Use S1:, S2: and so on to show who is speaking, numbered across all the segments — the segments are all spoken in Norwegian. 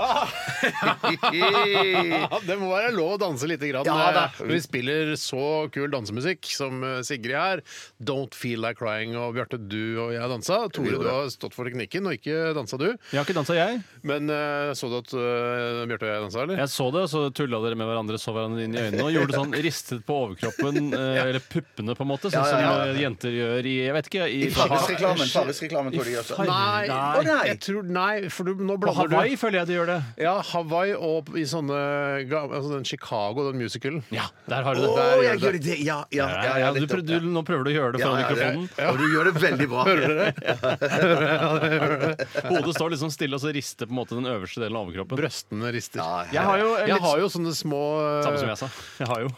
S1: Ja, det må være lov å danse lite grann.
S2: Ja, da.
S1: Når vi spiller så kul dansemusikk som eh, Sigrid her. Don't Feel Like Crying og Bjarte, du og jeg dansa. Tore, du har stått for teknikken, og ikke dansa du.
S3: Jeg har ikke dansa, jeg.
S1: Men eh, så du at eh, Bjarte og jeg dansa, eller?
S3: Jeg så det, og så tulla dere med hverandre, så hverandre inn i øynene og gjorde sånn ristet på overkroppen, eh, eller puppene, på en måte, sånn
S2: Ja, ja,
S3: som
S2: ja.
S3: eh, jenter gjør i Jeg vet ikke, i,
S2: Farris-reklamen. Farris-reklamen tror de gjør sånn.
S1: Nei,
S3: Nei.
S1: Jeg tror, nei, for du, nå
S3: På
S1: blander du
S3: Hawaii føler jeg de gjør det.
S1: Ja, Hawaii og i sånne ga- altså den Chicago, den musicalen.
S3: Ja, der har du det.
S2: Å,
S3: Der
S2: jeg
S3: gjør
S2: gjør
S3: du det.
S2: det! Ja, ja,
S3: Ja,
S2: ja,
S3: ja,
S2: ja,
S3: du
S2: nettopp,
S3: prøv, du, nå prøver du å gjøre det
S2: ja,
S3: foran
S2: ja,
S3: mikrofonen.
S2: det- Og du gjør det veldig bra.
S3: Hodet står liksom stille, og så rister på en måte den øverste delen av overkroppen.
S1: Brøstene rister.
S3: Jeg har jo eh,
S1: Jeg har jo sånne små
S3: Samme som jeg sa. Jeg har jo.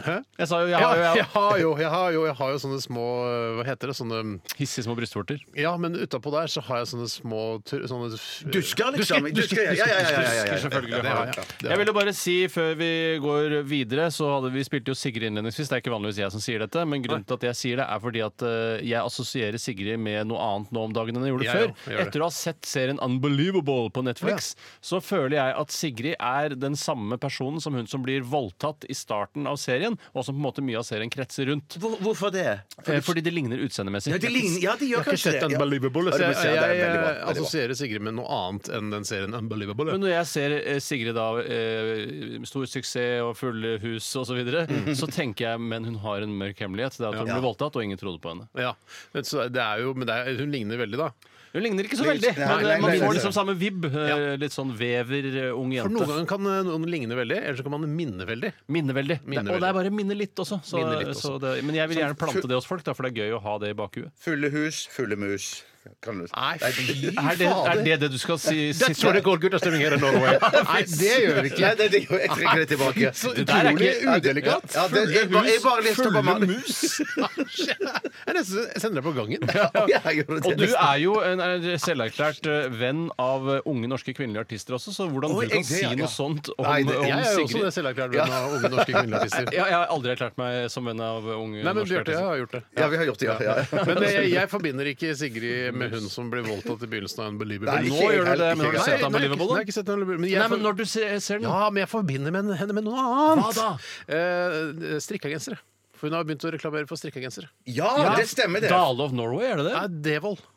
S1: Hæ?
S3: Jeg sa jo, jeg
S1: Ja,
S3: har jo, jeg
S1: jeg har jo, jeg har jo, jeg har jo sånne små eh, Hva heter det? Sånne
S3: Hissige små brystvorter.
S1: Ja, men utapå der så har jeg sånne små tur- sånne f-
S2: Dusker, liksom.
S1: Dusker,
S2: Dusker, ja, ja, ja, ja, ja, ja.
S3: Husker selvfølgelig.
S1: det har
S3: har
S1: jeg.
S3: jeg. Jeg ville bare si før vi går videre, så hadde vi spilte jo Sigrid innledningsvis. Det er ikke vanligvis jeg som sier dette, men grunnen til at jeg sier det, er fordi at eh, jeg assosierer Sigrid med noe annet nå om dagen enn jeg gjorde
S1: Jeg
S3: før.
S1: gjør det.
S3: Etter å ha sett serien Unbelievable på Netflix, så føler jeg at Sigrid er den samme personen som hun som blir voldtatt i starten av serien, og som på en måte mye av serien kretser rundt.
S2: Hvor- Hvorfor det?
S3: Eh, Fordi det ligner utseendemessig.
S2: Ja, de ligner, ja, de
S1: Jeg
S2: gjør
S1: har ikke
S2: kanskje
S1: sett
S2: det. ja.
S1: Unbelievable.
S2: Ja,
S1: Så
S2: du må
S1: jeg,
S2: se, det er
S1: jeg, eh,
S2: veldig bra, veldig bra.
S1: assosierer Sigrid med noe annet enn den serien Unbelievable.
S3: Men når jeg ser eh, Sigrid da, eh, stor suksess og fulle hus osv., så, videre, så tenker jeg men hun har en mørk hemmelighet. Det er at hun ble voldtatt, og ingen trodde på henne.
S1: Ja, men så det er jo, men det er, hun ligner veldig, da.
S3: Hun ligner ikke så veldig, men
S2: Nei, nei,
S3: eh, man
S2: nei, nei,
S3: får
S2: nei.
S3: liksom samme vib. eh, Litt sånn vever, eh, ung
S1: For noen
S3: jente.
S1: ganger kan eh, noen ligne veldig, eller så kan man minne veldig.
S3: Minner veldig.
S1: Minner
S3: Det- Og det
S1: veldig.
S3: er bare minne litt også. Så,
S1: Minner litt
S3: så
S1: også.
S3: det, men jeg vil gjerne plante det hos folk, da, for det er gøy å ha det i bakhuet.
S2: Fulle hus, fulle mus. Kan du...
S1: Nei, fy
S3: Er det er det, det du skal si?
S1: That's what they call good stemning here in Norway. Nei, det gjør vi
S2: Nei,
S1: ikke.
S2: det, det, jeg trekker det tilbake.
S1: Så
S3: der er
S1: utrolig
S3: ikke-
S1: udelikat.
S2: Ja, det, jeg, bare- jeg bare leste opp av
S1: Fulle
S2: mannen.
S1: mus! Jeg nesten sender deg på gangen.
S2: Ja, jeg gjorde det.
S3: Og du er jo en er selverklært eh, venn av eh, unge norske kvinnelige artister også, så hvordan
S1: eh,
S2: Oi,
S3: du kan
S2: jeg-
S3: si
S2: det, ja.
S3: noe sånt om,
S1: Nei, det,
S3: om
S1: jeg er jo også
S3: Sigrid
S1: det selverklært venn av unge norske kvinnelige artister.
S3: Ja, jeg har aldri erklært meg som venn av unge
S1: Nei, men
S3: norske
S1: Bjarte, jeg
S3: artister.
S1: har gjort det.
S2: Ja, vi har gjort det, ja. ja.
S1: Men jeg, jeg forbinder ikke Sigrid med hun som ble voldtatt i begynnelsen av Unbelievable.
S2: Nei,
S1: Nå-
S3: Nå gjør
S2: jeg
S3: du det,
S2: heller,
S3: men har du
S2: ikke
S3: sett
S1: nei, nei,
S3: Unbelievable?
S1: nei,
S3: da?
S1: jeg har ikke sett Unbelievable, men jeg
S3: Nei, men
S1: for-
S3: når du ser, ser den
S1: Ja, men jeg forbinder med henne med noe annet.
S3: Mm. Hva
S1: Eh, strikkagensere. For hun har begynt å reklamere for strikkagensere.
S2: Ja, det stemmer, det.
S3: Dale of Norway, er det det?
S1: Nei, Devold.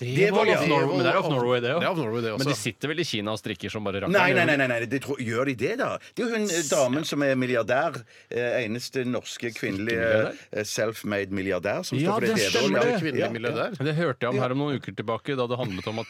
S3: Det
S2: var-
S3: of
S2: ja.
S3: Norway, men det er of Norway, det
S1: Det er
S3: òg.
S1: av Norway, det også.
S3: Men de sitter vel i Kina og strikker som bare rakker?
S2: Nei, nei, nei, nei, nei. Det tror, gjør de det, da? Det er jo hun eh, damen som er milliardær. Eh, eneste norske kvinnelige
S3: Ikke
S2: eh, self-made milliardær som
S3: Ja,
S2: står for det.
S3: det
S2: hele
S3: stemmer
S2: året.
S1: Var
S3: det.
S1: det kvinnelig milliardær?
S3: Det hørte jeg om her om noen uker tilbake, da det handlet om at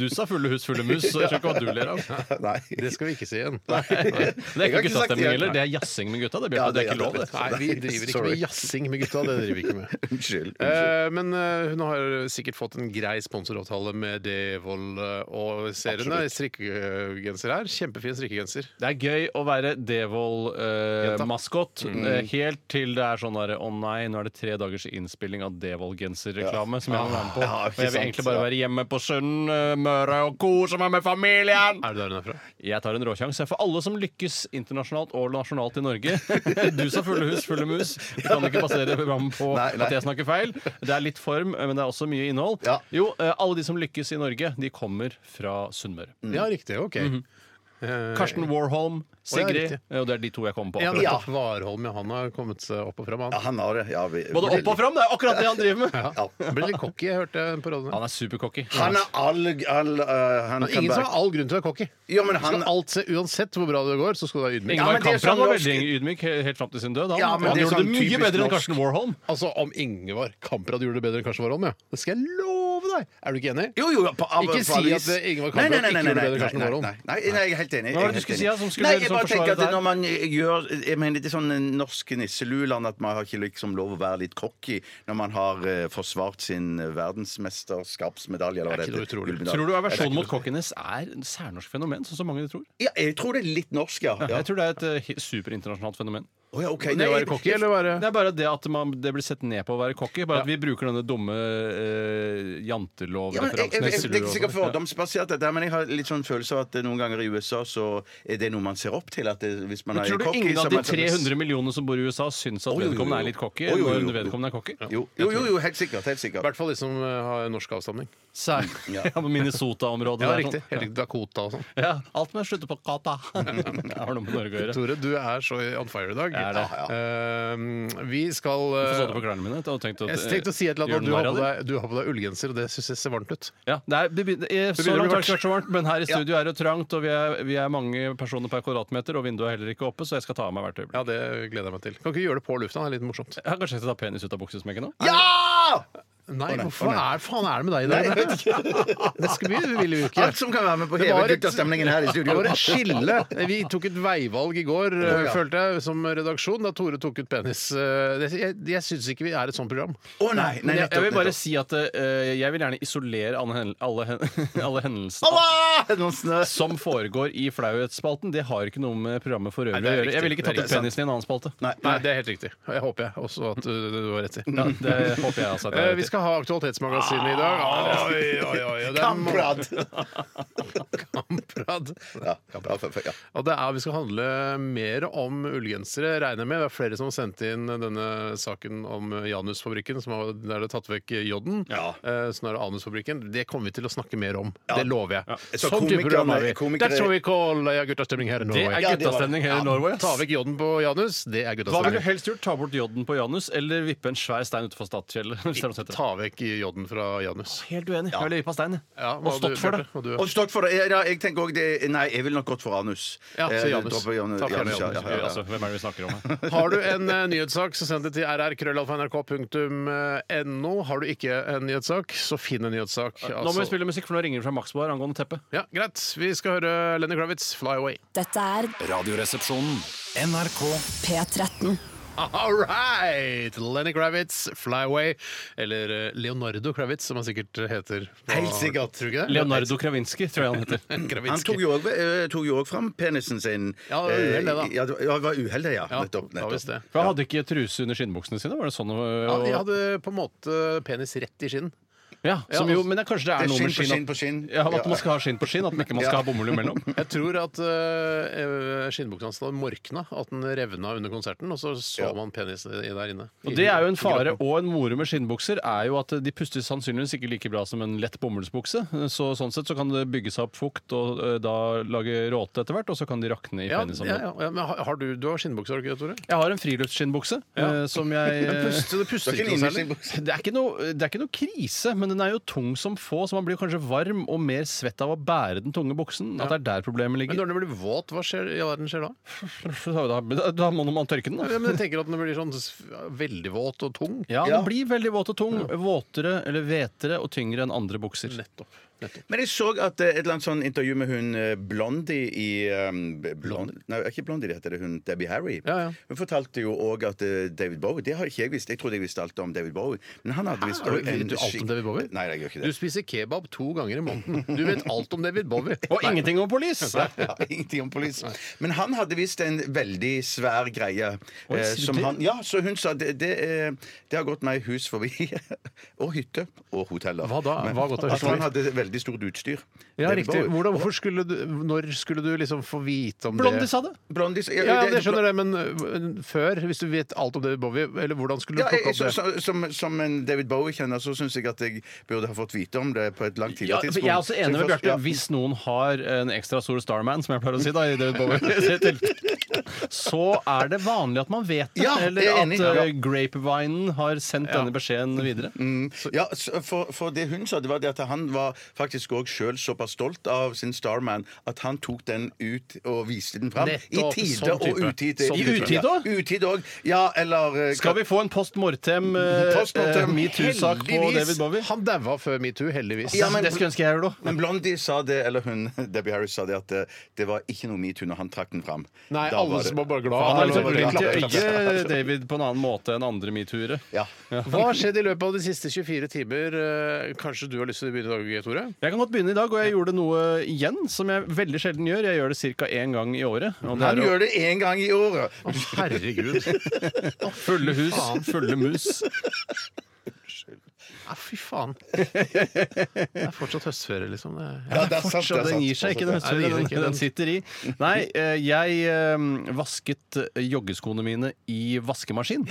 S3: Du sa 'fulle hus, fulle mus', så jeg skjønner ikke hva du ler av.
S2: Ja. Nei.
S1: Det skal vi ikke si igjen.
S3: Det er
S2: Jeg har
S3: ikke
S2: ikke sagt
S3: guttastemning
S2: det.
S3: heller. Det er jazzing med gutta. Det, Bjarte.
S2: Ja,
S3: det,
S2: det-
S3: er ikke lov, det.
S1: Nei, vi driver ikke
S2: Sorry.
S1: med jazzing med gutta. Det driver vi ikke med.
S2: Unnskyld. unnskyld.
S1: Eh, Men eh, hun har sikkert fått en grei sponsoravtale med Devold eh, og seriene. Strikkegenser her. Kjempefin strikkegenser.
S3: Det er gøy å være Devold-maskot
S2: Mm.
S3: helt til det er sånn derre Å nei, nå er det tre dagers innspilling av Devold-genserreklame som jeg må være med på.
S2: Ja, ikke
S3: og jeg vil
S2: sant,
S3: egentlig bare
S2: ja.
S3: være hjemme på Sunnmøre og kose meg med familien.
S1: Er det der hun er fra?
S3: Jeg tar en råsjanse for alle som lykkes internasjonalt og nasjonalt i Norge. Du sa fulle hus, fulle mus. Du kan ikke basere programmet på
S2: Nei, nei.
S3: at jeg snakker feil. Det er litt form, eh, men det er også mye innhold.
S2: Ja.
S3: Jo, eh, alle de som lykkes i Norge, de kommer fra Sunnmøre.
S1: Mm. Ja, riktig. OK. Eh,
S3: Karsten Warholm, Sigrid.
S1: riktig.
S3: eh, og det er de to jeg kom på.
S1: Ja,
S3: akkurat.
S1: nettopp. Warholm, ja. Han har kommet seg opp og fram,
S2: Ja,
S1: han.
S2: han har det. Ja, vi,
S3: Både opp og fram, det er akkurat det han driver med.
S1: Ja. Ble litt cocky, jeg hørte på radioen.
S3: Han er supercocky.
S2: Han er all, all eh, Han
S1: Det er
S2: kan
S1: ingen som
S2: bare
S1: har all grunn til å være cocky.
S2: Ja, men han
S1: Skal alt se, uansett hvor bra det går, så skal du være ydmyk.
S2: Ja,
S3: Ingvar
S2: men det er
S3: Kamprad
S2: sånn
S3: var
S2: norsk-
S3: veldig ydmyk he- helt fram til sin død. Han,
S2: Ja, men
S3: han
S2: det er
S3: gjorde det
S2: sånn
S3: mye
S2: typisk
S3: bedre enn
S2: norsk.
S3: Karsten Warholm.
S1: Altså, om Ingvar Kamprad gjorde det bedre enn Karsten Warholm, ja. Det skal jeg love deg! Er du ikke enig?
S2: jo, jo, på, av,
S1: Ikke
S2: på
S1: si
S2: avis.
S1: at, eh, Ingvar
S2: Nei, nei,
S1: Kamprad
S2: nei,
S1: ikke gjorde
S2: nei,
S1: bedre enn
S2: nei,
S1: Karsten
S2: nei,
S1: Warholm.
S2: nei, nei, nei, jeg er helt enig.
S3: Hva var
S2: jeg er
S3: det du
S2: helt
S3: skulle si,
S2: enig.
S3: da, som skulle
S2: Nei,
S3: liksom
S2: jeg bare
S3: forsvare
S2: tenker at
S3: det her?
S2: Når man eh, gjør Jeg mener det er sånn eh, norske nisseluland at man har ikke liksom lov å være litt cocky når man har eh, forsvart sin eh, verdensmesterskapsmedalje. Eller
S1: Det er
S2: hva
S1: ikke noe utrolig.
S2: gullmedalje.
S3: Tror du aversjonen mot cockiness er en særnorsk fenomen, sånn som mange tror?
S2: Ja, jeg tror det er litt norsk, ja. ja.
S3: Jeg tror det er et eh, hi- superinternasjonalt fenomen.
S2: Å ja, ok.
S1: Det å være cocky eller være
S3: Det er bare det at man, det blir sett ned på å være cocky. Bare at vi bruker denne dumme eh,
S2: Ja, men jeg, jeg,
S3: jantelovreferansen.
S2: jeg, det er ikke sikkert
S3: Ja.
S2: fordomsbasert, dette, her, men jeg har litt sånn følelse av at noen ganger i USA så er det noe man ser opp til. At det, hvis man
S3: Men
S2: er
S3: tror du
S2: cocky,
S3: ingen
S2: så
S3: av
S2: er
S3: de
S2: man- sånn-
S3: 300 millionene som bor i USA, syns at
S2: Å, jo, jo, jo.
S3: vedkommende er litt cocky?
S2: Å, jo, jo, jo.
S3: Når vedkommende er cocky?
S2: Jo, jo, jo, jo, helt sikkert. Helt
S1: I
S2: sikkert.
S1: hvert fall de som eh, har norsk avstamning.
S3: Sær, ja.
S2: Ja.
S3: på Minnesota-området.
S1: Ja,
S3: der,
S1: riktig.
S3: sånn.
S1: Helt riktig. Dakota og sånn.
S3: Ja, alt med å slutte på kata. Det har noe med Norge å gjøre.
S1: Tore, du er så on fire i dag.
S3: Jeg er det.
S1: Eh, vi skal eh,
S3: Hvorfor så du på klærne mine? Jeg tenkte,
S1: jeg tenkte eh, å si et eller
S3: Gjør den
S1: annet. Du
S3: narr
S1: har,
S3: av
S1: på
S3: det?
S1: deg, du har på deg ullgenser, og det syns jeg ser varmt ut.
S3: Ja, det er, det begynner, eh, så
S1: begynner å
S3: langt har
S1: bli
S3: det ikke vært så varmt, men her i studio er det trangt, og vi er, vi er mange personer per kvadratmeter, og vinduet er heller ikke oppe, så jeg skal ta av meg hvert øyeblikk.
S1: Ja, det gleder jeg meg til. Kan ikke gjøre det på lufta, det er litt morsomt.
S3: Jeg har kanskje ikke tatt penis ut av buksesmekken nå?
S2: Ja!
S1: Nei,
S2: Å, nei,
S1: hvorfor
S2: å, nei.
S1: er, faen er det med deg i dag? Det skal vi ville vi ikke.
S2: Alt som kan være med på å
S1: Det var
S2: heve
S1: et-
S2: guttastemningen her i
S1: Det
S2: studio.
S1: var et skille. Vi tok et veivalg i går,
S2: Å, ja.
S1: følte jeg, som redaksjon, da Tore tok ut penis. Eh, Det- Jeg, jeg syns ikke vi er et sånt program.
S2: Å nei, nei,
S3: Men jeg, jeg
S2: nettopp.
S3: vil bare
S2: nettopp.
S3: si at eh, jeg vil gjerne isolere alle, hen, alle, hen, alle hendelsene
S2: Åh, noen snø.
S3: som foregår i flauhetsspalten. Det har ikke noe med programmet for øvrig
S1: det
S3: å
S1: er
S3: gjøre. Jeg ville
S1: riktig.
S3: ikke tatt
S1: Det
S3: ut penisen i en annen spalte.
S2: Nei,
S1: Nei, Mm. det er helt riktig. Jeg håper jeg også at eh, du, du har rett i.
S3: Ja, det håper jeg altså. at jeg
S1: Eh,
S3: vet.
S1: Vi skal ha Aktualitetsmagasinet i dag. Ah, Oi, oi, oi. Det er
S2: Kamprad!
S1: Kamprad.
S2: Ja, bra, for- for- ja.
S1: Og det er, Vi skal handle mer om ullgensere, regner jeg med. Det er flere som har sendt inn denne saken om Janusfabrikken, som har, der det er tatt vekk J-en.
S2: Ja.
S1: Eh, så nå er det Anusfabrikken. Det kommer vi til å snakke mer om.
S2: Ja.
S1: Det lover jeg.
S2: Så
S1: Sånn type
S2: komikerne-
S1: program er vi.
S2: komikere-
S1: That's what we call ja, guttastemning her i
S3: Det er
S1: Norway.
S2: Ja, det var-
S3: guttastemning her
S2: ja.
S3: i Norway. ass.
S1: Ta vekk J-en på Janus, det er
S3: Hva ville du
S1: guttastemning.
S3: helst gjort? Ta bort jodden på Janus, eller vippe en svær stein utenfor Stadfjellet? hvis det er noe som heter det?
S1: Ta vekk J-en fra Janus.
S3: Helt uenig. Jeg ville vippa stein. jeg.
S1: Ja, hva
S3: og
S1: har du,
S3: stått for det.
S1: Bjarte? Hva har du-
S2: Og stokk for det. Ja, jeg tenker også det Nei, jeg ville nok gått for anus.
S1: Ja, så
S2: Eh,
S1: Janus.
S2: dropper Janu-
S1: Ta fjerne
S2: Janus, ja,
S1: Janus.
S2: ja, ja, ja.
S3: Altså, hvem er det vi snakker om her?
S1: Har du en eh, nyhetssak, så send det til rrkrøllalfa.nrk.no. eh, Har du ikke en nyhetssak, så finn en nyhetssak.
S3: Nå må vi
S1: altså.
S3: spille musikk, for nå ringer det fra Maxbar angående teppet.
S1: Ja, Greit. Vi skal høre Lenny Kravitz, 'Fly Away'.
S4: Dette er
S5: Radioresepsjonen. NRK.
S4: P13.
S1: All right! Lenny Kravitz, 'Fly Away'. Eller eh, Leonardo Kravitz, som han sikkert heter. på-
S2: Helt sikkert.
S1: Tror du ikke det?
S3: Leonardo Kravinski, tror jeg han heter.
S2: Han
S1: Kravitz.
S2: tok jo også- eh, tok jo òg fram penisen sin.
S1: Ja, det var
S2: Eh,
S1: uhell, det da.
S2: Ja, det var- ja, det var uhell, det, ja.
S1: Ja,
S2: Nettopp.
S1: da visst
S2: nettopp.
S1: det.
S3: For han hadde ikke truse under skinnbuksene sine? Var det sånn? øh,
S1: Ja, de
S3: og-
S1: hadde på en måte penis rett i skinn.
S3: Ja, som
S1: Ja,
S3: jo,
S1: altså,
S3: men det, kanskje det er
S2: det er
S3: noe med
S2: skinn på
S3: skinn
S2: skinn på skinn.
S3: Ja, at man
S2: Ja.
S3: skal ha skinn på skinn, at man ikke man skal
S2: Ja.
S3: ha bomull imellom.
S1: Jeg tror at uh, skinnbuksa hans hadde morkna, at den revna under konserten, og så så
S2: Ja.
S1: man penis i der inne.
S3: Og Det er jo en fare og en moro med skinnbukser er jo at de puster sannsynligvis ikke like bra som en lett bomullsbukse. Så sånn sett så kan det bygge seg opp fukt og eh, da lage råte etter hvert, og så kan de rakne i
S1: Ja,
S3: penisen.
S1: ja, ja, ja, men har, har du, du har skinnbukse, har du ikke det, Tore?
S3: Jeg har en friluftsskinnbukse eh, som jeg
S1: Men puste, det puster
S2: Det er
S1: ikke
S2: ikke en
S1: noe særlig.
S2: innerskinnbukse.
S3: det er, ikke noe, det er ikke noe krise, men den er jo tung som få, så man blir kanskje varm og mer svett av å bære den tunge buksen. At det er der problemet
S1: Men
S3: ligger.
S1: når den blir våt, hva skjer, i all verden skjer da?
S3: Da, da, da må man tørke den, da.
S1: Ja, men jeg tenker at den blir sånn s- veldig våt og tung.
S3: Ja,
S2: Ja.
S3: den blir veldig våt og tung. Våtere eller hvetere og tyngre enn andre bukser.
S1: Nettopp. Nettopp.
S2: Men jeg så at eh, et eller annet sånn intervju med hun eh, Blondie i um, Blond, Nei, ikke Blondie, det heter det hun Debbie Harry.
S1: Ja, ja.
S2: Hun fortalte jo òg at eh, David Bowie Det har ikke jeg visst. Jeg trodde jeg visste alt om David Bowie. Men han hadde visst
S1: Har
S2: også
S1: du, vet
S2: en
S1: du alt
S2: skikk-
S1: om David Bowie?
S2: Nei, jeg gjør ikke
S1: Du
S2: det.
S1: spiser kebab to ganger i måneden. Du vet alt om David Bowie.
S3: Og ingenting om police!
S2: Ja, ingenting om police. Men han hadde visst en veldig svær greie.
S3: Oi,
S2: eh,
S3: sier du
S2: som
S3: det?
S2: han, ja, Så hun sa det, det, eh, det har gått meg hus forbi. og hytte. Og hoteller.
S1: Hva da? Hva har gått deg hus
S2: at han
S1: forbi?
S2: hadde veldig stort utstyr.
S1: Ja,
S2: David
S1: riktig.
S2: Bowie.
S1: Hvordan, hvorfor skulle du, når skulle du liksom få vite om
S3: Blondie
S1: det?
S3: sa det.
S2: Blondie ja,
S1: Ja, jeg skjønner det, men øh, før, hvis du vet alt om David Bowie, eller hvordan skulle du
S2: Ja, jeg,
S1: plukke
S2: jeg,
S1: opp det?
S2: som, som, som en David Bowie-kjenner så syns jeg at jeg burde ha fått vite om det på et langt
S3: Ja,
S2: tidligere
S3: jeg
S2: tidspunkt.
S3: er også enig
S2: Så
S3: med
S2: først-
S3: Bjarte.
S2: ja.
S3: Hvis noen har en ekstra stor Starman, som jeg pleier å si, da, i David Bowie, sitt tilfelle, så er det vanlig at man vet det.
S2: Ja, jeg er
S3: eller at
S2: enig.
S3: eh,
S2: Ja. Mm,
S3: grapevinen har sendt denne beskjeden videre.
S2: Ja, så for, for det hun sa, det var det at han var faktisk òg sjøl såpass stolt av sin Starman at han tok den ut og viste den fram. I
S1: Nettopp,
S2: tide
S1: sånn
S2: og
S1: type.
S2: utide.
S1: Sånn
S2: I
S3: type.
S2: utide òg? Utide òg. Ja, eller eh,
S3: Skal vi få en post mortem eh,
S2: Post mortem.
S3: eh, metoo-sak på
S2: Heldigvis.
S3: David Bowie?
S1: Han daua før metoo, heldigvis.
S2: Ja, men-
S3: det skulle ønske jeg gjorde, da.
S2: Men Blondie sa det, eller hun Debbie Harris sa det, at det, det var ikke noe metoo når han trakk den fram.
S1: Nei,
S2: Da
S1: alle
S2: var det-
S1: som var bare glad.
S3: Han
S1: Alle
S3: har liksom
S1: var bare
S3: glimt
S1: glad.
S3: i øyet David på en annen måte enn andre metoo-ere.
S2: Ja.
S1: Hva har skjedd i løpet av de siste 24 timer? Eh, Kanskje du har lyst til å begynne i dag, Tore? Bjarte?
S3: Jeg kan godt begynne i dag, og jeg gjorde noe igjen som jeg veldig sjelden gjør. Jeg gjør det ca. én gang i året. Og det
S2: Han
S3: er å
S2: gjør det én gang i året!
S1: Herregud.
S3: fulle hus, fulle mus.
S1: Ja, fy faen. Det er fortsatt høstferie, liksom. Det er-
S2: Ja, det er sant, det er
S3: Fortsatt, den gir seg ikke, den,
S1: sant. Nei, det gir
S3: den,
S1: seg ikke, den-
S3: den sitter i. Nei, eh, jeg eh, vasket eh, joggeskoene mine i vaskemaskin.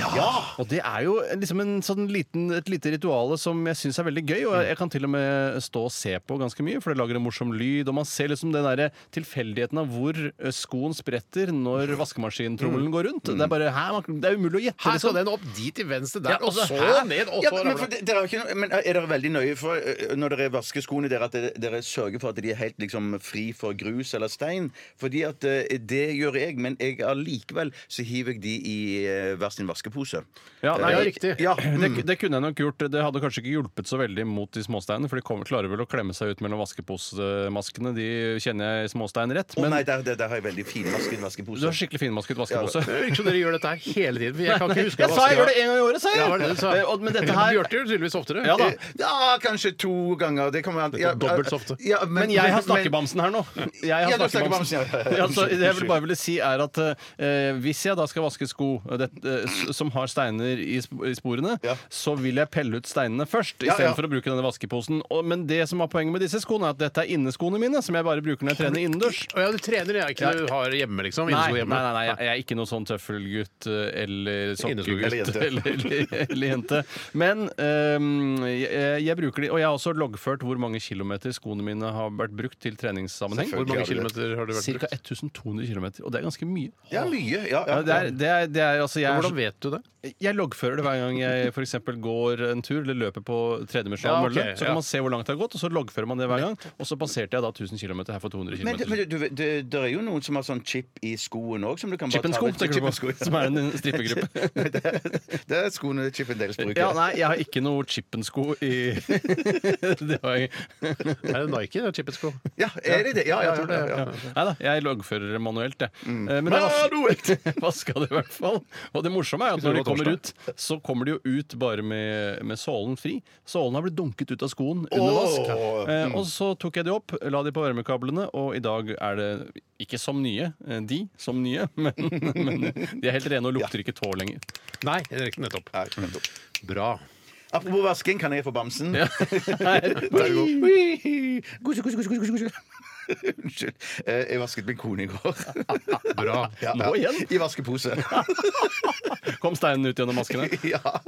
S3: Og det er jo liksom en sånn liten, et lite ritual som jeg syns er veldig gøy, og jeg, jeg kan til og med stå og se på ganske mye, for det lager en morsom lyd, og man ser liksom den derre tilfeldigheten av hvor eh, skoen spretter når vaskemaskintrommelen går rundt. Det er bare hæ, man, Det er umulig å gjette.
S1: Mm. Her skal
S3: liksom.
S1: den opp dit til venstre der,
S3: Ja,
S1: og
S3: altså,
S1: så
S3: hæ?
S1: ned, og
S2: Ja,
S1: så
S2: men, for,
S1: ramler den.
S2: det- dere har ikke, noe- men eh, er dere veldig nøye for ø, når dere vasker skoene dere, at dere, dere sørger for at de er helt liksom, fri for grus eller stein? Fordi at ø, det gjør jeg, men jeg allikevel så hiver jeg de i ø, hver sin vaskepose.
S3: Ja, nei,
S1: Det er riktig.
S2: Ja,
S3: Det, det kunne jeg nok gjort. Det hadde kanskje ikke hjulpet så veldig mot de småsteinene, for de kommer, klarer vel å klemme seg ut mellom vaskeposemaskene. De kjenner jeg småstein rett.
S2: Å
S3: Men
S2: nei, der, der, der har jeg veldig finvasket vaskepose.
S3: du har skikkelig finmasket vaskepose.
S1: Det virker som dere gjør dette her hele tiden. For jeg kan ikke huske
S3: Jeg sa jeg gjør det
S1: vaske-
S3: én gang i året, sa
S1: Ja, var det det
S3: jeg!
S1: du sa?
S3: Eh, og- Men dette her
S1: Bjarte gjør det tydeligvis oftere.
S3: Ja da.
S2: Eh, Ja, kanskje to ganger. Det kommer an
S1: er dobbelt så ofte.
S2: Ja,
S3: Men jeg har snakkebamsen her nå. Jeg har
S2: Ja, du har
S3: snakkebamsen.
S2: snakkebamsen, ja.
S3: Ja, så det jeg vil bare ville si er at eh, Hvis jeg da skal vaske sko eh, det, eh, s- som har steiner i, sp i sporene,
S2: Ja.
S3: så vil jeg pelle ut steinene først,
S2: Ja,
S3: istedenfor
S2: ja.
S3: for å bruke denne vaskeposen. Og, men det som var poenget med disse skoene, er at dette er inneskoene mine, som jeg bare bruker når jeg trener innendørs.
S1: Å ja, du trener det er ikke det du har hjemme, liksom?
S3: Nei,
S1: Innesko
S3: nei,
S1: hjemme.
S3: nei, nei, jeg jeg er ikke noen sånn tøffelgutt eh, eller sokkegutt
S2: Inneskogutt.
S3: eller, eller, eller jente. Men ehm, jeg, jeg bruker de, og jeg har også loggført hvor mange kilometer skoene mine har vært brukt til treningssammenheng.
S1: Hvor mange kilometer har du vært
S3: Ca.
S1: brukt?
S3: 1200 km, og det er ganske mye.
S2: Ja, mye. Ja, ja.
S3: Ja, det er, det er, det er, altså, jeg,
S1: Hvordan
S3: er,
S1: vet du det?
S3: jeg loggfører det hver gang jeg for eksempel går en tur eller løper på tredimensjonal
S1: Ja, ok,
S3: mølle. Så
S1: ja.
S3: kan man se hvor langt det har gått, og så loggfører man det hver gang. Og så passerte jeg da 1000 km her for 200
S2: Men, det- men
S3: km.
S2: du, du, vet, det, det er jo noen som har sånn chip i skoen òg.
S3: Chippensko, tenker du på, som er en strippegruppe.
S2: det, er- det er skoene chipen deres bruker.
S3: Ja, nei, jeg har ikke noe Chippensko i Det har jeg ikke.
S1: Er det Nike det er chippet sko?
S2: Ja, er det det? Ja, ja, ja, ja, ja.
S3: Nei da, jeg loggfører det manuelt, jeg.
S2: Mm.
S3: Eh, Men jeg vas- vaska det i hvert fall. Og det morsomme er at når de kommer ut, så kommer de jo ut bare med, med sålen fri. Sålen har blitt dunket ut av skoen under vask.
S2: Åh. Mm.
S3: Eh, Og så tok jeg de opp, la de på varmekablene, og i dag er det ikke som nye, eh, de som nye, men, men de er helt rene og lukter ikke tå lenger.
S1: Nei, det er riktig nettopp.
S2: Nei, nettopp.
S1: Bra.
S2: Apropos vasking, kan jeg få bamsen?
S3: Her.
S2: Ui. Gusje, gusje, gusje, gusje, gusje. Unnskyld. Eh, Jeg vasket min kone i går.
S1: Bra.
S2: Ja,
S3: Nå
S2: ja.
S3: igjen?
S2: I vaskepose.
S3: Kom steinen ut gjennom maskene.
S2: Ja.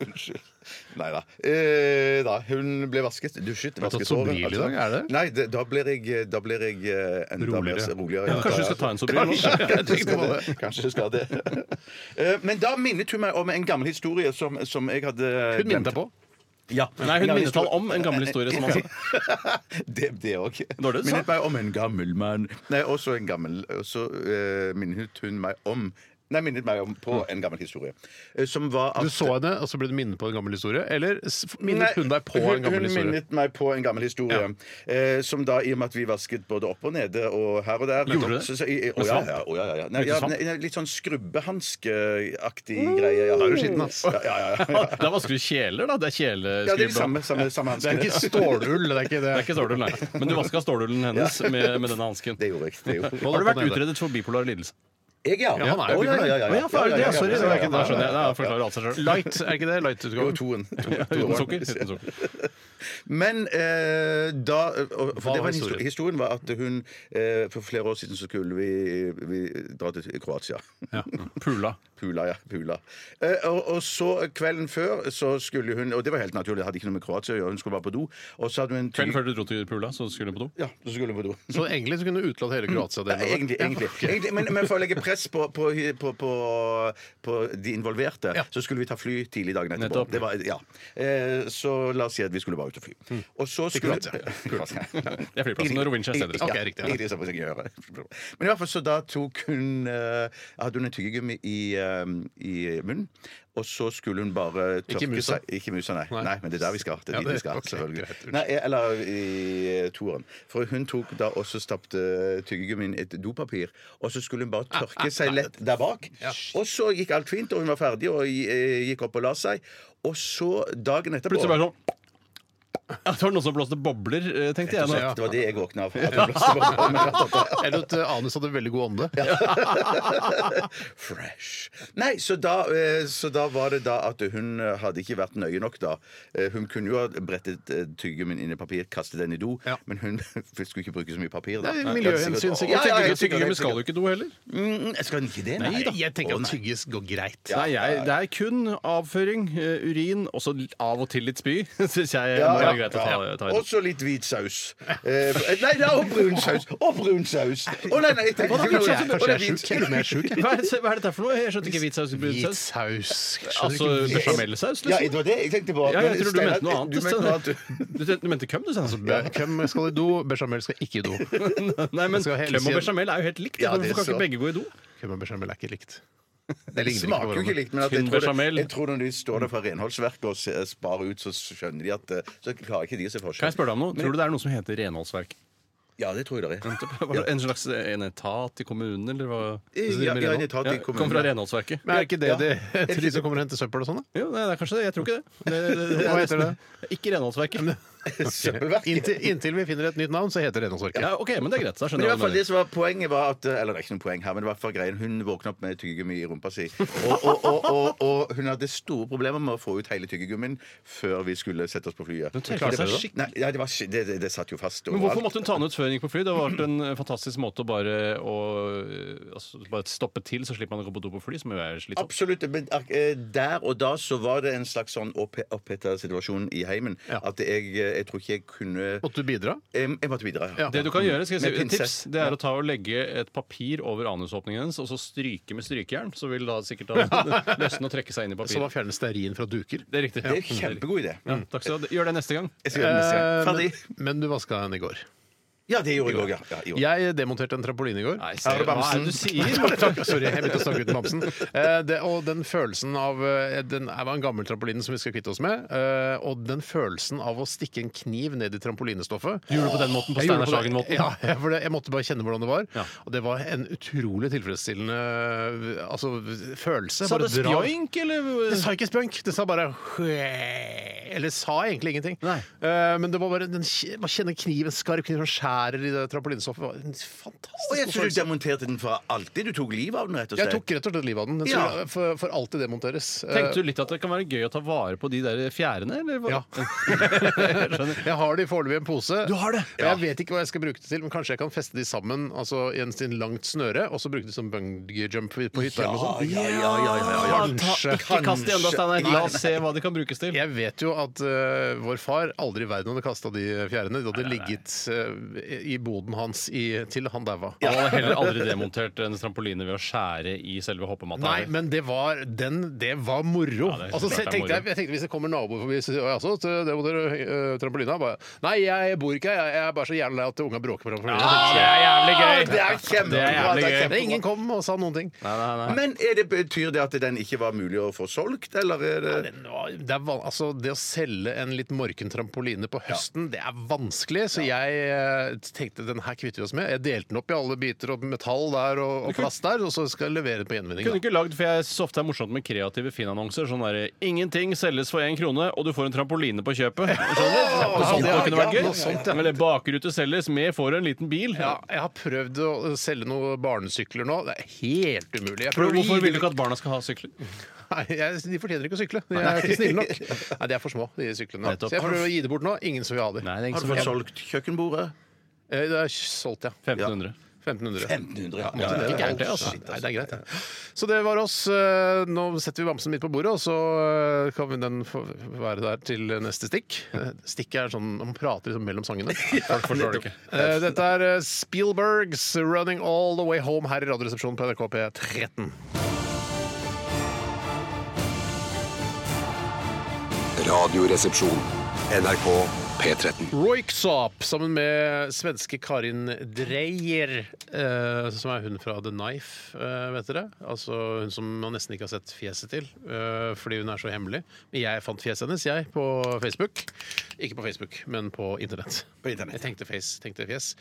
S2: Unnskyld. Nei da. Eh, da. Hun ble vasket, dusjet,
S1: har tatt
S2: vasket håret.
S1: Sobril i dag, er det?
S2: Nei, det, da blir jeg, da blir jeg eh, enda
S1: Roligere.
S2: mer roligere.
S3: Ja, kanskje du skal ta en Sobril nå?
S2: Kanskje,
S3: Ja, jeg
S2: kanskje, skal det. kanskje du skal det. Eh, Men da minnet hun meg om en gammel historie som, som jeg hadde
S1: Hun minnet deg på.
S3: Nei, hun
S2: Ja,
S3: minnet
S2: historie-
S3: han om en gammel historie som han sa.
S2: det, det òg.
S3: Dårlig,
S2: Minnet meg om en gammel mann. Nei, også en gammel Og så eh, minnet hun meg om Nei, minnet meg om på en gammel historie. eh, Som var at
S1: Du så henne, og så ble du minnet på en gammel historie? Eller s- minnet
S2: Nei,
S1: hun deg på en gammel
S2: Hun
S1: historie?
S2: minnet meg på en gammel historie. Eh, som da, i og med at vi vasket både opp og nede og her og der
S3: Gjorde du det?
S2: Så, så, i, i, å, ja, ja, å, ja, ja, ja. Nei,
S3: Med
S2: ja,
S3: svamp?
S2: nei, Litt sånn skrubbehanskeaktig greie. Ja. Da
S1: er Mm. du skitten, ass.
S2: Ja, ja, ja, ja.
S3: Da vasker du kjeler, da. Det er
S2: ja, det er de
S3: kjeleskribbe.
S2: samme, samme, samme
S1: Det er
S2: hanskene.
S1: ikke stålull, det er ikke
S3: Det er ikke
S1: det.
S3: stålull, nei. Men du vaska stålullen hennes med, med denne hansken.
S2: Det gjorde jeg. Det gjorde jeg.
S3: Har du vært utredet for bipolar lidelse?
S2: Jeg, ja.
S1: Ja, han er jo
S2: Å, ja, ja, ja,
S3: Å,
S2: ja.
S3: ja, faen, det er- Sorry, det var ikke- da skjønner jeg. Da
S2: ja, ja.
S3: forklarer alt seg sjøl.
S1: Light, er ikke det
S2: Jo,
S1: light-utgaven?
S2: toen.
S3: Uten sukker. Uten sukker.
S2: Men eh, da og,
S1: Hva
S2: for det
S1: var
S2: var en historie.
S1: historien?
S2: historien var at hun eh, For flere år siden så skulle vi, vi dra til Kroatia.
S3: Pula.
S2: Pula, ja. Pula. Eh, og, og så kvelden før så skulle hun Og det var helt naturlig, det hadde ikke noe med Kroatia å gjøre, hun skulle bare på do. Og så hadde hun en ty-
S3: Kvelden før du dro til Pula, så skulle du på do?
S2: Ja, så skulle hun på do.
S1: Så egentlig så kunne du utelatt hele Kroatia-delen. av
S2: Nei, egentlig,
S1: det.
S2: egentlig. egentlig men, men for å legge press på, på, på, på, på de involverte, så skulle vi ta fly tidlig dagen etterpå.
S3: Nettopp.
S2: Det var, ja. eh, så la oss si at vi skulle bare ut og fly.
S1: Mm.
S2: Og så skulle Det
S3: er flyplassen, det er Rovinja stedet.
S2: Ja,
S1: Ok, riktig, ja.
S2: riktig, så får jeg gjøre det. Men i hvert fall så da tok hun eh, Hadde hun en tyggegummi i, eh, i munnen, og så skulle hun bare tørke
S1: Ikke musa.
S2: seg Ikke musa, nei. nei. men det er der vi skal. Det
S1: Ja,
S2: er dit
S1: det-
S2: vi skal,
S1: ok,
S2: selvfølgelig.
S1: greit, unnskyld.
S2: Nei, eller i eh, toeren. For hun tok da også stappte eh, tyggegummin i et dopapir, og så skulle hun bare tørke seg lett der bak. Og så gikk alt fint, og hun var ferdig og eh, gikk opp og la seg. Og så dagen etterpå
S3: Plutselig bare sånn Ja, det var noen som blåste bobler, eh, tenkte jeg. nå.
S1: sånn, Ja.
S2: Det var det jeg våkna av. At det ble så varmt. Men at- at-
S1: Eller at eh, anus hadde veldig god ånde.
S2: Fresh. Nei, så da, eh, så da var det da at hun eh, hadde ikke vært nøye nok, da. Eh, Hun kunne jo ha brettet eh, tyggummin inn i papir, kastet den i do,
S1: Ja.
S2: men hun skulle ikke bruke så mye papir, da.
S1: Det er miljøhensyn, sikkert.
S2: Ja,
S3: Tenker du
S2: ja, helt
S3: at
S2: sikkert,
S3: Tyggegummi
S2: helt
S3: skal jo ikke do heller.
S2: Mm, skal den ikke det? Nei, da.
S1: Jeg tenker
S2: Å,
S1: at
S2: nei.
S1: tygges går greit.
S3: Nei, jeg, det er kun avføring, eh, urin og så av og til litt spy. Syns jeg må være greit å ta, ta
S2: Og
S3: inn.
S2: så litt hvit saus. Eh, nei, nei, og brun saus! Og brun saus! Å nei, nei, jeg tenker
S1: Kanskje
S2: ikke noe-
S1: jeg
S2: Å, det er
S1: er
S2: hvit-
S1: sjuk? Eller om jeg er sjuk?
S3: Hva er, det- hva er dette for noe? Jeg skjønte ikke hvit saus. brun
S1: Hvit
S3: saus.
S1: saus Skjønner
S3: Altså
S1: ikke hvit-
S3: bechamelsaus,
S2: Ja,
S3: liksom?
S2: det var det jeg tenkte på.
S3: Ja, jeg
S2: Men
S3: tror du
S2: Steinar,
S3: mente noe annet.
S2: Du mente noe annet.
S3: Du, du, du mente køm, du, Steinar.
S1: Ja, Hvem skal i do? Bechamel skal ikke i do.
S3: Nei, men
S1: Jeg skal helst
S3: klem og
S1: igjen.
S3: bechamel er jo helt likt.
S2: Ja, det
S3: Hvorfor kan
S2: så.
S3: ikke begge gå i do?
S1: Hvem og bechamel er ikke likt.
S2: Det
S1: ligner ikke på
S2: smaker jo ikke
S1: hverandre.
S2: likt, men at jeg
S3: Tynn
S2: tror, det,
S3: bechamel.
S2: jeg tror når de står der fra renholdsverket og se- sparer ut, så skjønner de at eh, Så klarer ikke de å se forskjell.
S3: Kan jeg spørre deg om noe? Tror du det er noe som heter renholdsverk?
S2: Ja, det tror jeg det er.
S3: Var det En slags eh, en etat i kommunen, eller hva?
S2: Ja, ja, en etat i
S3: Ja, Kom fra
S2: kommunen.
S3: renholdsverket.
S1: Men er ikke det de, de som kommer og henter søppel og sånn, da?
S3: Jo, nei, det er kanskje det. Jeg tror ikke det. det, det, det,
S1: Hva heter det?
S3: Ikke renholdsverket.
S2: Søppelverket.
S1: Inntil, inntil vi finner et nytt navn, så heter renholdsverket.
S3: Ja, OK, men det er greit. Da
S2: Men i
S3: skjønner jeg hva
S2: hvert fall
S3: du
S2: det
S3: mener.
S2: som var poenget var at Eller det er ikke noe poeng her, men det var i hvert fall greien hun våkna opp med tyggegummi i rumpa si. Og, og, og, og, og hun hadde store problemer med å få ut hele tyggegummien før vi skulle sette oss på flyet.
S3: Hun tørka seg
S2: det,
S3: skikkelig.
S2: nei, ja, det, var, sk- det, det, det satt jo fast.
S3: Men hvorfor
S2: overalt.
S3: måtte hun ta den ut før hun gikk på fly? Det har vært en eh, fantastisk måte å bare, å, eh, altså, bare stoppe til, så slipper man å gå på do på fly, som jo er slitsomt.
S2: Absolutt. Men ak- eh, der og da så var det en slags sånn opphe- oppheta situasjon i heimen
S1: Ja.
S2: at jeg, eh, jeg tror ikke jeg kunne jeg,
S1: Måtte du bidra?
S2: jeg måtte videre.
S1: Ja.
S3: Det du kan gjøre, skal jeg
S2: Med
S3: si, et tips,
S2: pinsett.
S3: det er å ta og legge et papir over anusåpningen hennes, og så stryke med strykejern. Så vil da sikkert da løsne og trekke seg inn i
S1: Så da
S3: papiret.
S1: fjernes stearin fra duker.
S3: Det er riktig.
S2: Det er en kjempegod idé.
S3: Ja, takk skal du ha. Gjør det neste gang.
S2: Jeg skal gjøre det neste gang.
S1: Eh,
S2: Ferdig.
S1: men, men du vaska den i går.
S2: Ja, det gjorde jeg òg, ja. ja. i år.
S1: Jeg demonterte en trampoline i går.
S3: Nei, ser du- hva er det du sier?
S1: Takk, Sorry, jeg begynte å snakke uten bamsen. Eh, det, og den følelsen av eh, den, Det var en gammel trampoline som vi skal kvitte oss med. eh, og den følelsen av å stikke en kniv ned i trampolinestoffet
S3: Du gjorde det på den måten, på
S1: Jeg gjorde
S3: Steinar
S1: det på den-
S3: Sagen-måten.
S1: Ja, jeg- for det, jeg måtte bare kjenne hvordan det var.
S3: Ja.
S1: Og det var en utrolig tilfredsstillende altså, følelse.
S3: Sa
S1: Bare
S3: det
S1: dra-
S3: spjoink, eller?
S1: Det sa ikke spjønk, det sa bare Eller sa egentlig ingenting.
S3: Nei.
S1: Eh, men det var bare den, man kjenner kniven, skarp kniv som skjærer i det trampolinestoffet. Det var en fantastisk
S2: Og
S1: god
S2: jeg tror du
S1: følelse.
S2: demonterte den for alltid. Du tok livet av den, rett og
S1: Jeg
S2: slett.
S1: tok rett og slett livet av den. Den
S2: Ja.
S1: skulle for, for alltid demonteres. Eh,
S3: Tenkte du litt at det kan være gøy å ta vare på de der fjærene? Eller? hva?
S1: Ja. Eh, jeg har det i foreløpig i en pose.
S3: Du har det?
S1: Og Jeg vet ikke hva jeg skal bruke det til, men kanskje jeg kan feste de sammen altså i en sin langt snøre, og så bruke det som bungee jump på hytta eller noe sånt.
S2: ja, ja, ja, ja, ja, ja.
S3: Ta, ikke kast de ennå, Steinar. La oss se hva de kan brukes til.
S1: Jeg vet jo at eh, vår far aldri i verden hadde kasta de fjærene. De hadde ligget eh, i boden hans i, til han daua.
S3: Han hadde heller aldri demontert en trampoline ved å skjære i selve hoppematta.
S1: Nei, men det var, den, det var moro.
S3: Ja, det er
S1: altså,
S3: klart det
S1: se,
S3: er
S1: tenkte jeg,
S3: moro.
S1: jeg tenkte Hvis det kommer naboer forbi så sier jeg, altså, til- det må dere eh, trampolina. Bare, Nei, jeg bor ikke her. Jeg, jeg er bare så jævlig lei av at unga bråker på trampolina.
S3: Ah, det er jævlig gøy!
S2: Det er
S3: Det er jævlig
S2: kjempebra. det er
S3: gøy.
S1: Det
S2: kjempebra.
S1: er ingen kom og sa noen ting.
S3: Nei, nei, nei.
S2: Men er det, betyr det at den ikke var mulig å få solgt, eller er det
S1: Den var- Det, er, van- altså, det å selge en litt morken trampoline på høsten, det er vanskelig. Så jeg eh, tenkte den her kvitter vi oss med. Jeg delte den opp i alle biter og metall der og, og plast der, og så skal jeg levere den på gjenvinning.
S3: Kunne
S1: da.
S3: ikke lagd, for jeg synes ofte det er morsomt med kreative Finn-annonser. Sånn derre 'Ingenting selges for én krone, og du får en trampoline på kjøpet'. Skjønner du? Noe sånt
S2: ja,
S3: kunne vært
S2: ja,
S3: gøy.
S2: noe sånt,
S3: Eller 'Bakrute selges, med får du en liten bil'.
S1: Ja, jeg har prøvd å selge noen barnesykler nå. Det er helt umulig. Jeg prøver
S3: Hvorfor vil du
S1: ivrig-
S3: ikke at barna skal ha sykler?
S1: Nei, jeg, De fortjener ikke å sykle. De er ikke snille nok. Nei, De er for små, de syklene.
S3: Nettopp.
S1: Så jeg prøver å gi det bort nå. Ingen som vil ha de.
S3: Nei, det er
S2: Har
S3: ingen
S2: du
S3: som
S2: fått
S3: vil ha
S2: solgt kjøkkenbordet?
S1: Eh, Det er solgt, ja.
S3: 1500.
S1: 1500.
S2: 1500. Ja,
S1: Så det er
S3: ikke gærent,
S1: alt.
S3: det, altså.
S1: Nei, det er greit, det. Så det var oss. Eh, Nå setter vi bamsen midt på bordet, og så eh, kan vi den få være der til neste stikk. Eh, Stikket er sånn Man prater liksom mellom sangene.
S3: Folk forstår det ikke.
S1: Eh, Dette er eh, Spielbergs 'Running All The Way Home' her i Radioresepsjonen på NRK P13.
S4: Radioresepsjon. NRK P13.
S1: Royksop sammen med svenske Karin Dreyer, eh, som er hun fra The Knife, eh, vet dere. Altså hun som man nesten ikke har sett fjeset til, eh, fordi hun er så hemmelig. Men jeg fant fjeset hennes, jeg, på Facebook. Ikke på Facebook, men på internett.
S2: På internett.
S1: Jeg tenkte face, tenkte fjes.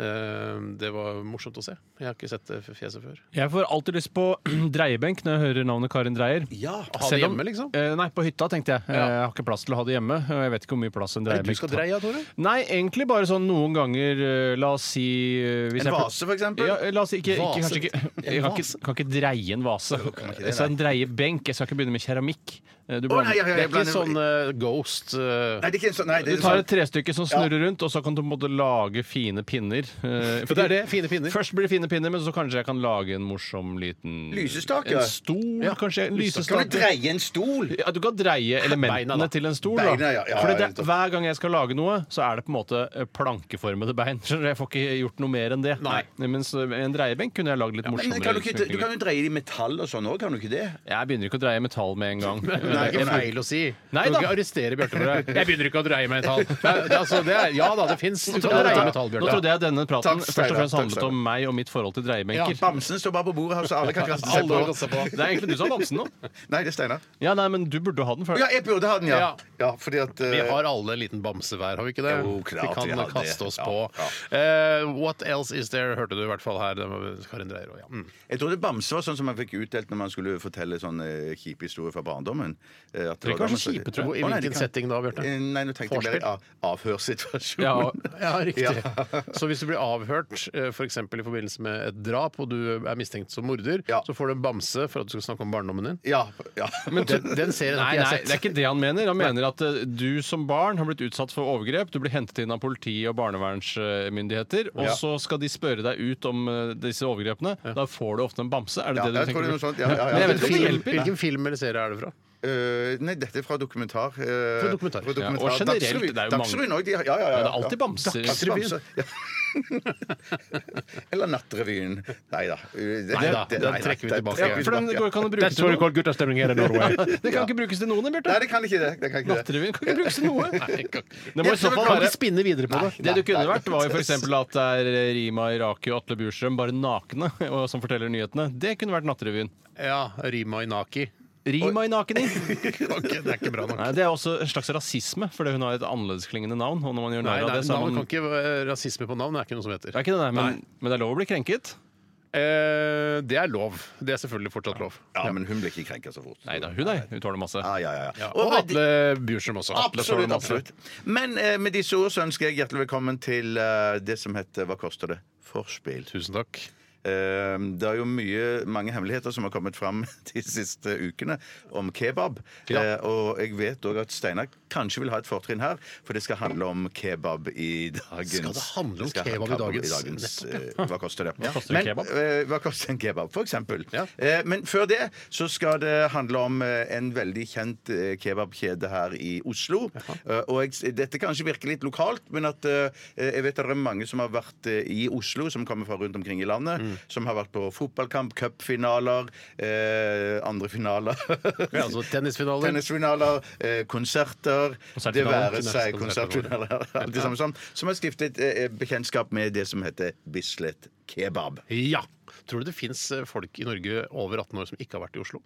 S1: Eh, det var morsomt å se. Jeg har ikke sett det fjeset før.
S3: Jeg får alltid lyst på dreiebenk når jeg hører navnet Karin Dreier.
S2: Ja. Altså,
S1: Ha det hjemme, liksom.
S3: Eh, nei, på hytta, tenkte jeg. Eh, Jeg har ikke plass til å ha det hjemme. Og jeg vet ikke hvor mye plass en
S1: Nei, du
S3: dreiebenk
S1: skal for dreia, Tore?
S3: Nei, egentlig bare sånn noen ganger eh, La oss si eh, hvis
S2: En
S3: jeg pl-
S2: vase, for eksempel?
S3: Ja, eh, la oss si ikke, ikke,
S1: Vase?
S3: kanskje ikke Jeg kan ikke, kan ikke dreie en vase. Jeg skal dreie benk. Jeg skal ikke begynne med keramikk. Eh, Du,
S2: Å, nei,
S3: blander-
S2: ja, ja,
S1: Det er
S2: jeg
S1: ikke
S2: blander-
S1: sånn eh, ghost eh,
S2: Nei, det er ikke en sånn Nei,
S3: du
S2: det er
S3: tar et
S2: sånn
S3: trestykke som snurrer rundt, og så kan du på en måte lage fine pinner. Eh,
S1: For det er det, fine pinner.
S3: Først blir det fine pinner, men så kanskje jeg kan lage en morsom liten
S2: Lysestake.
S3: En stol, kanskje. En
S2: Kan du
S3: lysestake.
S2: dreie en stol?
S3: Ja, du kan dreie elementene
S1: Beina, da.
S3: til en stol.
S2: Beina, ja, ja,
S3: Fordi
S2: ja,
S3: det,
S2: nettopp.
S3: hver gang jeg skal lage noe, så er det på en måte eh, plankeformede bein. Skjønner du, Jeg får ikke gjort noe mer enn det.
S1: Nei.
S3: Mens eh, med en dreiebenk kunne jeg lagd litt
S2: Men
S3: morsommere
S2: kan du, ikke, du
S3: smykninger.
S2: kan jo dreie det i metall og sånn òg, kan du ikke det?
S3: Jeg begynner ikke å dreie metall med en gang.
S1: Det er ikke
S3: Jeg-
S1: feil å si.
S3: Nei
S1: du kan
S3: da.
S1: ikke arrestere Bjarte for det. Jeg begynner ikke å dreie metall. Nei, det- altså, det er, ja da, det fins. Du
S3: Nå
S1: kan dreie metall,
S3: trodde
S1: Bjarte.
S3: jeg denne praten
S2: Takk, Steinar.
S3: først og fremst
S2: Takk,
S3: handlet om meg og mitt forhold til
S1: Ja.
S3: dreiebenker.
S2: Bamsen står bare på bordet her, så alle kan kaste seg
S1: Alle
S2: på.
S1: kan se på.
S3: Det er egentlig du som har bamsen nå.
S2: Nei, det er Steinar.
S3: Ja, nei, men du burde ha den før.
S2: Ja, jeg burde ha den, ja.
S1: Ja.
S2: Ja, fordi at eh,
S1: Vi har alle en liten bamse hver, har vi ikke det?
S2: Jo,
S1: vi
S2: klart
S1: kan
S2: vi har
S1: kaste
S2: det.
S1: oss
S2: Ja,
S1: på. Eh, what else is there, hørte du i hvert fall her. Det var Karin Dreyer og ja. Mm.
S2: Jeg trodde bamse var sånn som man fikk utdelt når man skulle fortelle sånn, sånne kjipe historier fra barndommen. Eh, at
S3: Det kan være
S2: var da man-
S3: så kjipe, tror jeg.
S1: Hvor- I
S2: Å, nei, det
S1: hvilken
S2: kan-
S1: setting da, Bjarte?
S2: Eh, Nei, nå tenkte jeg mer av, avhørssituasjon.
S3: Ja, og-
S1: Ja, riktig.
S2: Ja.
S1: Så hvis du blir avhørt f.eks. i forbindelse med et drap, og du er mistenkt som morder,
S2: Ja.
S1: så får du en bamse for at du skal snakke om barndommen din.
S2: Ja, ja.
S1: Den, den serien
S3: Nei,
S1: har ikke jeg
S3: nei,
S1: sett.
S3: det er ikke det han mener. Han mener at eh, du som barn har blitt utsatt for overgrep. Du blir hentet inn av politi og barnevernsmyndigheter, og
S2: Ja.
S3: så skal de spørre deg ut om eh, disse overgrepene. Da får du ofte en bamse. Er det
S2: Ja,
S3: det du
S2: jeg
S3: tenker?
S2: tror det er noe sånt. Ja, ja, ja.
S3: Men jeg vet ikke
S1: Hvilken
S3: om det
S1: film,
S3: hjelper.
S1: hvilken film eller serie er det fra?
S2: Eh, nei, dette er fra dokumentar. eh,
S1: Fra dokumentar.
S2: fra
S3: Ja, og generelt,
S2: Dagsrevy-
S3: det er jo mange-
S2: Dagsrevyen også, de har- ja, ja, ja,
S3: Ja, det er
S2: ja.
S3: alltid bamser.
S2: Alltid bamser, ja. Eller Nattrevyen. Nei da. Eh, Det-
S1: Neida,
S2: det-
S1: den
S2: nei,
S1: trekker vi
S2: den
S1: tilbake.
S2: trekker
S3: Ja,
S2: vi
S3: for den
S2: tilbake,
S3: går, kan du bruke til noe.
S1: guttastemning her i
S3: Det kan ikke brukes til noen,
S2: Nei,
S3: Bjarte.
S2: det kan ikke det. det, kan ikke det.
S3: Nattrevyen kan ikke brukes til noe. Det må
S2: Jeg
S3: i så
S2: tror
S3: fall
S2: vi kan
S3: være
S2: ikke
S1: Spinne videre på det.
S3: Det du kunne vært, var jo f.eks. at det er Rima Iraki og Atle Bjurstrøm bare nakne og som forteller nyhetene. Det kunne vært Nattrevyen.
S1: Ja, Rima Inaki.
S3: Rima Inakini.
S1: Ok, det er ikke bra nok.
S3: Nei, Det er også en slags rasisme, fordi hun har et annerledesklingende navn. Og når man gjør
S1: Nei,
S3: narr av
S1: nei,
S3: det, så er
S1: navn
S3: man
S1: kan ikke eh, Rasisme på navn er ikke noe som heter.
S3: Det er ikke det, nei, men, men det er lov å bli krenket.
S1: Eh, det er lov. Det er selvfølgelig fortsatt lov.
S2: Ja, men hun blir ikke krenka så fort.
S3: Nei da, hun er, hun tåler masse.
S2: Ja, ja, ja.
S1: Ja,
S2: Og
S1: og
S2: med de-
S1: Atle Bjurstrøm også. Atle tåler
S2: Absolutt.
S1: masse.
S2: absolutt. Men eh, med disse ord så ønsker jeg hjertelig velkommen til eh, det som heter Hva koster det? Forspill.
S1: Tusen takk.
S2: Eh, Det er jo mye, mange hemmeligheter som har kommet fram de siste ukene om kebab.
S1: Ja.
S2: Eh, Og jeg vet òg at Steinar kanskje vil ha et fortrinn her, for det skal handle om kebab i dagens
S1: Skal det handle om
S2: skal
S1: kebab i dagens-
S2: eh, Hva koster det? Hva
S3: koster en kebab?
S2: Eh, Hva koster en kebab, for eksempel?
S1: Ja.
S2: Eh, Men før det så skal det handle om eh, en veldig kjent eh, kebabkjede her i Oslo. Eh, Og jeg, dette kanskje virker litt lokalt, men at eh, jeg vet at det er mange som har vært eh, i Oslo, som kommer fra rundt omkring i landet, som har vært på fotballkamp, cupfinaler, eh, andre finaler
S1: Ja, altså tennisfinaler.
S2: Tennisfinaler, eh, konserter Det
S3: Konsertfinaler.
S2: være seg
S1: Konsertfinaler.
S2: konsertfinaler alt det samme som, som har stiftet eh, bekjentskap med det som heter Bislett Kebab.
S1: Ja. Tror du det fins folk i Norge over 18 år som ikke har vært i Oslo?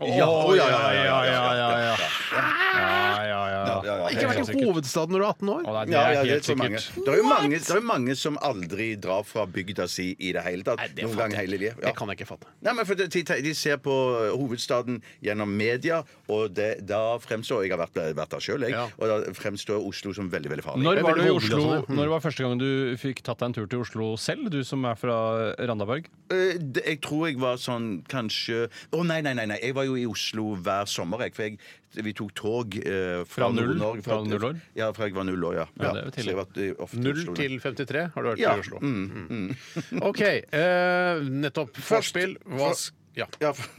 S2: Ja, å, ja, ja, ja, ja, ja, ja,
S3: ja.
S2: Ja, ja, ja.
S1: Ikke vært i hovedstaden når du er 18 år?
S3: Å, nei,
S2: Ja,
S3: det
S2: ja,
S3: er
S2: det er
S3: helt
S2: så mange.
S3: sikkert.
S2: Det er jo mange, det er jo mange som aldri drar fra bygda si i det hele tatt.
S1: Nei, det
S2: noen
S1: fatter
S2: gang
S1: jeg
S2: hele
S1: ikke.
S2: livet.
S1: Det
S2: Ja.
S1: kan jeg ikke fatte.
S2: Nei, men for de, de ser på hovedstaden gjennom media, og det, da fremstår Jeg har vært, vært der sjøl, jeg.
S1: Ja.
S2: Og da fremstår Oslo som veldig, veldig farlig.
S3: Når
S1: er
S3: var du
S1: veldig
S3: i
S1: voldelig,
S3: Oslo
S1: altså, det.
S3: Når var første gang du fikk tatt deg en tur til Oslo selv, du som er fra Randaberg?
S2: Eh, det- Jeg tror jeg var sånn kanskje Å nei, nei, nei, nei. Jeg var jo i Oslo hver sommer, jeg. For jeg, vi tok tog eh, fra,
S3: Fra null?
S2: Nord-Norge.
S3: Fra null år?
S2: Ja, fra jeg var null år, ja.
S3: Ja, det er jo
S2: Så jeg har vært, eh, ofte i
S1: 0
S2: Oslo, da.
S1: til 53 har du vært
S2: Ja, mm,
S1: i Oslo. Mm. OK. eh, nettopp. Forspill. Hva
S2: Først-
S1: sk- Ja,
S2: ja, for-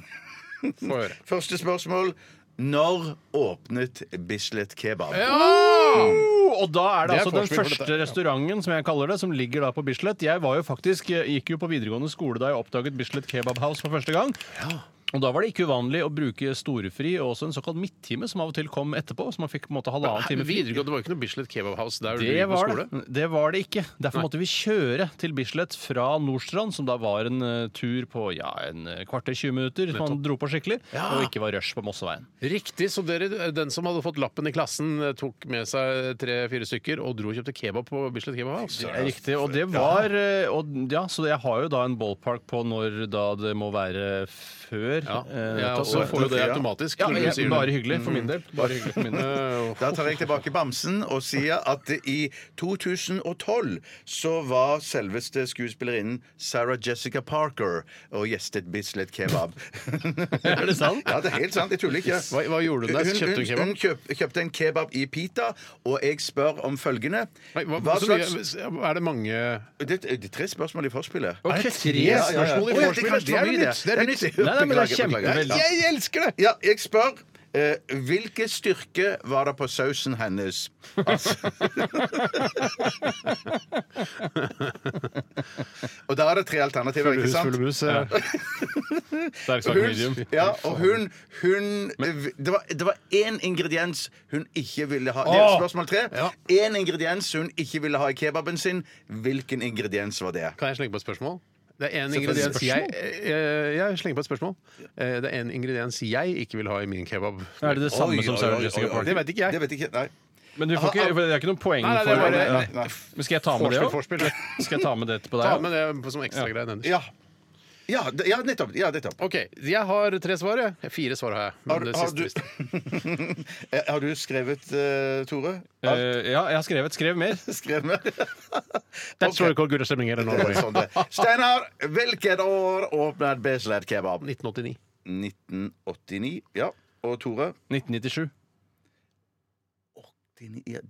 S1: få høre.
S2: Første spørsmål. Når åpnet Bislett Kebab?
S3: Og da er det,
S1: Det er
S3: altså den
S1: forspill for
S3: første
S1: dette. Ja.
S3: restauranten som jeg kaller det, som ligger da på Bislett. Jeg var jo faktisk, eh, gikk jo på videregående skole da jeg oppdaget Bislett Kebab House for første gang. Og Da var det ikke uvanlig å bruke storefri og også en såkalt midttime, som av og til kom etterpå. Så man fikk på en måte halvannen
S1: Nei,
S3: time fri.
S1: videregående, det var jo ikke noe Bislett Kebab House der du
S3: Det
S1: gikk på
S3: var
S1: skole?
S3: det. det var det ikke. Derfor måtte vi kjøre til Bislett fra Nordstrand, som da var en eh, tur på ja, en eh, kvarter 20 minutter, hvis man dro på skikkelig, og ikke var rush på Mosseveien.
S1: Riktig, så dere, den som hadde fått lappen i klassen, eh, tok med seg tre-fire stykker og dro og kjøpte kebab på Bislett Kebab House?
S3: Det er Riktig. Og det var eh, og, Ja, så jeg har jo da en ballpark på når da det må være før minutter.
S1: Ja.
S3: eh,
S1: Jeg
S3: tatt.
S1: også får jo det automatisk.
S3: Ja,
S1: når du
S3: jeg,
S1: sier det.
S3: bare hyggelig for min del. Bare hyggelig for min del.
S1: Eh,
S2: Da tar jeg tilbake bamsen og sier at i 2012 så var selveste skuespillerinnen Sarah Jessica Parker og gjestet Bislett Kebab.
S3: Er det sant?
S2: Ja, det er helt sant. Jeg tuller ikke.
S1: Hva- hva gjorde hun der? Kjøpte hun
S2: hun,
S1: kebab?
S2: hun kjøp, kjøpte en kebab i pita, og jeg spør om følgende
S1: Nei, hva,
S2: Hva
S1: så
S2: slags
S1: mye- er det mange
S2: Det det er tre spørsmål i forspillet.
S3: Ok,
S1: det tre
S3: ja, ja, ja.
S1: spørsmål i
S3: Å, ja, det
S1: forspillet? Det er
S3: kanskje
S1: noe nytt. Det er nytt.
S2: nytt.
S3: Nei, nei, men det er
S2: Beklager, beklager.
S3: kjempeveldig.
S2: Jeg, jeg elsker det! Ja, jeg spør eh, hvilken styrke var det på sausen hennes? Altså. og da er det tre alternativer, ikke sant?
S1: mus? Ja.
S3: Sterk sak medium.
S2: Hun, ja, og hun, hun eh, det, var, det var én ingrediens hun ikke ville ha. Det
S3: Åh!
S2: er spørsmål tre.
S1: Ja.
S2: Én ingrediens hun ikke ville ha i kebaben sin. Hvilken ingrediens var det?
S1: Kan jeg slenge på et spørsmål? Det er en
S2: Selvfølgelig.
S1: ingrediens jeg, eh, jeg slenger på et spørsmål. Eh, Det er en ingrediens jeg ikke vil ha i min kebab.
S3: Er det det samme
S2: Oi,
S3: som
S2: oi,
S3: Sarah
S2: oi,
S3: Jessica
S2: oi, oi.
S3: Parker?
S1: Det vet ikke jeg.
S2: Det vet jeg ikke. Nei.
S3: Men du får ikke, for det er ikke noe poeng
S1: Nei, nei, det
S3: for
S1: er bare-
S3: Ja.
S2: nei,
S3: Men skal jeg ta med det òg?
S1: Forspill, forspill.
S3: Skal jeg ta med det på
S1: Ta
S3: deg?
S1: med det som ekstragreie nederst.
S2: Ja. Ja, det- ja, nettopp. Ja, nettopp.
S1: OK. Jeg har tre svar, jeg. Fire svar har jeg. Men
S2: Har,
S1: det
S2: har,
S1: siste
S2: du,
S1: visste jeg.
S2: Eh, har du skrevet, eh, Tore?
S3: Ja, ja, jeg har skrevet. Skrev mer.
S2: Skrev med?
S1: That's what we call good stemning here in Norway.
S2: Sånn det. Steinar, hvilket år åpnet Bislett Kebab?
S1: 1989.
S2: 1989. Ja. Og Tore?
S3: 1997.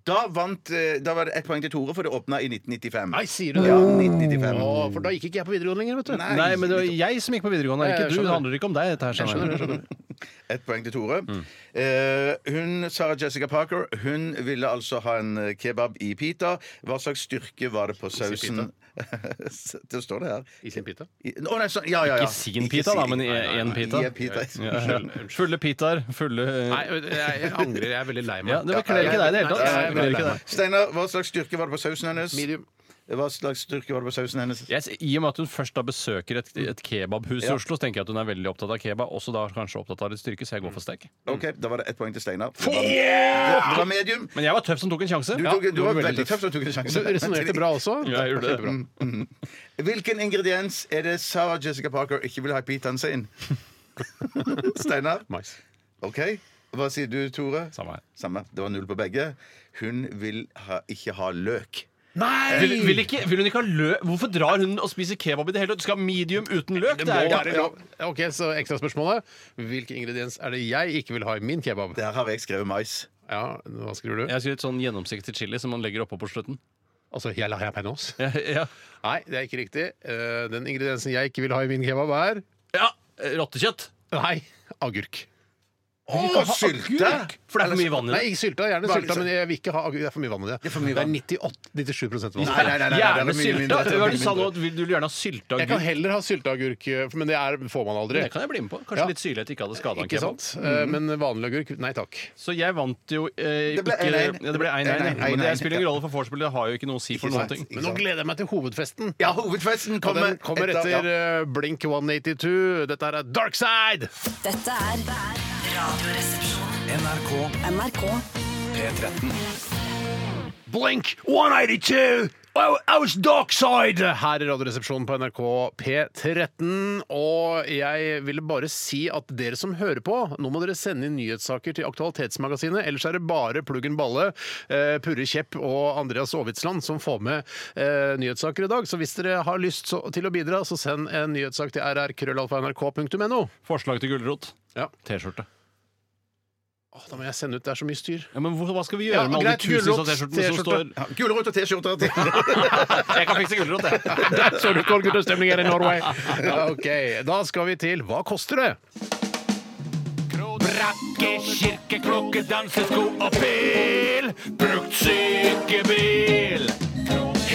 S2: Da vant eh, Da var det ett poeng til Tore, for det åpna i 1995.
S1: Nei, sier du det?
S2: Ja, 1995.
S1: Å, for da gikk ikke jeg på videregående lenger, vet du.
S2: Nei.
S3: Nei, men det var jeg som gikk på videregående.
S1: Jeg
S3: Ikke du.
S1: skjønner.
S3: Det handler ikke om deg. Dette her,
S1: Jeg skjønner,
S3: skjønner
S1: jeg
S3: du.
S1: skjønner.
S2: Ett poeng til Tore.
S3: Mm.
S2: Eh, hun, Sarah Jessica Parker Hun ville altså ha en eh, kebab i pita. Hva slags styrke var det på sausen? det står det her.
S1: I sin pita.
S2: I, å, nei, så, ja, ja, ja.
S3: Ikke sin pita, da, men i én pita.
S2: I en pita.
S3: Ja, ja. Fulle pitaer. Fulle
S1: Nei, jeg, jeg angrer. Jeg er veldig lei meg.
S3: Ja, det kler ikke deg i det hele tatt.
S1: Nei, jeg er
S3: Det kler
S1: veldig
S3: ikke
S1: lei
S3: deg.
S1: meg.
S2: Steinar, hva slags styrke var det på sausen hennes?
S1: Medium.
S2: Hva slags styrke var det på sausen hennes?
S3: Jeg, s- I og med at hun først da besøker et, et kebabhus i Oslo, så tenker jeg at hun er veldig opptatt av kebab. Også da kanskje opptatt av litt styrke, så jeg går for steik.
S2: OK, da var det ett poeng til Steinar. Det, var- det det var medium.
S3: Men jeg var tøff som tok en sjanse.
S2: Du,
S3: Ja,
S2: tok, du var veldig
S3: tøff.
S2: tøff som tok en
S1: Så
S2: sjanse.
S1: du resonnerte bra også?
S3: Ja, jeg gjorde det.
S2: Hvilken ingrediens er det Sarah Jessica Parker ikke vil ha i pitaen sin? Steinar?
S1: Mais.
S2: OK. Hva sier du, Tore?
S3: Samme her.
S2: Samme. Det var null på begge. Hun vil ha, ikke ha løk.
S3: Vil, vil, ikke, vil hun ikke ha løk? Hvorfor drar hun og spiser kebab i det hele tatt? Du skal ha medium uten løk?
S1: Det
S3: Det er
S1: må
S3: jo
S1: være lov. Ok, så ekstraspørsmålet. Hvilken ingrediens er det jeg ikke vil ha i min kebab?
S2: Der har jeg skrevet mais.
S1: Ja, hva skriver du?
S3: Jeg har skrevet sånn gjennomsiktig chili som man legger oppå på slutten.
S1: Altså, jeg la jalapeños?
S3: Ja, ja.
S1: Nei, det er ikke riktig. Eh, Den ingrediensen jeg ikke vil ha i min kebab, er
S3: ja rottekjøtt!
S1: Nei, agurk.
S2: Å, sylte!
S3: Agurk! For det er for mye vann i
S1: Nei,
S3: det.
S1: ikke sylta. Gjerne
S2: Hva er det
S1: sylta,
S2: som-
S1: men jeg vil ikke ha agurk. Det er for mye vann i det. Det er, 98-97 vann.
S2: Nei, nei, nei, nei, det
S3: Gjerne
S2: er mye
S3: sylta.
S2: mindre, det er
S3: Hva
S2: mye
S3: du sa nå?
S2: mindre.
S3: at vil- Du vil gjerne ha sylta
S1: Jeg kan
S3: agurk?
S1: heller ha sylteagurk, eh, men det er, får man aldri.
S3: Det kan jeg bli med på.
S1: Ja.
S3: Kanskje litt syrlighet ikke hadde skada en
S1: Ikke
S3: kebab.
S1: sant? Eh, Men vanlig agurk, nei takk.
S3: Så jeg vant jo eh,
S2: Det ble
S3: ikke
S2: 1-1.
S3: Ja, det ble 1-1. ja.
S2: 1-1,
S3: Men Det
S2: 1-1.
S3: spiller ingen rolle for vorspielet, det har jo ikke noe å si for
S2: Ikke
S3: noen
S2: sant.
S3: ting.
S1: Men nå gleder jeg meg til hovedfesten.
S2: Ja, hovedfesten
S1: Og
S2: kommer,
S1: den kommer etter eh, Blink 182. Dette her er Dark Side!
S6: Dette er Radioresepsjonen.
S5: NRK
S6: NRK
S5: P13.
S1: Blink 182! Oh, I was Darkside! Her i Radioresepsjonen på NRK P13. Og jeg ville bare si at dere som hører på, nå må dere sende inn nyhetssaker til Aktualitetsmagasinet. Ellers er det bare Pluggen Balle, eh, Purre Kjepp og Andreas Aavitsland som får med eh, nyhetssaker i dag. Så hvis dere har lyst så, til å bidra, så send en nyhetssak til rrkrøllalfa.nrk.no.
S3: Forslag til gulrot.
S1: Ja.
S3: T-skjorte.
S1: Å, da må jeg sende ut. Det er så mye styr.
S3: Ja, men hvor- hva skal vi
S1: Ja,
S3: gjøre med alle
S1: greit,
S3: de tusenvis av
S1: gulrot,
S3: T-skjortene som står
S1: T-skjorte.
S2: Ja, Gulrot og T-skjorter. til-
S3: Jeg kan fikse gulrot, jeg.
S1: Der så du koldgutterstemning her i Norway. Ja, ok, Da skal vi til Hva koster det?
S5: Brakke, kirke, klokke, dansesko og pil. Brukt sykebil.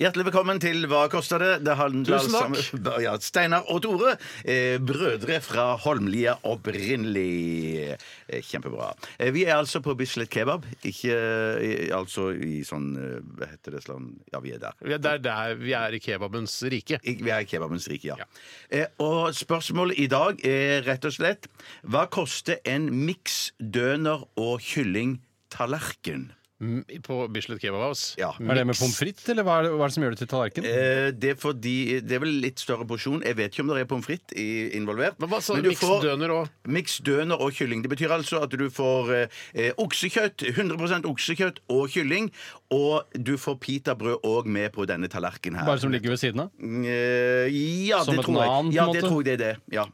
S2: Hjertelig velkommen til Hva koster det? Det handler altså
S1: Tusen takk.
S2: om ja, Steinar og Tore, eh, brødre fra Holmlia opprinnelig. Eh, Kjempebra. Eh, vi er altså på Bislett Kebab, ikke eh, altså i sånn eh, Hva heter det sånn Ja, vi er der.
S1: Vi er der, der vi er i kebabens rike.
S2: Ik- Vi er i kebabens rike, ja. Eh, og spørsmålet i dag er rett og slett Hva koster en miks døner og kyllingtallerken?
S1: M- På Bislett Kebab House.
S2: Ja.
S3: Er det med pommes frites, eller hva er, det, hva er det som gjør det til tallerken?
S2: Eh, det, er fordi, det er vel litt større porsjon. Jeg vet ikke om det er pommes frites i- involvert.
S1: Men hva sa
S2: Men
S1: du?
S2: du får-
S1: Mixed døner og
S2: Miks døner og kylling. Det betyr altså at du får eh, oksekjøtt, 100 oksekjøtt og kylling. Og du får pitabrød òg med på denne tallerkenen her.
S3: Bare som ligger ved siden av?
S2: Eh, ja,
S3: Som
S2: det
S3: et
S2: tror jeg.
S3: nan, på en
S2: ja,
S3: måte?
S2: det tror jeg det er det. Ja.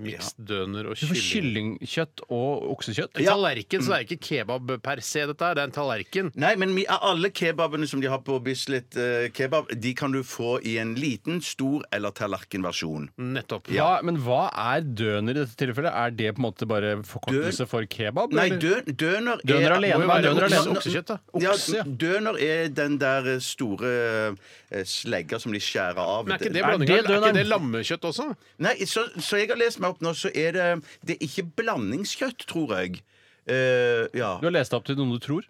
S1: mixed døner og
S3: Du får
S1: kylling.
S3: kyllingkjøtt og oksekjøtt.
S1: En tallerken, så det er ikke kebab per se, dette her. Det er en tallerken.
S2: Nei, men mi- alle kebabene som de har på Bislett eh, kebab, de kan du få i en liten, stor eller tallerkenversjon.
S3: Mm.
S1: Nettopp.
S3: Hva, men hva er døner i dette tilfellet? Er det på en måte bare forkortelse for kebab?
S2: Nei,
S3: eller?
S2: dø, døner er
S3: Døner
S1: Må
S3: alene,
S1: jo
S3: hva er
S1: være
S3: døner
S1: okse-
S3: alene?
S1: oksekjøtt, da.
S2: Ja,
S3: Okse, ja.
S2: døner er den der eh, store eh, slegga som de skjærer av.
S1: Men er ikke det
S3: Er det
S1: blandinga? Er,
S3: døneren?
S1: ikke det lammekjøtt også?
S2: Nei, så, så jeg har lest meg opp nå, så er det Det er ikke blandingskjøtt, tror jeg. Eh, ja.
S3: Du har lest opp til noen du tror?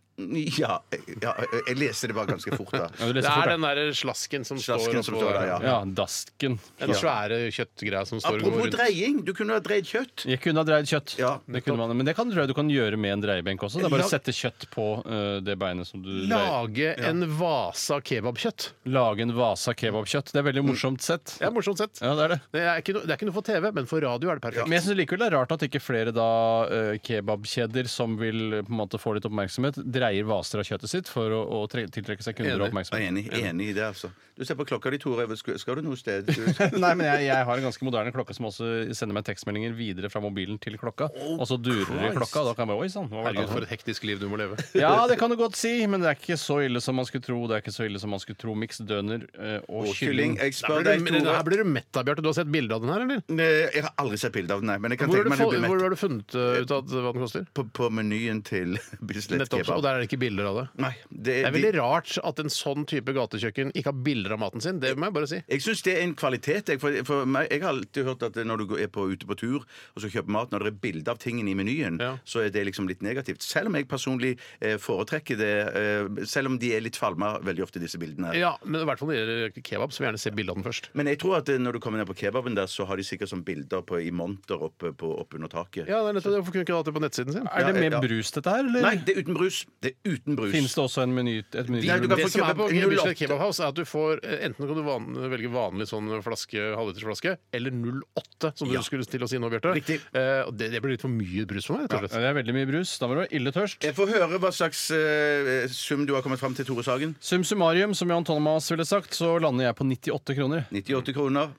S2: ja. Ja, jeg leste det bare ganske fort, da.
S3: Ja, du
S1: Det
S3: leste
S1: er
S3: fort,
S1: den derre slasken som
S2: Slasken
S1: står
S2: som står der,
S1: oppå
S2: ja.
S3: ja. ja, dasken.
S1: Den svære kjøttgreia som står og går
S2: Apropos
S1: rundt.
S2: dreying. Du kunne ha dreid kjøtt.
S3: Jeg kunne ha dreid kjøtt.
S2: Ja,
S3: det kunne man, men det kan, tror jeg du kan gjøre med en dreiebenk også. Det er bare å sette kjøtt på eh, det beinet som du dreier.
S1: Lage en vase av kebabkjøtt.
S3: Lage en vase av kebabkjøtt. Det er veldig morsomt sett.
S1: Det er morsomt sett.
S3: Ja, det er det.
S1: Det er, ikke noe, det er ikke noe for TV, men for radio er det perfekt.
S3: Men jeg synes likevel det er rart at ikke flere da eh, kebabkjeder som vil eh, på en måte få litt oppmerksomhet, dreier vaser av kjøttet sitt for å, å tre- tiltrekke seg kunder
S1: Enig.
S3: og
S2: Jeg er
S3: oppmerksomhet.
S2: enig, enig i det, altså. Du ser på klokka di, Tore. Skal skal du noe sted? Du,
S3: Nei, men jeg, jeg har en ganske moderne klokke som også sender meg tekstmeldinger videre fra mobilen til klokka.
S2: Oh,
S3: Og så durer det i klokka, og da kan jeg bare Oi sann! hva var det
S1: Herregud,
S3: nå?»
S1: for et hektisk liv du må leve.
S3: Ja, det kan du godt si, men det er ikke så ille som man skulle tro. Det er ikke så ille som man skulle tro. Miks døner eh, og,
S2: og
S3: kylling.
S2: kylling. Jeg spør
S1: Blir du,
S2: deg,
S1: men
S2: Tore.
S1: her blir du mett av, Bjarte. Du har sett bilde av den her, eller?
S2: Nei, Jeg har aldri sett bilde av den, nei. Men jeg kan
S1: Hvor har, du,
S2: tenke meg
S1: få-
S2: at du blir
S1: hvor
S2: mett
S1: har du funnet uh, ut av hva den koster?
S2: på, på menyen til Bislett
S1: Nettopp, så- og
S2: Kebab.
S1: der er det ikke bilder av det.
S2: Nei, det,
S1: Det er
S2: de-
S1: veldig rart at en sånn type gatekjøkken ikke har bilder av maten sin. Det må jeg bare si.
S2: Jeg syns det er en kvalitet. Jeg, for, for meg, jeg har alltid hørt at når du går- er på, ute på tur og så kjøper mat, når det er bilde av tingene i menyen,
S1: Ja.
S2: så er det liksom litt negativt. Selv om jeg personlig eh, foretrekker det, eh, selv om de er litt falma veldig ofte, disse bildene.
S1: Ja, men i hvert fall når det gjelder kebab, så vil jeg gjerne se bilde av den først.
S2: Men jeg tror at eh, når du kommer ned på kebaben der, så har de sikkert sånn bilder på, i monter oppe, på, oppe under taket.
S1: Ja, det er nettopp det. Hvorfor kunne du ikke hatt det på nettsiden sin?
S3: Er det
S2: eh, Ja,
S3: med
S2: ja.
S3: brus, dette her? Eller
S2: Nei, det er uten brus! Det er uten brus.
S3: fins det også en meny, et meny?
S2: Nei, du kan
S1: Det
S2: få
S1: som er
S2: kjøpe
S1: på
S2: 08.
S1: Bislett Kebab House, er at du får eh, enten kan du van velge vanlig sånn flaske, halvlitersflaske, eller 08, som du skulle til å si nå, Bjarte.
S2: Riktig.
S1: Eh, og det, det blir litt for mye brus for meg, rett og slett.
S3: Ja, det er veldig mye brus. Da må du være ille tørst.
S2: Jeg får høre hva slags eh, sum du har kommet fram til, Tore Sagen.
S3: Sum summarium, som Jan Thomas ville sagt, så lander jeg på 98 kroner.
S2: 98 kroner.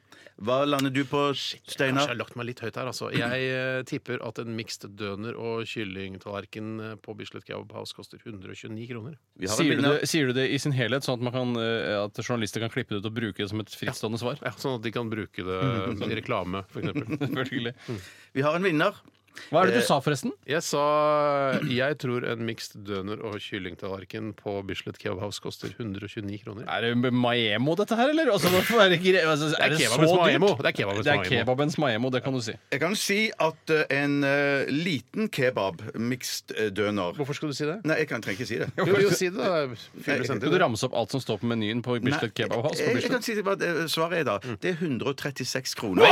S2: Hva lander du på,
S1: Kanskje jeg
S2: Steinar?
S1: har lagt meg litt høyt her, altså. Jeg eh, tipper at en mixed døner- og kyllingtallerken eh, på Bislett Kebab House koster 129 kroner.
S2: Vi har en
S3: Sier du,
S2: vinner.
S3: det, sier du det i sin helhet, sånn at, man kan, eh, at journalister kan klippe det ut og bruke det som et frittstående svar?
S1: Ja, sånn at de kan bruke det i reklame, f.eks.
S3: Selvfølgelig.
S2: Vi har en vinner.
S3: Hva er
S2: Eh,
S3: det du sa, forresten?
S1: Jeg sa jeg tror en mixed døner- og kyllingtallerken på Bislett Kebab House koster 129 kroner.
S3: Er det Maemo, dette her, eller? Altså, hvorfor er det, gre- altså,
S1: er
S3: er det så
S1: kebabens Maemo.
S3: dyrt?
S1: Det er kebabens
S3: Det er
S1: Maemo.
S3: kebabens Maemo, det kan du si.
S2: Jeg kan si at eh, en eh, liten kebab, mixed eh, døner
S1: Hvorfor skal du si det?
S2: Nei, jeg kan trenger ikke si det.
S1: Jo, jo, si det, da. Fylle
S3: Skal du ramse opp alt som står på menyen på Bislett
S2: Nei,
S3: Kebab House?
S2: jeg,
S3: På
S2: jeg
S3: Bislett?
S2: kan si det, hva det- svaret er da.
S3: Mm.
S2: Det er 136 kroner.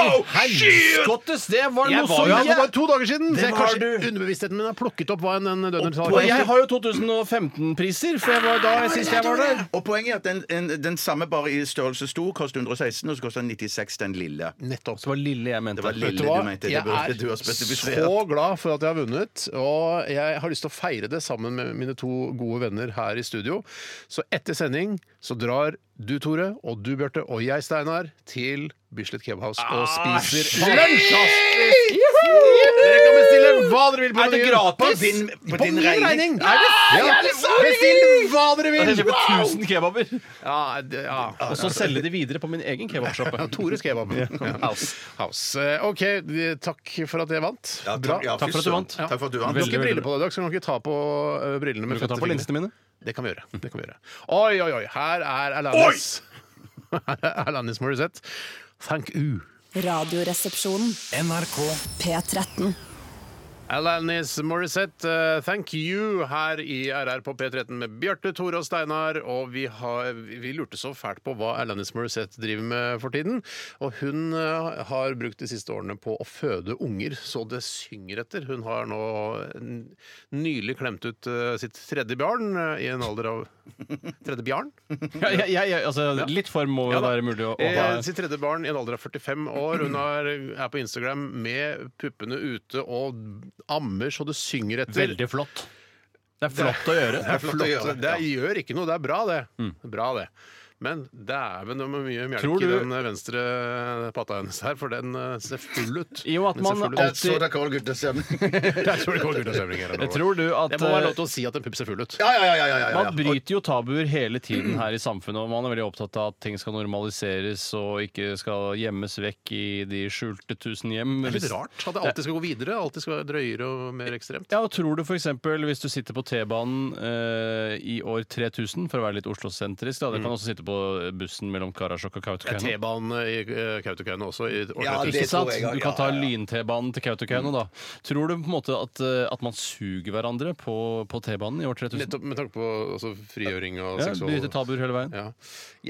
S3: Skottes, det var
S1: Jeg
S3: noe så
S1: var jo her for bare
S3: jævlig!
S1: to dager siden! Så jeg
S3: var
S1: kanskje
S3: du.
S1: underbevisstheten min har plukket opp hva en, en
S3: Og jeg
S1: dønertallerken
S3: har jo 2015-priser, for jeg var da jeg sist jeg var der.
S2: Og poenget er at den, en, den samme bare i størrelse stor koster 116, og så koster den 96 den lille.
S1: Nettopp.
S3: Det var lille jeg mente.
S2: Det var lille
S1: Vet
S2: du,
S1: du hva?
S2: mente. Det
S1: Jeg
S2: burde du ha
S1: er
S2: spesifisert.
S1: så glad for at jeg har vunnet, og jeg har lyst til å feire det sammen med mine to gode venner her i studio. Så etter sending så drar du, Tore, og du, Bjarte, og jeg, Steinar, til Bislett Kebabhouse og spiser lunsj! ass! Dere kan bestille hva dere vil på
S3: Er det
S1: menyen.
S3: gratis?
S2: På din, på din regning.
S1: Er det
S3: jævlig sant?
S1: Bestill hva dere
S3: Jeg
S1: vil!
S3: kjøper 1000 kebaber,
S1: Ja, det, ja.
S3: og så selge de videre på min egen kebabsjappe.
S1: Tores kebab. House. House. Eh, OK, eh, takk for at jeg vant.
S2: Ja, takk, ja,
S3: Takk for at du vant.
S2: Takk for at du vant.
S1: Du har ikke
S3: Veldig, veldig
S1: briller på deg i dag, så du kan ikke ta på eh, brillene.
S3: Du
S1: Med
S3: kan ta på
S1: fettefingrene.
S3: linsene mine.
S1: Det kan vi gjøre. det kan vi gjøre. Oi, oi, oi! Her er Alanis. Her er Alanis Morissette. Thank you.
S6: Radioresepsjonen. NRK P13.
S1: Alanis Morissette, eh, thank you, her i RR på P13 med Bjarte, Tore og Steinar. Og vi, har, vi lurte så fælt på hva Alanis Morissette driver med for tiden. Og hun eh, har brukt de siste årene på å føde unger, så det synger etter. Hun har nå n- nylig klemt ut eh, sitt tredje barn eh, i en alder av Tredje bjarn?
S3: Ja, ja, ja, ja, altså, litt form må jo
S1: Ja da.
S3: være mulig å, å ha.
S1: Eh, sitt tredje barn i en alder av 45 år. Hun er, er på Instagram med puppene ute og ammer så det synger etter.
S3: Veldig flott. Det er flott å gjøre.
S1: Det er flott. Det gjør ikke noe. Det er bra, det. Bra, det. Men dæven, det var mye
S3: Tror
S1: mjelk i
S3: du-
S1: den eh, venstre eh, patta hennes her, for den eh, ser full ut.
S3: I og med at
S1: Den ser
S3: man
S1: full ut.
S3: alltid-
S2: Så det er kål, gutter. stemmer.
S1: Jeg tror det går guttastemning her.
S3: Jeg tror du at
S1: Det må være
S3: eh,
S1: lov til å si at en pupp ser full ut.
S2: Ja, ja, ja, ja, ja, ja, eh, ja.
S3: man bryter jo tabuer hele tiden her i samfunnet, og man er veldig opptatt av at ting skal normaliseres og ikke skal gjemmes vekk i de skjulte tusen hjem.
S1: Det er litt rart at det alltid skal gå videre. Alltid skal være drøyere og mer ekstremt.
S3: Ja, og tror du f.eks. hvis du sitter på T-banen eh, i år 3000, for å være litt Oslo-sentrisk, da, det kan også sitte på bussen mellom Karasjok og
S1: Det er
S3: Kautokeino.
S1: T-banen i eh, Kautokeino også. I år
S2: Ja,
S1: 3000.
S2: det
S3: Ikke sant?
S2: tror jeg, ja,
S3: Du kan
S2: ja,
S3: ta
S2: ja.
S3: lyn-T-banen til Kautokeino, da. Tror du på en måte at, eh, at man suger hverandre på, på T-banen i år 3000?
S1: Nettopp med tanke på altså, frigjøring og
S3: Ja,
S1: seksual...
S3: Bryte tabuer hele veien?
S1: Ja. Jeg,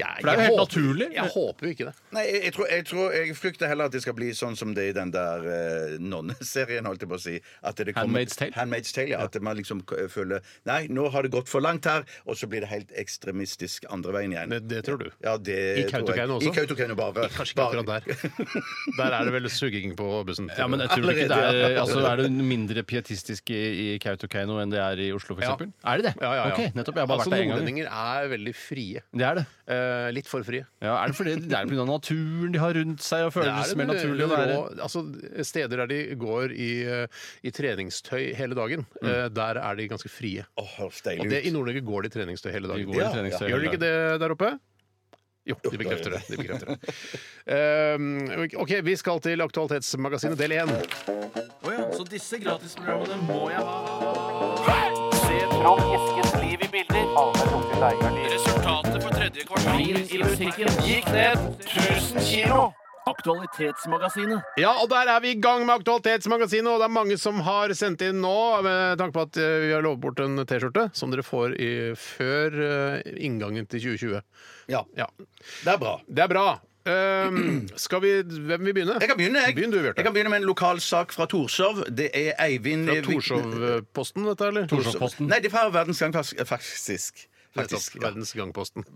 S3: For det er jo
S1: jeg
S3: helt
S1: håper-
S3: naturlig.
S1: Jeg håper jo ikke det.
S2: Nei, jeg, jeg, tror, jeg tror jeg frykter heller at det skal bli sånn som det i den der eh, nonneserien, holdt jeg på å si. At det kommer-
S3: Handmaid's Tale?
S2: Handmaid's Tale, ja. At man liksom k- føler Nei, nå har det gått for langt her, og så blir det helt ekstremistisk andre veien igjen.
S1: Det, det tror du.
S2: Ja, det
S1: I Kautokeino
S2: tror
S1: også?
S2: jeg. I Kautokeino bare.
S1: Kanskje ikke
S2: bare-
S1: akkurat der. Der er det vel suging på bussen.
S3: Ja, men jeg tror ikke det er altså, Er det mindre pietistisk i, i Kautokeino enn det er i Oslo, f.eks.?
S1: Ja.
S3: eksempel? Er det det?
S1: Ja, ja, ja.
S3: Ok, nettopp. Jeg har bare
S1: altså,
S3: vært der én gang.
S1: Nordlendinger er veldig frie.
S3: Det er det.
S1: Eh, litt for frie.
S3: Ja, er det fordi det er pga. naturen de har rundt seg, og føles mer
S1: en
S3: naturlig å
S1: rå-
S3: være
S1: altså, steder der de går i, eh, i treningstøy hele dagen,
S3: Mm.
S1: eh, der er de ganske frie.
S2: Åh, høres deilig
S1: Og
S2: ut.
S1: det, I Nord-Norge går de i treningstøy hele
S3: De
S1: dagen.
S3: går i
S2: Ja, ja.
S3: treningstøy
S1: Gjør de
S3: hele
S1: ikke det der oppe? Jo, de bekrefter det. De bekrefter det. Eh, OK, vi skal til Aktualitetsmagasinet del én. Ja, og der er vi i gang med Aktualitetsmagasinet, og det er mange som har sendt inn nå, med tanke på at eh, vi har lovet bort en T-skjorte, som dere får i, før eh, inngangen til 2020.
S2: Ja,
S1: Ja,
S2: det er bra.
S1: Det er bra. Ehm, skal vi Hvem vil begynne?
S2: Jeg kan begynne, jeg.
S1: Begynn du,
S2: jeg
S1: Bjarte.
S2: kan begynne med en lokal sak fra Torshov. Det er Eivind
S1: Fra
S2: Vik-
S1: Torshov-posten, dette, eller?
S3: Torshov-posten.
S2: Nei, det er fra Verdens Gang, fas- faktisk.
S1: Nettopp.
S2: Faktisk, ja.
S1: Verdens Gang-posten.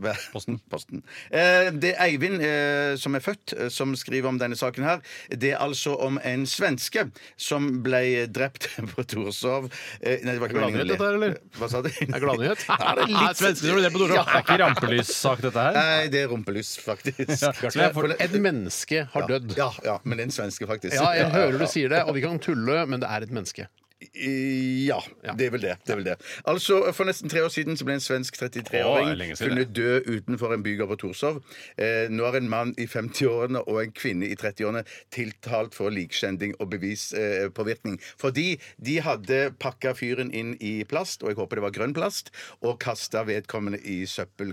S2: Posten. Eh, det er Eivind eh, som er født, eh, som skriver om denne saken her. Det er altså om en svenske som ble drept på Torshov. Eh, nei, det var ikke
S1: Er det gladnyhet,
S2: meningen å le.
S1: dette her, eller?
S2: Hva sa du?
S1: Er det gladnyhet?
S2: Ja, det er litt...
S1: Svensker som ble drept på
S3: Det er ikke rampelyssak, dette her?
S2: Nei, det er rumpelys, faktisk.
S3: Bjarte, jeg får-
S1: Et menneske har dødd.
S2: Ja, ja, men en svenske, faktisk.
S1: Ja, jeg hører du sier det, og vi kan tulle, men det er et menneske.
S2: Ja, det er vel det. det, er vel det. Altså, For nesten tre år siden så ble en svensk
S3: Å, det er
S2: 33-åring
S3: lenge siden,
S2: funnet død utenfor en bygård på Torshov. Eh, nå er en mann i 50-årene og en kvinne i 30-årene tiltalt for likskjending og bevispåvirkning. Eh, påvirkning. Fordi de hadde pakka fyren inn i plast, og jeg håper det var grønn plast, og kasta vedkommende i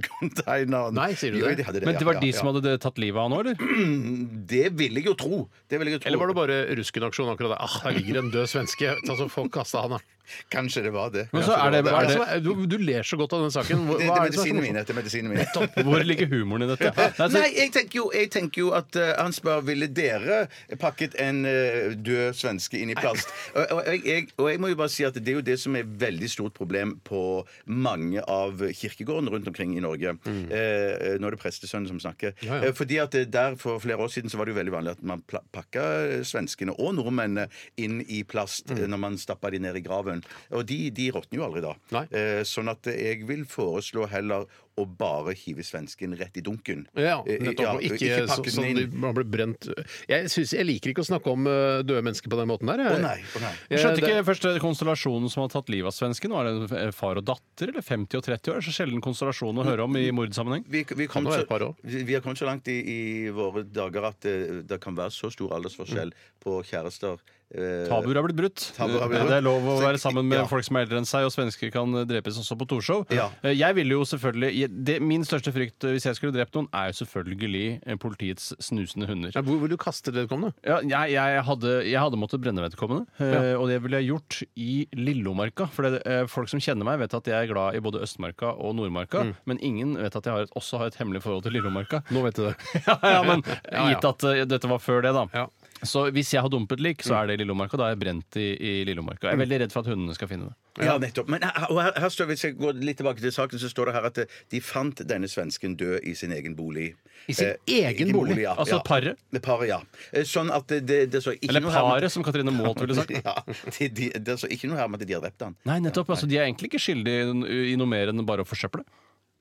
S2: søppelcontaineren.
S1: Nei, sier du
S2: Jo,
S1: det?
S2: de hadde
S3: Men det var
S2: ja,
S3: de
S2: ja,
S3: som hadde tatt livet av han nå, eller?
S2: ja. Det ville jeg jo tro. Det ville jeg jo tro.
S1: Eller var det bare ruskenaksjon akkurat der? Ah, der ligger en død svenske. Ta så folk kasta han, da.
S2: Kanskje det var det.
S3: Men så
S2: Kanskje
S3: er det-
S1: Hva
S2: var
S1: er det som er, du, du ler så godt av den saken. Hva,
S2: Det, det
S1: hva
S2: er
S1: er det som er så
S2: medisinene
S1: morsomt?
S2: mine. Det er medisinene mine.
S3: Hvor ligger humoren i dette? Nei,
S2: Nei,
S3: altså,
S2: jeg tenker jo, jeg tenker jo at eh, han spør ville dere pakket en eh, død svenske inn i plast. Og, og, jeg- jeg, og jeg må jo bare si at det er jo det som er et veldig stort problem på mange av kirkegårdene rundt omkring i Norge. Eh, nå er det prestesønnen som snakker.
S1: Mm. Ja, ja.
S2: Eh, fordi at eh, der For flere år siden så var det jo veldig vanlig at man pla- pakka eh, svenskene og nordmennene inn i plast
S1: Mm.
S2: eh, når man stappa de ned i graven. Og de, de råtner jo aldri da.
S1: Nei.
S2: Eh, sånn at eh, jeg vil foreslå heller å bare hive svensken rett i dunken.
S1: Ja,
S2: Eh,
S1: nettopp.
S2: ja,
S1: og ikke, så,
S2: pakke den
S1: sånn
S2: inn.
S1: de man blir brent jeg, synes, jeg liker ikke å snakke om eh, døde mennesker på den måten der. jeg.
S2: Å nei, å nei.
S3: Jeg
S1: Eh,
S3: skjønte
S1: det-
S3: ikke først eh, konstellasjonen som har tatt livet av svensken. Var det en far og datter eller 50 og 30 år? Så sjelden konstellasjon å høre om i mordsammenheng.
S2: Vi, vi, kom
S1: det være et par
S2: så,
S1: år?
S2: vi, vi har kommet så langt i, i våre dager at eh, det, det kan være så stor aldersforskjell
S1: Mm.
S2: på kjærester. eh,
S3: Tabuer har blitt brutt.
S2: Tabuer har blitt
S3: Eh, Det er lov å
S2: brutt.
S3: være sammen med
S2: Ja.
S3: folk som er eldre enn seg, og svensker kan eh, drepes også på Torshov.
S2: Ja.
S3: Eh, Jeg ville jo selvfølgelig jeg- det, Min største frykt eh, hvis jeg skulle drept noen, er jo selvfølgelig eh, politiets snusende hunder.
S1: Nei, hvor vil du kaste vedkommende?
S3: Ja, jeg, jeg, hadde, jeg hadde måttet brenne vedkommende, eh, og det ville jeg gjort i Lillomarka. For det, eh, folk som kjenner meg, vet at jeg er glad i både Østmarka og Nordmarka, men ingen vet at jeg har et, også har et hemmelig forhold til Lillomarka.
S1: Nå vet du det.
S3: ja, ja, men
S1: Ja, ja.
S3: gitt at eh, dette var før det, da.
S1: Ja.
S3: Så hvis jeg har dumpet lik, så er det i Lillomarka. Da er jeg brent i, i Lillomarka. Jeg er veldig redd for at hundene skal finne det.
S2: Ja, nettopp. Men her, og her, her står, hvis jeg går litt tilbake til saken, så står det her at eh, de fant denne svensken død i sin egen bolig. Eh,
S1: I sin egen bolig?
S2: ja,
S3: Altså
S2: ja.
S3: paret?
S2: Det Paret, ja. Eh, Sånn at det, det, det så ikke
S3: Eller
S2: noe her om-
S3: paret, som Katrine Maalt ville sagt.
S2: Ja, de, de, det så ikke noe her om at de har drept han.
S3: Nei, nettopp. Altså, de er egentlig ikke skyldige i- i noe mer enn bare å forsøple.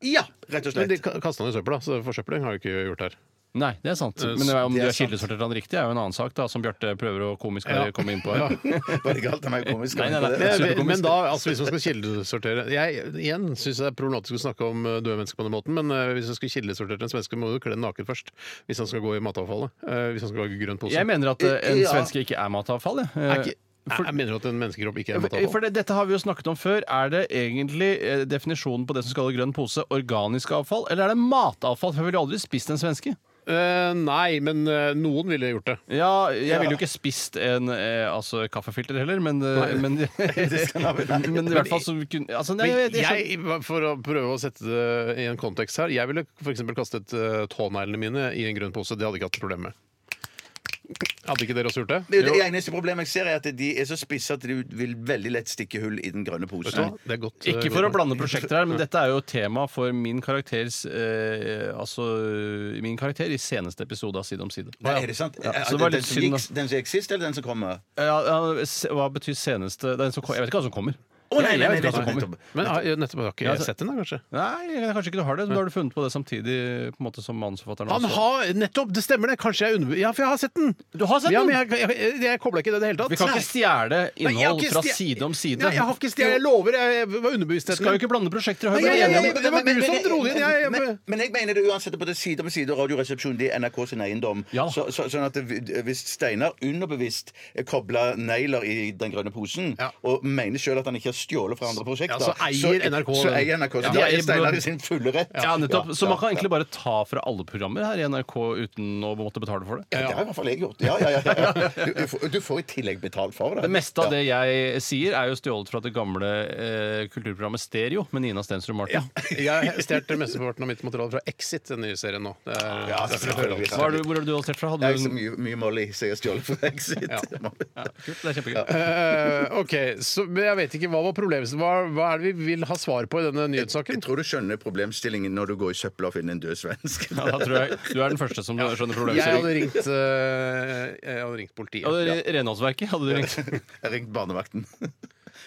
S2: Ja, rett og
S1: Men de
S2: slett.
S1: ka- kastet han i søpla, så forsøpling har du ikke gjort her.
S3: Nei, det er sant. Men Eh, det er om
S2: det
S3: de
S2: er
S3: har
S2: sant.
S3: kildesortert han riktig, er jo en annen sak, da, som Bjarte prøver å komisk
S1: Ja.
S3: komme inn på. her.
S2: Var det galt av meg å komme i
S3: Nei, nei,
S2: skam på
S3: nei.
S2: det?
S1: Men,
S3: Superkomisk.
S1: men da, altså hvis man skal kildesortere Jeg igjen syns det er problematisk å snakke om eh, døde mennesker på den måten, men eh, hvis man skal kildesortere en svenske, må du kle den naken først. Hvis han skal gå i matavfallet. eh, Hvis han skal lage grønn pose.
S3: Jeg mener at eh, en
S2: Ja.
S3: svenske ikke er matavfall. jeg.
S1: Er ikke,
S3: Eh, for-
S1: jeg mener at en menneskekropp ikke er
S3: For
S1: matavfall.
S3: det, dette har vi jo snakket om før. Er det egentlig eh, definisjonen på det som skal i grønn pose, organisk avfall, eller er det matavfall? For jeg ville jo aldri spist en svenske.
S1: Eh, nei, men eh, noen ville gjort det.
S3: Ja, jeg ville jo ikke spist en eh, altså, kaffefilter heller, men, eh, men, men i hvert fall så kunne altså, nei,
S1: Men
S3: jeg, jeg, skjønner-
S1: jeg, for å prøve å sette det i en kontekst her, jeg ville f.eks. kastet eh, tåneglene mine i en grønn pose. Det hadde jeg ikke hatt problem med. Hadde ikke dere også gjort det?
S2: Det, det eneste problemet jeg ser, er at de er så spisse at de vil veldig lett stikke hull i den grønne
S1: Vet du hva?
S2: posen.
S1: Det er godt. eh,
S3: Ikke
S1: godt
S3: for å
S1: poeng.
S3: blande prosjekter her, men dette er jo tema for min karakters eh, Altså min karakter i seneste episode av Side om side.
S2: Nei, er det sant?
S3: Ja,
S2: Er
S3: så det
S2: det
S3: var
S2: den,
S3: litt
S2: som
S3: synd,
S2: gikk,
S3: da.
S2: den som gikk sist, eller den som kommer?
S3: Ja, ja, se- hva betyr seneste den som, kom- Jeg vet ikke hva som kommer.
S2: Å, nei, nei, nei,
S3: Jeg vet ikke hva som
S2: nettopp,
S3: kommer.
S2: nettopp.
S1: Men har- jeg- nettopp har ikke
S3: Ja,
S1: jeg
S3: altså-
S1: sett den, da, kanskje?
S3: Nei, jeg- kanskje ikke du har det. Men da har du funnet på det samtidig på en måte som manusforfatteren.
S1: Han
S3: også.
S1: har Nettopp! Det stemmer, det. Kanskje jeg under... Ja, for jeg har sett den!
S3: Du har sett
S1: ja,
S3: den?
S1: Men jeg, jeg, jeg, jeg kobla ikke det i det hele tatt.
S3: Vi kan ikke stjele
S1: Nei, jeg har
S3: innhold
S1: ikke
S3: fra
S1: stje-
S3: side om side.
S1: Nei, jeg har ikke stjålet. Jeg lover. Jeg, jeg var underbevisstheten.
S3: Skal jo ikke blande prosjekter. Har
S1: Nei,
S3: vi
S1: jeg-
S3: vært
S1: jeg-
S3: enige om
S1: jeg- det var du som dro det inn, jeg- jeg-
S2: men, men jeg mener det uansett på det side om side. Radioresepsjonen det er NRK sin eiendom.
S3: Ja.
S2: Så, så, sånn at det- hvis Steinar underbevisst kobla negler i den grønne posen,
S1: Ja.
S2: og mener sjøl at han ikke har stjålet fra andre prosjekter,
S1: Ja, så eier NRK
S2: så,
S1: den.
S2: eier NRK
S1: Ja,
S2: Så da
S3: jeg-
S2: er Steinar i sin fulle rett.
S3: Ja, nettopp. Så
S2: Ja,
S3: man kan
S2: ja.
S3: egentlig bare ta fra alle programmer her i NRK uten å måtte betale for det.
S2: Ja, Det har i hvert fall jeg gjort. Ja, ja, ja, ja. Du, du, får, du får i tillegg betalt for det.
S3: Det meste av det jeg sier, er jo stjålet fra det gamle eh, kulturprogrammet Stereo med Nina Stensrud Martin.
S1: Jeg har stjålet mesteparten av mitt materiale fra Exit, den nye serien nå. Det er,
S2: Ja,
S1: det er fra
S2: selvfølgelig.
S1: Høyland.
S3: Hva er det, hvor er det du har stjålet fra?
S2: Det
S3: Hadde
S2: er
S3: du
S2: så
S3: en...
S2: mye, mye Molly som jeg har stjålet fra Exit.
S3: ja, kult, det er kjempegøy.
S1: Eh, OK, så men jeg vet ikke hva var problemet. Hva, hva er det vi vil ha svar på i denne
S2: Jeg
S1: nyhetssaken?
S2: tror du skjønner problemstillingen når du går i søpla og finner en død svensk.
S3: Ja, da tror jeg du er den første som skjønner
S1: Jeg
S3: problemet.
S1: hadde ringt, eh, jeg hadde ringt politiet.
S3: Ja, det er Renholdsverket hadde du ringt.
S2: Jeg ringte barnevakten.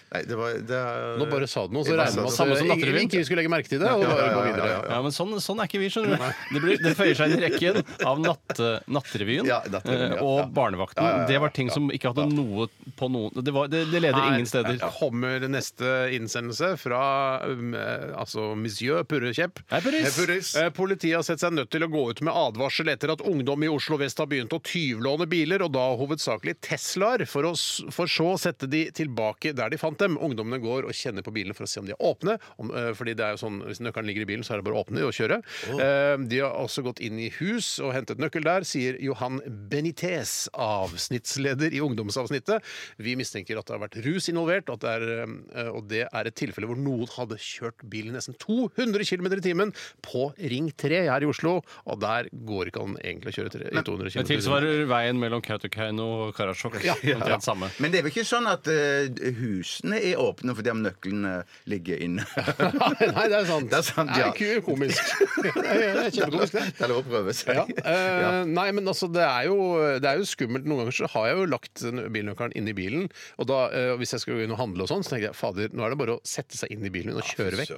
S2: Nei, det var det er...
S1: Nå bare sa du noe, så
S2: Jeg bare
S1: regner man
S2: sa
S3: det.
S1: med
S3: Samme som
S1: at eh,
S3: Datteren.
S1: ikke vi skulle legge merke til det. Og
S2: Ja,
S1: bare
S2: ja,
S1: gå
S2: ja,
S1: videre.
S2: ja, ja.
S3: Ja, men sånn, sånn er ikke vi, skjønner du. Det, blir, det føyer seg inn i rekken av natte, Natterevyen
S2: Ja, Natterevyen,
S3: eh,
S2: ja.
S3: og
S2: Ja.
S3: Barnevakten.
S2: Ja, ja, ja,
S3: Det var ting som ikke hadde noe på noen Det, var, det, det leder ingen steder.
S1: Her kommer neste innsendelse fra um, eh, altså Monsieur Purrekjepp.
S3: Hei, Purris.
S2: Hei, Purris.
S1: Eh, Politiet har sett seg nødt til å gå ut med advarsel etter at ungdom i Oslo vest har begynt å tyvlåne biler, og da hovedsakelig Teslaer, for, å s- for så å sette de tilbake der de fant dem. Ungdommene går og kjenner på bilene for å se om de er åpne, om, eh, fordi det er jo sånn, hvis nøkkelen ligger i bilen, så er det bare å åpne og kjøre. Eh, De har også gått inn i hus og hentet nøkkel der, sier Johan Benitez, avsnittsleder i ungdomsavsnittet. Vi mistenker at det har vært rus involvert, og, at det er, eh, og det er et tilfelle hvor noen hadde kjørt bilen nesten 200 km i timen på Ring 3 her i Oslo, og der går ikke an egentlig å kjøre tre- i 200 km
S3: Det tilsvarer veien mellom Kautokeino og Karasjok. altså.
S1: Ja, ja.
S3: Omtrent samme.
S2: Men det er vel ikke sånn at uh, husene er åpne fordi om nøklene ligger inne.
S1: Nei, det er sant.
S2: Det er sant, ja.
S1: Det er ku- komisk. Det er kjempekomisk, det.
S2: Det er lov å prøve seg.
S1: Ja. eh, nei, men altså, det er, jo, det er jo skummelt. Noen ganger så har jeg jo lagt den bilnøkkelen inni bilen. Og da, eh, hvis jeg skal gå inn og handle og sånn, så tenker jeg fader, nå er det bare å sette seg inn i bilen og kjøre vekk.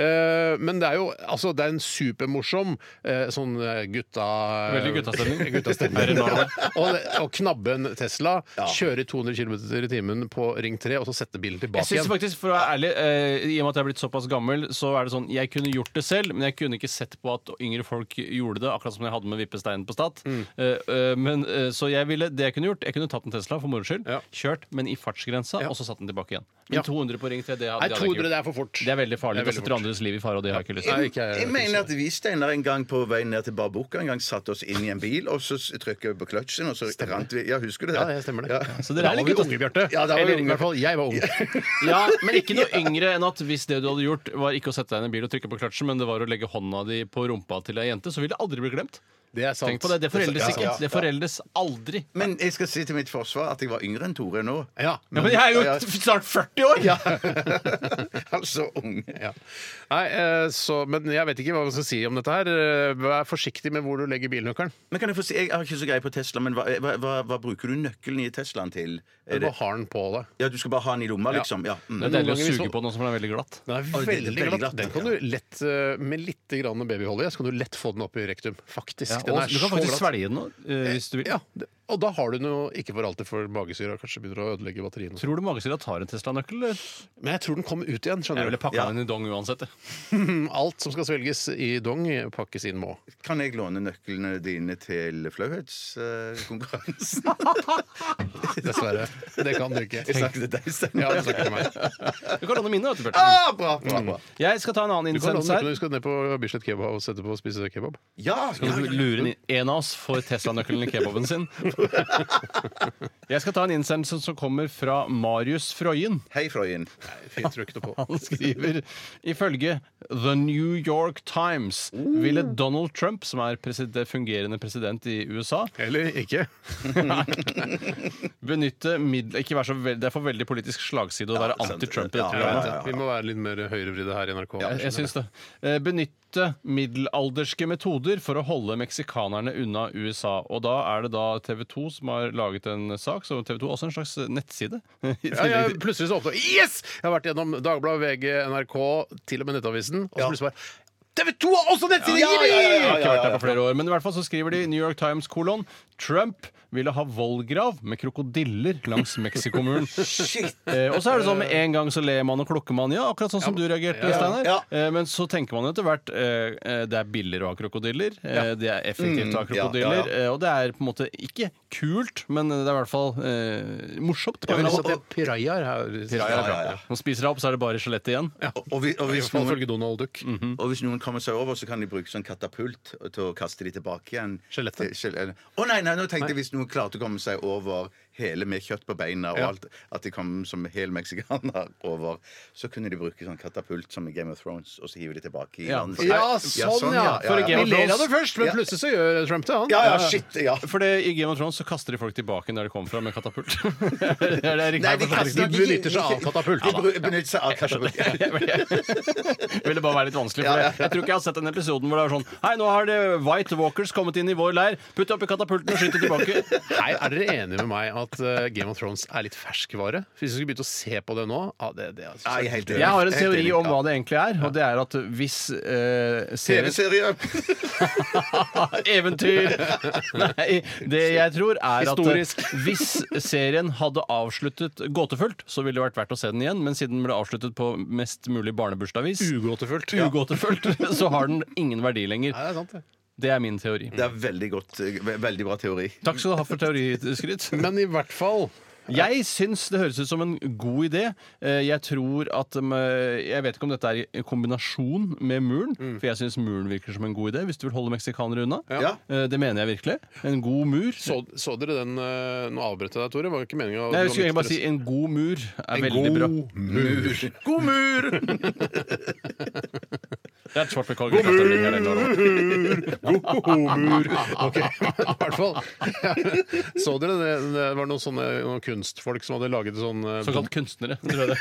S1: Eh, men det er jo altså, det er en supermorsom eh, sånn eh, gutta...
S3: Veldig guttastemning.
S1: guttastemning.
S3: Er det noe av det?
S1: og, og knabbe en Tesla, kjøre i 200 km i timen på Ring 3, og så sette bilen tilbake
S3: Jeg synes
S1: igjen.
S3: faktisk, for å være ærlig, eh, I og med at jeg er blitt såpass gammel, så er det sånn Jeg kunne gjort det selv, men jeg kunne ikke sett på at yngre folk gjorde det. Akkurat som jeg hadde med vippesteinen på Stat.
S1: Mm.
S3: Eh, eh, men, eh, så jeg ville, det jeg kunne gjort, jeg kunne tatt en Tesla for moro skyld,
S1: Ja.
S3: kjørt, men i fartsgrensa, og så satt den tilbake igjen. Men
S1: Ja.
S3: 200 på Ring 3, det hadde,
S1: Nei,
S3: det hadde jeg ikke
S1: 200 det
S3: gjort.
S1: er for fort.
S3: Det er veldig farlig.
S1: Det er
S3: Det
S1: veldig
S3: setter
S1: fort.
S3: andres liv i fare, og det har jeg ikke lyst
S1: Nei,
S3: til.
S1: ikke jeg-
S2: Jeg mener at vi Steinar en gang på vei ned til Barbukka en gang satte oss inn i en bil, og så trykket vi på kløtsjen, og så rant vi. Ja, husker du det?
S1: Ja, det stemmer det.
S2: Ja.
S3: Så dere er
S1: da var
S3: litt
S1: vi unge, Bjarte.
S2: Ja, da var vi
S1: Eller i
S2: unge.
S1: hvert fall, jeg var ung.
S3: Ja, men ikke noe yngre enn at hvis det du hadde gjort, var ikke å sette deg inn i en bil og trykke på kløtsjen, men det var å legge hånda di på rumpa til ei jente, så ville det aldri bli glemt.
S1: Det er sant.
S3: Tenk på det. Det foreldes
S1: Ja,
S3: ikke. Det foreldes aldri.
S2: Men jeg skal si til mitt forsvar at jeg var yngre enn Tore nå.
S1: Ja.
S3: Ja, men jeg er jo
S2: Ja, ja.
S3: t- snart 40 år!
S2: Altså ung.
S1: Ja. Nei, eh, så, men jeg vet ikke hva man skal si om dette her. Eh, Vær forsiktig med hvor du legger bilnøkkelen.
S2: Men kan jeg få si, jeg har ikke så greie på Tesla, men hva, hva, hva, hva bruker du nøkkelen i Teslaen til? Er
S1: Du
S2: det,
S1: bare har den på deg.
S2: ja, du skal bare ha den i lomma, liksom? Ja.
S3: Det
S2: Mm.
S3: er deilig å
S1: Noen ganger
S3: suge
S1: så-
S3: på noe som er veldig glatt.
S1: Den er
S2: Oi, det er
S1: veldig
S2: veldig
S1: glatt.
S2: glatt.
S1: Den kan du lett, eh, med litt grann babyolje, så kan du lett få den opp i rektum. Faktisk. den er
S3: og du kan
S1: så
S3: faktisk
S1: glatt.
S3: svelge den nå, eh, hvis du vil.
S1: Ja, det- og da har du noe ikke for alltid, for magesyra kanskje begynner å ødelegge batteriene.
S3: Tror du magesyra tar en Tesla-nøkkel? eller?
S1: Men jeg tror den kommer ut igjen.
S3: Jeg
S1: skjønner
S3: ville
S1: du. Mm,
S3: pakka
S2: Ja.
S3: den i dong uansett. jeg.
S1: Alt som skal svelges i dong, pakkes inn må.
S2: Kan jeg låne nøklene dine til flauhetskonkurransen?
S1: Dessverre. Det kan du ikke.
S2: jeg snakker til deg, Steinar.
S1: Ja, det snakker til meg.
S3: Du kan låne mine. vet du, Bjørten.
S2: Ah, bra, bra, bra.
S3: Jeg skal ta en annen
S1: Du kan
S3: innsendelse her.
S1: du skal ned på Bislett Kebab og sette på og spise kebab.
S2: Ja, ja,
S3: Kan du lure inn- En av oss får Tesla-nøkkelen i kebaben sin. Jeg skal ta en innsendelse som kommer fra Marius Frøyen.
S2: Hei, Frøyen.
S1: Fint trykk det på.
S3: Han skriver ifølge The New York Times ville Donald Trump, som er presid fungerende president i USA,
S1: Eller ikke.
S3: benytte middel... Ikke vær så veld, det er for veldig politisk slagside å være anti-Trump i dette
S2: Ja,
S1: Jeg vet
S3: programmet.
S1: det. Vi må være litt mer høyrevridde her i NRK.
S3: Jeg, jeg syns det. Eh, Benytte middelalderske metoder for å holde meksikanerne unna USA. Og da er det da TV 2 som har laget en sak, så TV 2 er også en slags nettside. I
S1: Ja,
S3: tillegg
S1: jeg,
S3: til-
S1: plutselig så oppdaget Yes! Jeg har vært gjennom Dagbladet, VG, NRK, til og med Nettavisen. Og så plutselig bare TV 2 har også nettside! Ja,
S3: Jeg har ikke vært der på flere år, men i hvert fall så skriver de New York Times kolon Trump ville ha vollgrav med krokodiller langs Mexicomuren. eh, og så er det sånn med en gang så ler man og klukker man, ja, akkurat sånn som du reagerte, Steinar. Eh, men så tenker man jo etter hvert eh, eh, det er billigere å ha krokodiller, eh, det er effektivt å ha
S2: Mm, ja,
S3: krokodiller,
S2: ja, ja.
S3: Eh, og det er på en måte ikke kult, men det er i hvert fall eh, morsomt. På en
S1: Jeg
S3: eller
S1: vil
S3: annen måte.
S1: at pirajaer her
S3: Ja, ja,
S2: ja,
S3: ja. Man spiser det opp, så er det bare skjelettet igjen.
S2: Og, og, vi- og,
S1: I
S2: hvis
S1: hvert fall
S2: noen,
S1: ifølge Donald Duck.
S2: og hvis noen kommer seg over, så kan de bruke sånn katapult til å kaste de tilbake igjen.
S1: Skjelettet?
S2: Til- skjel- eller- Å nei, nei, nå tenkte jeg hvis noen klarte å komme seg over hele med kjøtt på beina, og
S1: Ja.
S2: alt, at de kom som hel meksikaner over, så kunne de bruke sånn katapult som i Game of Thrones, og så hiver de tilbake i
S3: Ja,
S2: land.
S1: Ja, sånn, ja.
S2: ja, ja, ja.
S1: Vi ler av det først, men plutselig så gjør Trump det, han.
S2: Ja, ja, shit, ja.
S3: For det, i Game of Thrones så kaster de folk tilbake der de kom fra med katapult. det er riktig.
S2: Nei, de kaster-
S1: De benytter seg av katapult.
S2: De bru- benytter seg av katapult.
S3: Det ville bare være litt vanskelig. For jeg, jeg tror ikke jeg har sett den episoden hvor det er sånn Hei, nå har det White Walkers kommet inn i vår leir. Putt det oppi katapulten og skyt det tilbake.
S1: Her er dere enige med meg at eh, Game of Thrones er litt ferskvare? Hvis vi skulle begynt å se på det nå ja, det, det, er- altså
S2: Nei, helt enig.
S3: Jeg har en
S2: Helt
S3: teori
S2: enig,
S3: om
S2: ja.
S3: hva det egentlig er, og det er at hvis eh, serien
S2: TV-serie.
S3: Eventyr! Nei, det jeg tror er at eh,
S1: Historisk.
S3: hvis serien hadde avsluttet gåtefullt, så ville det vært verdt å se den igjen, men siden den ble avsluttet på mest mulig barnebursdagsvis
S1: Ugåtefullt.
S3: Ugåtefullt, så har den ingen verdi lenger.
S1: Nei, det er sant, det.
S3: Det er min teori.
S2: Det er veldig godt, eh, ve- veldig bra teori.
S3: Takk skal du ha for teoriskryt.
S1: Men i hvert fall
S3: Jeg syns det høres ut som en god idé. Eh, Jeg tror at um, eh, Jeg vet ikke om dette er i kombinasjon med muren,
S1: Mm.
S3: for jeg syns muren virker som en god idé hvis du vil holde meksikanere unna.
S2: Ja.
S3: Eh, Det mener jeg virkelig. En god mur.
S1: Så, så dere den eh, Nå avbrøt jeg deg, Tore. Var det ikke meningen å
S3: Nei, jeg skulle egentlig bare si en god mur er veldig bra.
S1: mur. God mur!
S3: Det er et svart bekall. Nei,
S1: Homur! Ok, men i hvert fall. Så dere det? Det var noen sånne noen kunstfolk som hadde laget sånn eh,
S3: Såkalt kunstnere. Tror jeg det.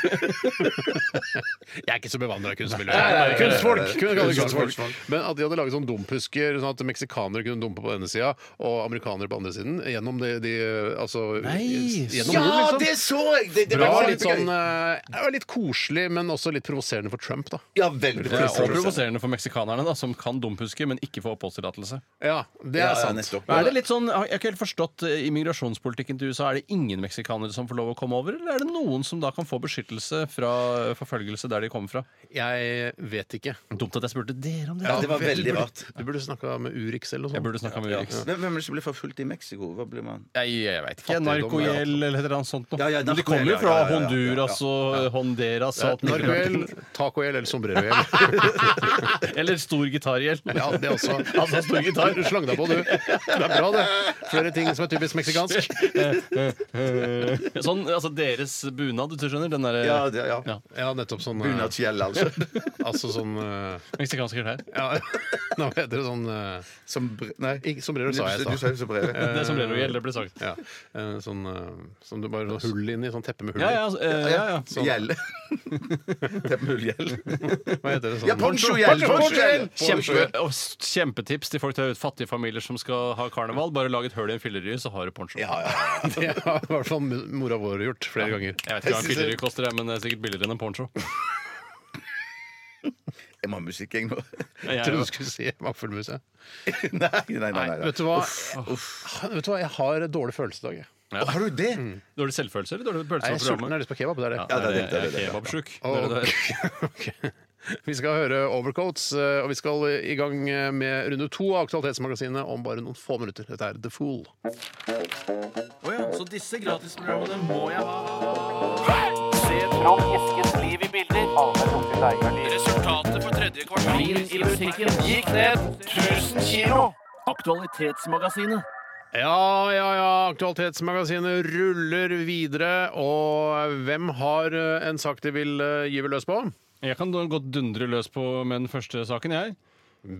S1: Jeg er ikke så bevandra i kunstmiljøet. Kunstfolk! kunne vi kalle det kunstfolk. Men at de hadde laget sånn dumpusker, sånn at meksikanere kunne dumpe på denne sida, og amerikanere på andre siden. Gjennom de, de Altså
S3: Nei,
S1: gjennom
S2: Ja,
S1: ord, liksom.
S2: det så jeg! Det, det
S1: Bra,
S2: var
S1: litt sånn
S2: kjempegøy.
S1: eh, det var Litt koselig, men også litt provoserende for Trump, da.
S2: Ja, veldig
S3: Det er også
S2: provoserende.
S3: provoserende for meksikanerne, da, som kan dumpuske, men ikke får oppholdstillatelse.
S1: Ja, det
S2: Ja,
S1: er
S2: ja,
S1: sant.
S2: nettopp.
S3: Men Er det litt sånn, jeg har ikke helt forstått eh, Immigrasjonspolitikken til USA. Er det ingen meksikanere som får lov å komme over, eller er det noen som da kan få beskyttelse fra eh, forfølgelse der de kommer fra?
S1: Jeg vet ikke.
S3: Dumt at jeg spurte dere om det.
S2: Ja, det var
S1: vet du
S2: veldig
S1: burde-
S2: rart.
S1: Du burde snakka med Urix eller noe
S3: Jeg
S1: sånt.
S3: burde snakka med Urix.
S2: Hvem hvem er det som blir forfulgt i Mexico? Hva blir man?
S3: Jeg, jeg veit ikke.
S1: Fattigdom, ja.
S3: Narkohjell eller et eller annet sånt noe.
S2: Ja, ja,
S3: Men de
S2: narkohjell,
S3: kommer jo
S2: ja,
S3: fra
S2: ja, ja, ja, ja.
S3: Honduras og eh, Honderas og alt mulig.
S1: Narkohjell, tacohjell eller sombrerohjell.
S3: Eller stor gitarhjell.
S1: Ja, det også.
S3: Altså, stor gitar.
S1: Du slang deg på, du. Det er bra, det. Flere ting som er typisk meksikansk.
S3: Sånn, altså deres bunad, du skjønner? Den eh, derre
S2: Ja, det, ja.
S3: Ja.
S1: Ja, nettopp sånn eh,
S2: Bunadsgjell, altså.
S1: Altså sånn eh,
S3: meksikanske klær.
S1: Ja, nå heter det sånn eh,
S2: Som br- Nei.
S1: ikke- Sombrero sa jeg
S2: Du,
S1: i
S2: du sa
S1: stad.
S2: jo så brevet.
S3: Det er sombrerohjell, det ble sagt.
S1: Ja, eh, sånn eh, som du bare har hull inni. Sånn teppe med hull
S3: Ja, ja,
S1: i.
S3: eh, ja, ja.
S1: Sånn.
S2: Gjelle. Teppehullgjell.
S1: Hva heter det?
S2: Ja,
S1: Sånn?
S2: ponchogjell! Ponchogjell!
S3: Kjempe, og s- kjempetips til folk der ute, fattige familier som skal ha karneval. Bare lag et høl i en fillery, så har du poncho.
S1: Det har i hvert fall mora vår gjort flere ganger.
S3: Jeg vet ikke hva en fillery koster, jeg, men det er sikkert billigere enn en poncho.
S2: Jeg må ha musikk, jeg nå.
S3: Jeg,
S1: Jeg trodde du skulle si Vaffelmuseet.
S2: Nei, nei, nei. nei, nei.
S1: Vet du hva? Ah, Vet du hva? Jeg har dårlig følelse i dag. jeg.
S2: Å, Har du det?
S1: Mm.
S3: dårlig selvfølelse eller dårlig
S1: Jeg
S3: følelse
S1: er
S3: av
S1: sulten, jeg
S3: programmet?
S1: har lyst på kebab. Det er det.
S2: Ja, det er det, det er
S3: jeg
S2: det, det
S3: er
S2: er
S3: kebabsjuk.
S1: Å,
S3: Det er det.
S1: ok. Vi skal høre Overcoats, eh, og vi skal i gang eh, med runde to av Aktualitetsmagasinet om bare noen få minutter. Dette er The Fool.
S7: Så disse gratisprogrammene må jeg ha. Resultatet på tredje kvartal i musikken gikk ned 1000 kilo. Aktualitetsmagasinet.
S1: Ja, ja, ja. Aktualitetsmagasinet ruller videre. Og hvem har eh, en sak de vil eh, gyve løs på?
S3: Jeg kan da godt dundre løs på med den første saken, jeg.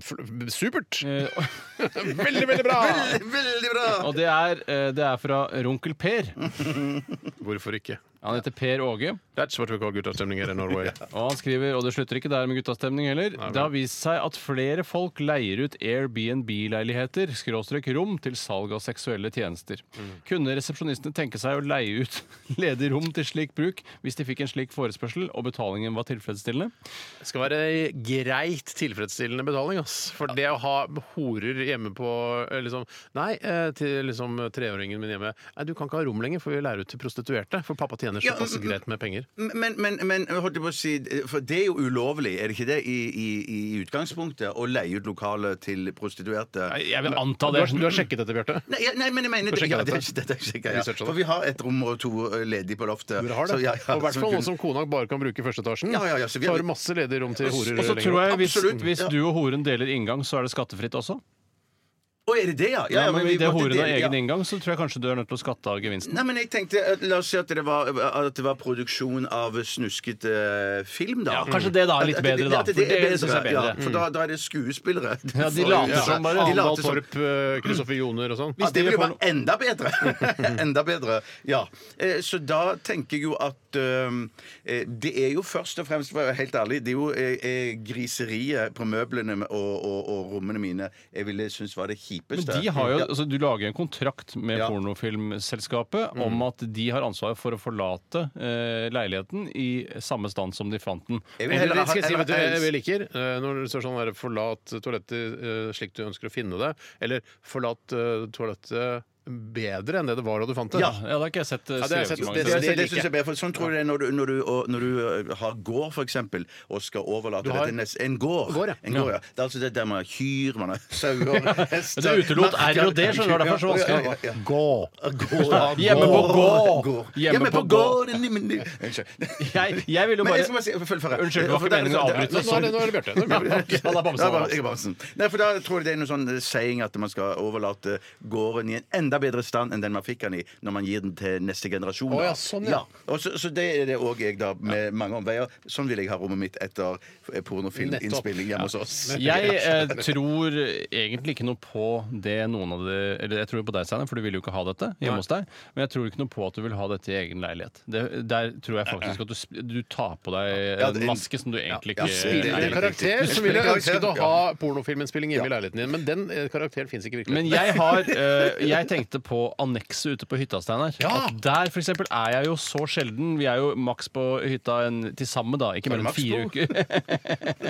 S1: F- Supert!
S3: Eh,
S1: Veldig, veldig bra!
S2: Veldig bra!
S3: Og det er, eh, det er fra Runkel Per.
S1: Hvorfor ikke?
S3: Han heter Per Åge.
S1: That's what we call guttastemning her i Norway.
S3: Og han skriver, og det slutter ikke der med guttastemning heller, det har vist seg at flere folk leier ut Airbnb-leiligheter, skråstrek rom, til salg av seksuelle tjenester. Kunne resepsjonistene tenke seg å leie ut ledige rom til slik bruk hvis de fikk en slik forespørsel og betalingen var tilfredsstillende?
S1: Det skal være greit tilfredsstillende betaling, ass. For det å ha horer hjemme på eh, liksom, Nei, eh, til liksom treåringen min hjemme Nei, du kan ikke ha rom lenger, for vi lærer ut til prostituerte. For pappa tjener
S2: Ja,
S1: såpass
S2: mm,
S1: greit med penger.
S2: Men, men, men holdt jeg på å si For det er jo ulovlig, er det ikke det, i, i, i utgangspunktet? Å leie ut lokaler til prostituerte? Nei,
S3: Jeg vil anta
S1: Du har, du har sjekket dette, Bjarte?
S2: jeg- nei men jeg mener
S1: Få sjekke
S2: ja, det,
S1: dette.
S2: dette er sikkert,
S1: Vi
S2: ja.
S1: searcher det.
S2: For vi har et rom og to eh, ledig på loftet.
S1: Dere har det.
S2: Så, ja, ja,
S1: og i hvert
S2: så
S1: fall
S2: kun-
S1: noe som kona bare kan bruke i første etasjen.
S2: Ja, ja, ja, så vi
S1: så
S2: har-
S1: har du masse ledige rom til horer.
S3: Og så
S1: lenger
S3: tror
S1: opp.
S3: jeg hvis,
S2: Absolutt.
S3: hvis
S2: Ja.
S3: du og horen deler inngang, så er det skattefritt også.
S2: Å, er det det, ja?
S3: Ja, men
S2: vi
S3: Idet
S2: måtte
S3: horen har
S2: dele- ja.
S3: egen inngang, så tror jeg kanskje du er nødt til å skatte av gevinsten.
S2: Nei, men jeg tenkte, eh, La oss si at det var, eh, at det var produksjon av snusket eh, film, da.
S3: Ja, kanskje det da er litt
S2: At- at-
S3: bedre, da,
S2: at
S3: for det synes jeg er bedre.
S2: Ja, for da, da er det skuespillere.
S3: Ja, de later
S2: Ja,
S3: som bare-
S2: de
S1: Arendal
S2: later som.
S1: Torp, eh, Kristoffer Joner og sånn.
S2: Ja, det
S3: dere
S2: blir jo
S3: får
S2: bare enda bedre! enda bedre, ja. Eh, Så da tenker jeg jo at øhm, eh, Det er jo først og fremst, for å være helt ærlig, det er jo eh, eh, griseriet på møblene og, og, og rommene mine jeg ville synes var det
S3: Men
S2: kjipeste.
S3: de har jo,
S2: Ja.
S3: altså, du lager en kontrakt med
S2: Ja. Mm.
S3: pornofilmselskapet om at de har ansvaret for å forlate eh, leiligheten i samme stand som de fant den.
S2: Jeg vil heller
S1: Eller,
S2: ha-
S1: skal jeg si,
S2: eller-
S1: vet du, jeg, jeg liker eh, Når det står sånn der, 'forlat toalettet eh, slik du ønsker å finne det', eller 'forlat eh, toalettet bedre enn det det var da du fant det'.
S3: Ja, ja, det har ikke jeg sett. eh,
S1: Ja, det har
S3: skrevet
S1: jeg sett.
S3: så mange
S2: Det,
S1: Det-
S2: det,
S3: steder.
S2: det,
S1: liker
S2: synes jeg er bedre, for Sånn tror jeg det er når du, når du, og, når du øh, har gård, for eksempel, og skal overlate
S1: Du har-
S2: det til nest, en gård.
S1: Gård, ja.
S2: En gård, ja. Det er altså det der man har kyr, man har sauer, hester
S3: Det utelot
S2: Man-
S3: R og D, skjønner du, derfor så
S2: Ja, ja,
S3: vanskelig.
S2: ja, ja.
S1: Gå!
S2: Gå.
S3: Hjemme på gå.
S2: Gå.
S3: Hjemme
S2: Hjemme på
S3: på
S2: gå. Unnskyld.
S3: Jeg, jeg vil jo
S2: Men jeg skal
S3: bare
S2: bare si følg for
S3: Unnskyld, det var ikke meningen å avbryte.
S1: Nå er det, nå er det Bjarte. Nå er det Bjarte.
S3: Han er bamse,
S1: altså.
S2: Ja,
S3: han også.
S2: bare- jeg er bamsen. Nei, for Da tror jeg det er noe sånn eh, saying at man skal overlate gården i en enda bedre stand enn den man fikk den i, når man gir den til neste generasjon.
S1: Å,
S2: da.
S1: ja, sånn, ja.
S2: Og så, så det er det òg jeg, da, med mange omveier. Sånn vil jeg ha rommet mitt etter eh, pornofilminnspilling hjemme hos oss.
S3: Jeg eh, tror egentlig ikke noe på det noen av det Eller jeg tror på deg, Steinar, for du vil jo ikke ha dette hjemme hos deg. Men jeg tror ikke noe på at du vil ha dette i egen leilighet. Det, der tror jeg faktisk at du, sp- du tar på deg
S2: Ja,
S3: en
S2: det-
S3: maske som du egentlig
S2: Ja,
S3: ikke
S2: spiller
S1: Spiller en
S2: det er
S1: karakter,
S2: riktig.
S1: så ville jeg
S2: Spiller
S1: ønsket å
S2: karakter,
S1: ha pornofilminnspilling hjemme i leiligheten din, men den eh, karakteren fins ikke i
S3: Men
S1: virkeligheten.
S3: jeg har eh, Jeg tenkte på annekset ute på hytta, Steinar.
S1: Ja!
S3: At Der for eksempel er jeg jo så sjelden. Vi er jo maks på hytta en, til sammen, da. Ikke
S2: Er
S3: mellom
S2: det maks
S3: fire
S2: to?
S3: uker.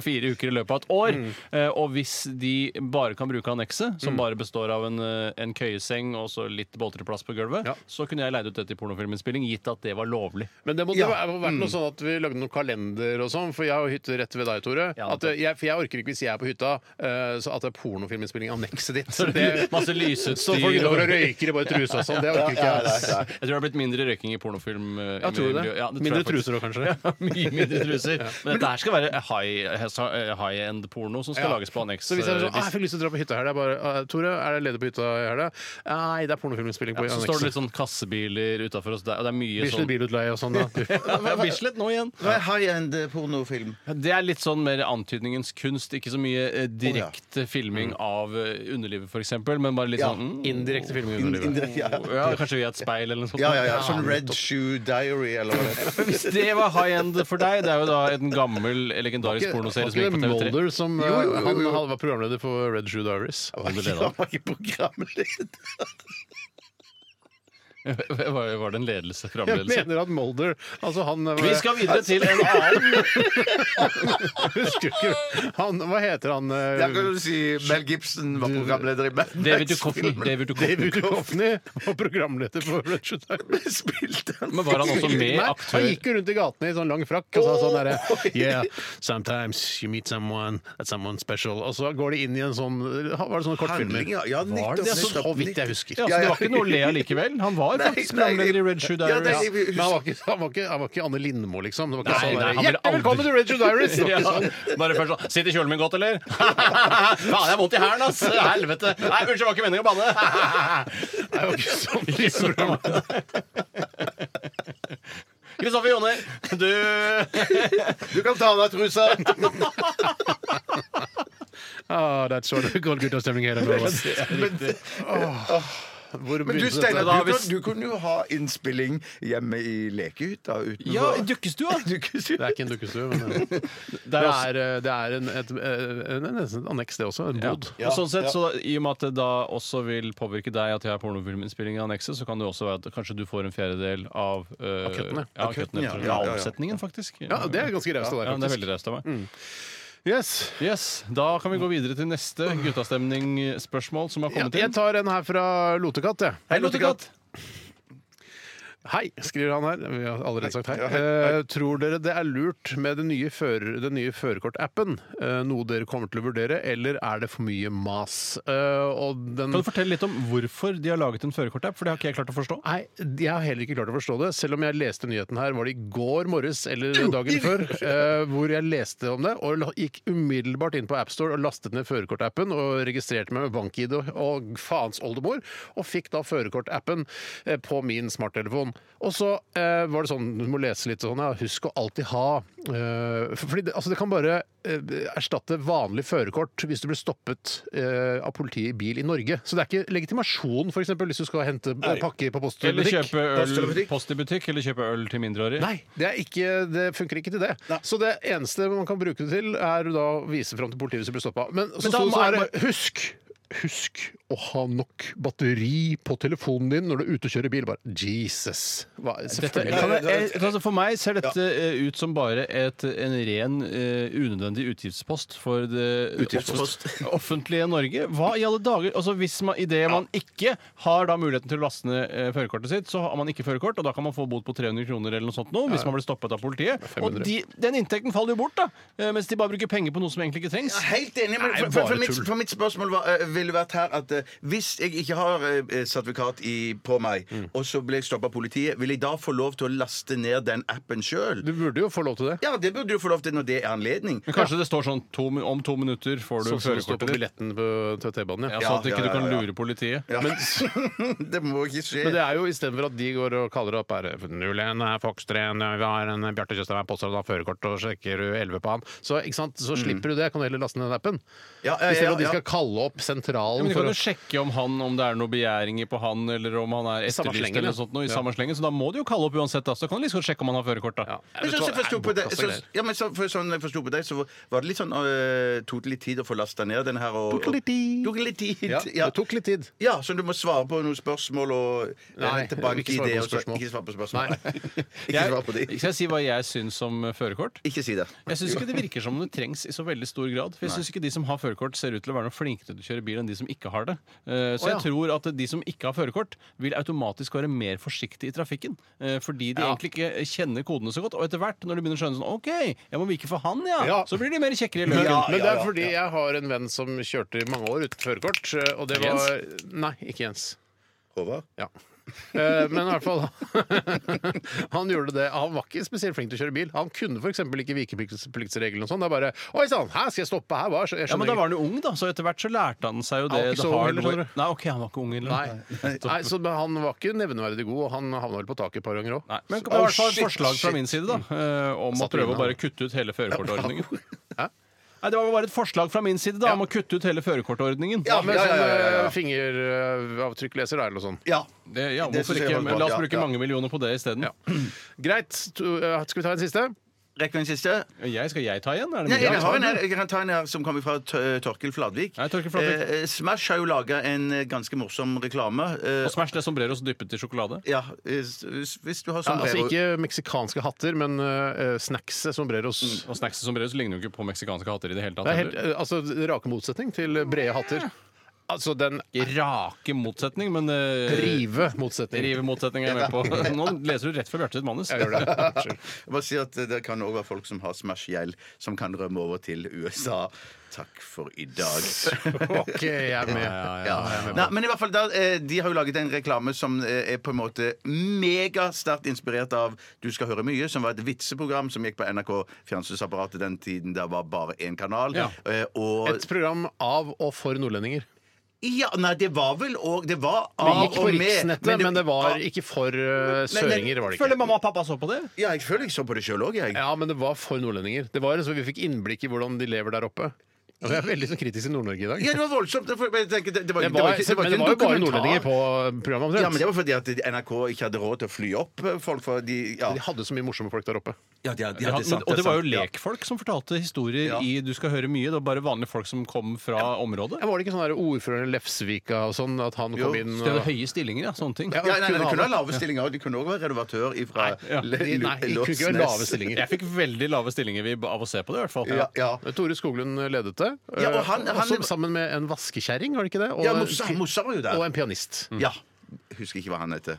S3: fire uker i løpet av et år.
S1: Mm.
S3: Eh, og hvis de bare kan bruke annekset, som bare består av en, eh, en køyeseng og så litt boltreplass på gulvet,
S1: Ja.
S3: så kunne jeg leid ut det til pornofilminnspilling, gitt at det var lovlig.
S1: Men det måtte ha vært noe sånn at vi lagde noen kalender og sånn, for jeg har jo hytte rett ved deg, Tore.
S3: Ja,
S1: at jeg, for jeg orker ikke hvis jeg er på hytta, eh, så at det er pornofilminnspilling i annekset ditt. Så det-
S3: Masse
S1: så folk
S3: lysutstyr
S1: går og
S3: og
S1: røyker i bare trusa og sånn. Det orker ikke jeg. altså.
S3: Jeg tror det har blitt mindre røyking i pornofilm. eh,
S1: Ja, tror du det?
S3: miljø. Ja, det tror
S1: Mindre
S3: jeg faktisk.
S1: truser òg, kanskje?
S3: Ja, mye mindre truser. Men dette her skal være high, eh, high end porno som skal
S1: Ja.
S3: lages på anneks.
S1: Så hvis jeg er sånn,
S3: eh,
S1: «Ah, jeg fikk lyst til å dra på hytta her, det er bare, «Ah, Tore, er det ledig på hytta her da? Nei, det er pornofilminnspilling på
S3: ja, så står det
S1: annekset.
S3: litt sånn kassebiler utafor oss der, og det er mye
S1: Bislett
S3: sånn
S1: bilutleie og sånn, da.
S3: Ja, Bislett nå igjen.
S2: Hva er high end eh, pornofilm?
S3: Det er litt sånn mer antydningens kunst. Ikke så mye eh, direkte filming av eh, underlivet, f.eks., men bare litt
S2: Ja.
S3: sånn mm,
S1: Indirekte filming i
S2: In-
S1: underlivet.
S2: indirekte, ja, ja.
S3: ja, Kanskje via et speil eller noe sånt.
S2: Ja, ja, ja. Sånn Red Shoe Diary eller hva det er.
S3: Hvis det var high end for deg, det er jo da en gammel legendarisk pornoserie
S1: Var
S3: som
S1: ikke
S3: gikk
S1: det
S3: på TV3.
S1: Mulder som eh,
S2: Jo, jo, jo,
S1: Han
S2: jo.
S1: han var programleder for Red Shoe Diaries?
S2: Han var ikke programleder.
S3: Var, var det en ledelse?
S1: Jeg
S3: Framledelse?
S1: mener at Mulder altså han, eh,
S3: Vi skal videre til en annen
S1: Husker ikke han, Hva heter han? eh,
S2: Der kan du si Mel Gibson var programleder i Mad
S3: David Duchovny.
S2: Max-filmen.
S3: David Duchovny.
S1: David Duchovny var programleder for Red Shoe Diaries.
S2: Spilte han
S3: Men var han også med
S1: Nei,
S3: aktør? oh,
S1: Han gikk jo rundt i gatene i sånn lang frakk og sa sånn derre Yeah, sometimes you meet someone at someone special. Og så går de inn i en sånn Var det sånne kortfilmer?
S2: Handlinger, ja,
S1: Var det det? Så så vidt jeg husker.
S3: Ja, så det var ikke noe å le av likevel? Han var
S2: Nei,
S3: faktisk
S2: nei,
S3: programleder i Red Shoe
S2: ja, det-
S3: Diaries.
S2: jeg vil
S1: Men han var, ikke, han, var ikke, han var ikke Anne Lindmo, liksom. Det var ikke
S3: Nei,
S1: sånn
S3: nei,
S1: der,
S3: han ville
S1: Hjertelig velkommen
S3: aldri-
S1: til Red Shoe Diaries! Det var
S3: Ja,
S1: ikke sånn.
S3: bare først sånn Sitter kjolen min godt, eller? Faen, jeg har vondt i hælen, ass! Helvete! Nei, unnskyld, det var ikke meningen å banne!
S1: Det var ikke sånn
S3: Kristoffer Joner, du
S2: Du kan ta av deg trusa!
S1: Ah, that's what we call guttastemning her. og nå.
S2: Men,
S1: Hvor
S8: Men du,
S1: begynte
S8: Steinar,
S1: dette?
S8: du, kan- du kunne jo ha innspilling hjemme i lekehytta utenfor.
S3: Ja, i dukkestua!
S1: Det er ikke en dukkestue, men
S3: Det
S1: det er,
S3: er også-
S1: eh, det er en, et, eh, en, nesten et anneks, det også. En
S3: Ja.
S1: bod.
S3: Og sånn sett, så I og med at det da også vil påvirke deg at jeg har pornofilminnspilling i annekset, så kan det også være at kanskje du får en fjerdedel av eh,
S1: Av kuttene.
S3: Ja,
S1: Av
S3: av kuttene,
S1: kuttene,
S2: ja.
S3: ja,
S2: Ja, ja, ja.
S3: Avsetningen, faktisk.
S1: Ja, det er ganske raust av
S3: Ja, det er
S1: deg, faktisk. Mm.
S3: veldig raust av meg.
S1: Yes.
S3: Yes, Da kan vi gå videre til neste guttastemningsspørsmål som har
S1: Ja,
S3: kommet
S1: jeg
S3: inn.
S1: tar en her fra Lotekatt, jeg.
S2: Hei, Lottekatt.
S1: Hei, skriver han her. Vi har allerede sagt hei. Eh, tror dere det er lurt med den nye, fører- den nye førerkortappen? Eh, noe dere kommer til å vurdere, eller er det for mye mas? Eh, og den
S3: Kan du fortelle litt om hvorfor de har laget en førerkortapp? For det har ikke jeg klart å forstå.
S1: Nei, jeg har heller ikke klart å forstå det. Selv om jeg leste nyheten her, var det i går morges eller dagen før, eh, hvor jeg leste om det og la- gikk umiddelbart inn på AppStore og lastet ned førerkortappen og registrerte meg med bank-ID og- og faens oldemor, og fikk da førerkortappen eh, på min smarttelefon. Og så eh, var det sånn, du må lese litt sånn, ja, husk å alltid ha eh, for- Fordi det, altså det kan bare eh, erstatte vanlig førerkort hvis du blir stoppet eh, av politiet i bil i Norge. Så det er ikke legitimasjon, f.eks., hvis du skal hente pakker på posten.
S3: Eller kjøpe
S2: Post eller
S3: øl
S2: butikk?
S3: post i butikk, eller kjøpe øl til mindreårige.
S1: Nei, det, er ikke, det funker ikke til det. Så det eneste man kan bruke det til, er da å vise fram til politiet hvis du blir stoppa. Men så
S3: Men da
S1: sto det
S3: må
S1: sånn
S3: jeg
S1: her, Husk! Husk å ha nok batteri på telefonen din når du er ute og kjører bil. Bare, Jesus! Hva,
S3: Dette,
S1: selvfølgelig.
S3: kan jeg, jeg- altså for meg ser dette eh, ut som bare et, en ren eh, unødvendig utgiftspost for det
S2: Utgiftspost.
S3: off- offentlige Norge. Hva i alle dager? Altså hvis man, I det man ikke har da muligheten til å laste ned eh, førerkortet sitt, så har man ikke førerkort, og da kan man få bot på 300 kroner eller noe sånt nå, hvis man blir stoppet av politiet. Og
S1: 500.
S3: de, den inntekten faller jo bort, da, eh, mens de bare bruker penger på noe som egentlig ikke trengs.
S2: Helt enig, men
S1: Nei,
S2: for,
S1: bare
S2: for, for, mitt,
S1: tull.
S2: for mitt spørsmål var, eh, ville vært her at eh, eh, hvis jeg ikke har eh, sertifikat i, på meg,
S1: Mm.
S2: og så blir jeg stoppa av politiet, vil jeg da få lov til å laste ned den appen sjøl?
S1: Du burde jo få lov til det.
S2: Ja, det burde du få lov til når det er anledning.
S3: Men kanskje det står sånn to, min- om to minutter får du
S1: Sånn som det står
S3: førerkortet
S1: på
S3: ditt.
S1: billetten på til T-banen.
S3: Ja,
S1: Ja.
S3: sånn at
S2: Ja,
S3: ikke
S2: ja,
S3: du kan
S2: ja, ja.
S3: lure politiet.
S2: Ja. det må ikke skje.
S1: Men det er jo istedenfor at de går og kaller opp er 01 er Fox 3, vi har en Bjarte Tjøstheim er påstått å ha førerkort, og sjekker du 11 på han. Så, ikke sant? så slipper du det. Kan du heller laste ned den appen?
S2: Ja, ja, ja,
S1: Istedenfor at de
S2: ja.
S1: skal kalle opp sentralen
S3: Men du kan
S1: for
S3: jo
S1: å
S3: sjekke om, han, om det er noen begjæringer på han, eller om han er
S1: samme
S3: etterlyst
S1: slengen,
S3: eller
S1: ja.
S3: noe sånt noe, i
S1: Ja.
S3: samme slengen. Så da må de jo kalle opp uansett. Da. Så kan du liksom sjekke om han har førerkort. da.
S1: Ja. Vet
S2: Men sånn
S1: du
S2: som jeg
S1: hva?
S2: forsto på deg,
S1: Bortkastet
S2: så,
S1: greier.
S2: ja, men så, for sånn jeg forsto på deg, så var det litt sånn øh, Tok det litt tid å få lasta ned den her. Og,
S1: Tok litt tid.
S2: Tok litt tid.
S1: Ja, det tok litt tid.
S2: Ja, så du må svare på noen spørsmål og
S1: Nei,
S2: hente bank
S1: ikke svare på
S2: ideer, og så-
S1: spørsmål.
S2: Ikke svare på spørsmål.
S1: Nei.
S2: ikke svare på de.
S3: Skal jeg si hva jeg syns om eh, førerkort?
S2: Ikke si det.
S3: Jeg syns ikke det virker som om det trengs i så veldig stor grad. For jeg syns ikke de som har førerkort, ser ut til å være noe flinkere til å kjøre bil enn de som ikke har det. Eh, Så
S1: Å, ja.
S3: jeg tror at de som ikke har førerkort, vil automatisk være mer forsiktige i trafikken. eh, Fordi de
S1: Ja.
S3: egentlig ikke eh, kjenner kodene så godt. Og etter hvert, når de begynner å skjønne sånn OK, jeg må vike for han, ja,
S1: Ja.
S3: så blir de mer kjekkere i
S1: Men,
S3: løken.
S2: Ja,
S1: men det
S2: ja,
S1: er
S2: ja,
S1: fordi jeg har en venn som kjørte i mange år uten førerkort, og det var Nei, ikke Jens.
S2: Håvard?
S1: Ja. Eh, Men i hvert fall Han gjorde det. Han var ikke spesielt flink til å kjøre bil. Han kunne f.eks. ikke vikepliktsreglene og sånn. Det er bare Oi sann, her skal jeg stoppe! Her var jeg
S3: Ja, men da
S1: skjønner ikke.
S3: var han jo ung, da, så etter hvert så lærte han seg jo det.
S1: Han var ikke
S3: the
S1: så ung
S3: hard
S1: heller,
S3: way.
S1: skjønner du.
S3: Nei, ok, han var ikke ung heller.
S1: Nei. Nei, så han var ikke nevneverdig god, og han havna vel på taket et par ganger òg.
S3: Nei. Men det var i hvert fall et
S2: shit,
S3: forslag fra
S2: shit.
S3: min side da, eh, om å
S1: Mm. Satt
S3: prøve
S1: inne,
S3: å bare
S1: da.
S3: kutte ut hele førerkortordningen.
S1: Hæ?
S3: Nei, Det var bare et forslag fra min side da, om å kutte ut hele førerkortordningen.
S2: Ja,
S1: Med
S2: ja, ja, ja, ja, ja.
S1: sånn fingeravtrykkleser der eller noe sånt.
S2: Ja.
S3: Det, ja,
S2: Det
S3: hvorfor
S2: synes jeg
S3: ikke?
S2: var
S3: Men
S2: bra.
S3: La oss
S2: Ja,
S3: bruke
S2: ja.
S3: mange millioner på det isteden.
S1: Ja. Greit. to- eh, Skal vi ta en siste?
S2: Rekker vi en siste?
S3: Jeg, skal jeg ta igjen? Er det
S2: Nei,
S3: mulig?
S2: jeg, har en her, jeg kan ta en her som kommer fra Tø- Torkil Fladvik.
S3: Nei, Torkil Fladvik.
S2: Eh, Smash har jo laga en eh, ganske morsom reklame. Eh,
S3: Og Smash det sombreros dyppet i sjokolade.
S2: ja, eh, s- hvis, hvis du har
S1: Ja,
S2: sånn
S1: altså ikke meksikanske hatter, men uh, snackset sombreros.
S3: Og snacks i sombreros ligner jo ikke på meksikanske hatter i det hele tatt.
S1: Det er helt,
S3: heller.
S1: eh, altså, rake motsetning til brede hatter. Altså den
S3: I rake motsetning, men eh,
S1: rive motsetning.
S3: rive motsetning er jeg med på. Nå leser du rett fra Bjarte sitt manus.
S1: Jeg gjør det. Unnskyld.
S2: Jeg bare sier at eh, Det kan også være folk som har Smash-gjeld, som kan rømme over til USA. Takk for i dag.
S1: OK, jeg er med.
S2: Ja. Nei, men i hvert fall, da, eh, De har jo laget en reklame som eh, er på en måte megasterkt inspirert av Du skal høre mye, som var et vitseprogram som gikk på NRK Fjernsynsapparatet den tiden det var bare én kanal.
S3: Ja.
S2: Eh, Og
S1: Et program av og for nordlendinger.
S2: Ja, nei, det var vel òg Det var
S1: Det
S2: av
S1: gikk på
S2: og med
S1: riksnettet, men det
S2: Ah,
S1: var ikke for eh, søringer. var det ikke
S3: mamma og pappa så på det?
S2: Ja, jeg føler jeg så på det sjøl òg, jeg.
S1: Ja, men det var for nordlendinger. Det var liksom, Vi fikk innblikk i hvordan de lever der oppe. Og jeg er veldig sånn kritisk til Nord-Norge i dag.
S2: Ja, det var voldsomt. Det var, jeg tenker, det, det var,
S1: Det
S2: det
S1: var,
S2: var ikke- det var
S1: men
S2: ikke
S1: det
S2: en
S1: var jo bare
S2: dokumentar.
S1: nordlendinger på eh, programmet. omtrent.
S2: Ja, men Det var fordi at NRK ikke hadde råd til å fly opp eh, folk. For de, ja.
S1: De hadde så mye morsomme folk der oppe.
S2: Ja, de,
S3: Ja, men, og det var jo lekfolk som fortalte historier
S2: Ja.
S3: i Du skal høre mye. Det var bare vanlige folk som kom fra området.
S1: Ja, var det ikke sånn der ordføreren i Lefsvika og sånn, at han
S2: Jo,
S1: kom inn
S3: Så de hadde
S1: og
S3: høye stillinger, ja. Sånne ting.
S1: Ja,
S2: Ja, nei, nei,
S1: kunne
S2: de
S1: ha
S2: kunne ha
S1: det.
S2: lave stillinger, og de kunne også være redaktør ifra
S3: ja.
S2: Le-
S1: De- Nei,
S2: Lu-
S1: det kunne ikke være
S2: Låsnes.
S1: lave stillinger.
S3: Jeg fikk veldig lave stillinger vi- av å se på det, i hvert fall.
S2: Ja, ja.
S1: Men Tore Skoglund ledet det.
S2: Ja, og han-
S1: eh,
S2: han-
S1: også sammen med en vaskekjerring, var det ikke det? Og, eh,
S2: Ja, Mossa, Mossa var jo der.
S1: og eh, en pianist.
S2: Ja. Husker ikke hva han heter.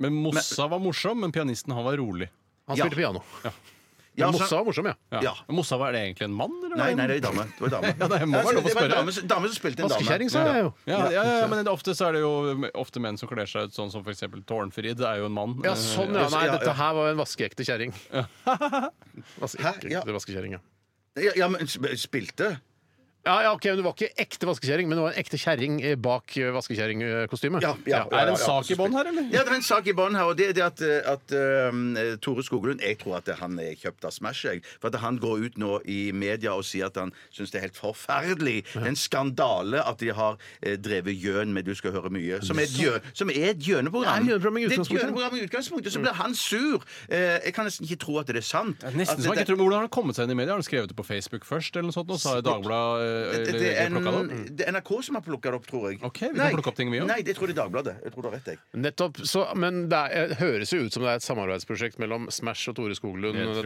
S3: Men Mossa var morsom, men pianisten han var rolig.
S1: Han
S2: Ja.
S1: spilte piano.
S2: Ja,
S1: Men
S2: så-
S1: Mossa var morsom, ja.
S3: Ja.
S2: Ja.
S3: Men Mossa, var det egentlig en mann? Eller var
S2: Nei,
S3: det en-
S2: nei, det er dame. Det var dame.
S3: Ja, det må
S2: Ja,
S3: være lov å
S2: det var en
S3: spørre.
S2: dame, som- dame som spilte en dame.
S1: Vaskekjerring, sa jeg jo.
S3: ja, ja, ja, men ofte så er det jo ofte menn som kler seg ut sånn som for eksempel Tårnfrid. Det er jo en mann. Eh,
S1: Ja, sånn, ja. Nei,
S2: Ja, ja.
S1: dette her var en vaskeekte kjerring.
S2: Hæ? Ja.
S1: Vaskeekte vaskekjerring, ja.
S2: Ja, ja, men sp- spilte?
S1: Ja, ja, ok, men Du var ikke ekte vaskekjerring, men du var en ekte kjerring eh, bak eh, vaskekjerringkostyme.
S2: Ja, ja, ja,
S3: Er det en
S2: ja,
S3: sak i bånn her, eller?
S2: Ja, det er en sak i bånn her, og det er det at, eh, at um, Tore Skoglund Jeg tror at han er kjøpt av Smash. Jeg, for at han går ut nå i media og sier at han syns det er helt forferdelig. Det er en skandale at de har eh, drevet gjøn med Du skal høre mye, som er et, gjø, som er et gjøneprogram.
S1: Det er et gjøneprogram i
S2: Det er et
S1: utgangspunktet.
S2: gjøneprogram i utgangspunktet. Så blir han sur. Eh, jeg kan nesten ikke tro at det er sant.
S3: Nesten
S2: At
S3: som jeg
S2: det-
S3: ikke tror, men Hvordan har han kommet seg inn i media? Har han skrevet det på Facebook først? eller noe sånt? Og så har Dagbladet
S2: det,
S3: eh,
S2: det,
S3: eller
S2: er en,
S3: plukket det opp?
S2: det er NRK som har plukka det opp, tror jeg.
S3: Ok, vi kan plukke opp ting vi gjør.
S2: Nei, det tror jeg det er Dagbladet. Jeg tror du har rett, jeg.
S1: Nettopp, så, Men det er, det høres jo ut som det er et samarbeidsprosjekt mellom Smash og Tore Skoglund.
S3: Det tror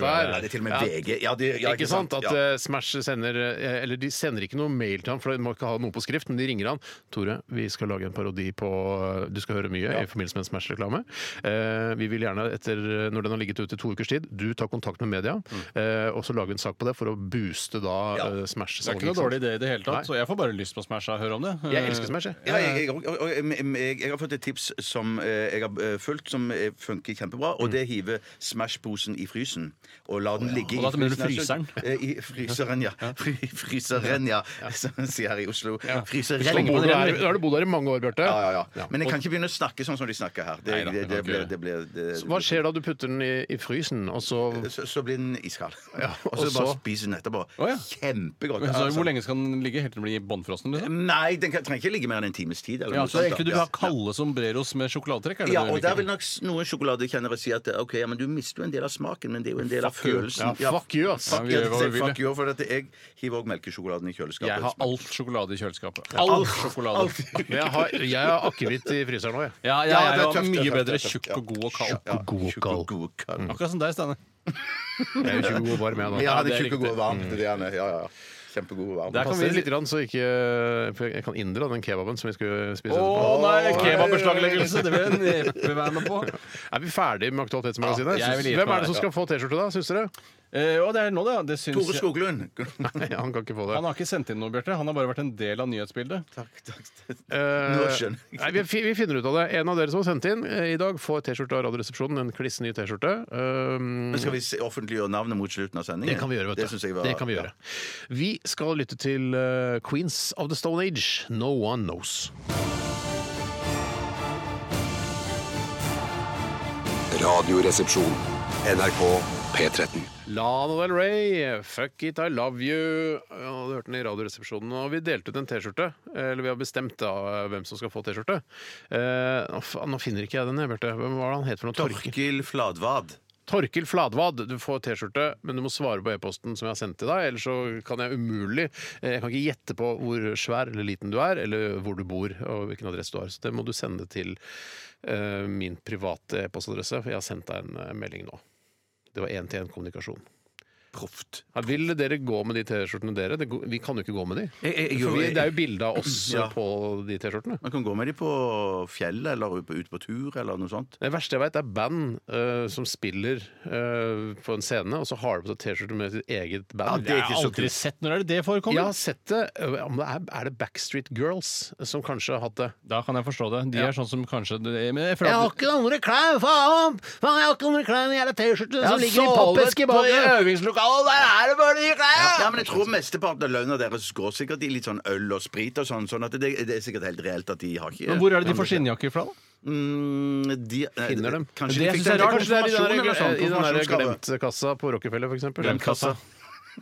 S3: jeg det
S1: dette her.
S2: Ja, det er til og med
S1: Ja,
S2: VG. Ja, det, ja,
S1: ikke sant? At
S2: Ja.
S1: eh, Smash sender eh, Eller de sender ikke noe mail til ham, for de må ikke ha noe på skrift, men de ringer han. 'Tore, vi skal lage en parodi på eh, Du skal høre mye' i forbindelse med en Smash-reklame. Eh, vi vil gjerne, etter eh, når den har ligget ute i to ukers tid, du tar kontakt med media, eh, og så lager vi en sak på det for å booste da
S2: Mm. Ja.
S1: eh,
S3: Det er
S1: Smash-salget.
S3: ikke noe dårlig dårlig idé i det hele tatt,
S1: Nei.
S3: så jeg får bare lyst på Smash av å høre om det.
S1: Jeg elsker Smash, jeg.
S2: Ja, liksom. jeg,
S3: Eh.
S2: jeg, og- og- og- jeg, jeg, jeg har fått et tips som eh, jeg har eh, fulgt, som eh, funker kjempebra.
S3: Mm.
S2: Og det er hive Smash-posen i frysen. Og la den ligge
S3: Og da mener du
S2: i frysen.
S3: fryseren?
S2: Eh, I fryseren, ja. Fry, fryseren, ja. Som man sier her i Oslo. Fryseren.
S1: Da bor du der- da har du bodd her i mange år, Bjarte.
S2: Ja, ja, ja. Men jeg kan ikke begynne å snakke sånn som de snakker her. Det,
S3: Neida, det
S2: det, det,
S3: kan
S2: blir-
S3: ikke
S2: det, blir- det,
S1: Hva skjer da du putter den i, i frysen, og så
S2: Så, så blir den iskald.
S1: Ja,
S2: og så
S1: og
S2: bare
S1: så-
S2: spiser den etterpå.
S3: Å, ja.
S2: Kjempegodt.
S3: Eh, Så
S2: altså.
S3: hvor lenge skal den ligge? Helt til den blir bånnfrossen? Liksom?
S2: Nei, den kan, trenger ikke ligge mer enn en times tid. Eller
S3: Ja,
S2: noe
S3: så
S2: sånt,
S3: egentlig du vil
S2: da.
S3: ha
S2: Ja.
S3: kalde sombreros med sjokoladetrekk? Er det
S2: Ja,
S3: det du
S2: og der
S3: liker?
S2: vil nok s- noen sjokoladekjennere si at eh, ok, ja, men du mister jo en del av smaken, men det er jo en del av følelsen.
S1: Ja, fuck you, ass.
S2: Fuck,
S3: Ja, vi gjør
S2: you,
S3: hva vi vil,
S2: fuck you, for at jeg hiver òg melkesjokoladen i kjøleskapet.
S3: Jeg har alt sjokolade i kjøleskapet. All sjokolade.
S1: Men jeg har, jeg har akevitt i fryseren òg, jeg.
S3: Ja, jeg,
S2: Ja,
S3: er
S2: det er
S3: jo
S2: tøft, det er
S3: mye
S2: tøft, det
S3: bedre
S2: er tøft,
S3: tjukk
S2: ja.
S3: og god og kald.
S2: Ja,
S1: god
S2: tjukk og god kald.
S3: Akkurat som deg, Steinar.
S1: Jeg er jo ikke god og varm, jeg, da.
S2: Ja,
S3: Mm. Ja,
S2: det
S3: det
S2: er
S3: er
S2: tjukk og god og varm. Det er det han er. Ja, ja, ja. Kjempegod og varm.
S3: Der kan
S1: Passer
S3: vi
S1: litt, grann, så ikke, for jeg kan inndra den kebaben som vi skulle spise.
S3: Å
S1: etterpå.
S3: nei, kebabbeslagleggelse! Det vil jeg neppe være med på.
S1: Er vi ferdig med Aktualitetsmagasinet?
S3: Ja, jeg vil gi
S1: Hvem
S3: meg
S1: er det som
S3: det,
S1: skal få T-skjorte, da? Syns dere?
S3: Eh, og det er nå, det. ja. Det syns
S2: Tore
S3: jeg.
S2: Skoglund.
S1: Nei, han kan ikke få det.
S3: Han har ikke sendt inn noe, Bjarte. Han har bare vært en del av nyhetsbildet.
S2: Takk, takk.
S1: Eh,
S2: Nå skjønner jeg.
S1: nei, vi, fi- vi finner ut av det. En av dere som har sendt inn eh, i dag, får T-skjorte av Radioresepsjonen. En kliss ny T-skjorte. Um,
S2: Men skal vi se- offentliggjøre navnet mot slutten av sendingen?
S1: det kan vi gjøre, vet du.
S2: Det synes jeg var,
S1: Det kan vi gjøre. Vi skal lytte til eh, Queens of the Stone Age, No One Knows.
S4: Radioresepsjon. NRK P13.
S1: Lana Del Rey, 'Fuck It, I Love You'. Ja, du hørte den i Radioresepsjonen. Og vi delte ut en T-skjorte. Eller vi har bestemt da hvem som skal få T-skjorte. Eh, nå faen, nå finner ikke jeg den, jeg, Bjarte. Hvem var det han het for noe? Torkil.
S2: Torkil Fladvad.
S1: Torkil Fladvad, du får T-skjorte, men du må svare på e-posten som jeg har sendt til deg. Ellers så kan jeg umulig eh, Jeg kan ikke gjette på hvor svær eller liten du er, eller hvor du bor og hvilken adresse du har. Så det må du sende til eh, min private e-postadresse, for jeg har sendt deg en eh, melding nå. Det var én-til-én-kommunikasjon.
S2: Proft.
S1: Vil dere gå med de T-skjortene dere? Det, går- vi kan jo ikke gå med de.
S2: Jeg- jeg- jeg-
S1: For vi, det er jo bilde av oss
S2: Ja.
S1: på de T-skjortene.
S2: Man kan gå med de på fjellet eller ut på- ut på tur eller noe sånt.
S1: Det verste jeg veit, er band eh, som spiller eh, på en scene, og så har de på seg T-skjorte med sitt eget band.
S2: det er
S3: Jeg
S2: ikke
S3: har
S2: så
S3: aldri
S2: kult.
S3: sett når er det det
S1: Jeg
S3: forekommer.
S1: har sett det. Ja, men det er, er det Backstreet Girls som kanskje har hatt det?
S3: Da kan jeg forstå det. De er sånn som kanskje Men jeg
S1: Jeg
S3: føler
S1: har
S3: at
S1: ikke andre klær, faen! Faen, Jeg har ikke andre klær enn jævla T-skjorte som ligger i pappeske bak her!
S3: øvingslokalet, der er det bare de
S2: Ja, men jeg tror mesteparten av lønna deres går sikkert i litt sånn øl og sprit og sånn, sånn at det, det er sikkert helt reelt at de har ikke
S3: Men hvor er det de får skinnjakker fra, da?
S2: Mm, de, nei,
S1: Finner dem.
S2: Kanskje
S3: Det
S2: de fikk
S3: synes jeg er eh,
S2: den
S3: rart.
S1: Kanskje
S2: til
S1: det er i den
S2: konfirmasjon eller
S1: der- eh,
S2: sånn,
S1: i den der
S2: konfirmasjonsgave.
S1: glemtkassa på Rockefeller, for eksempel.
S2: Glemtkassa.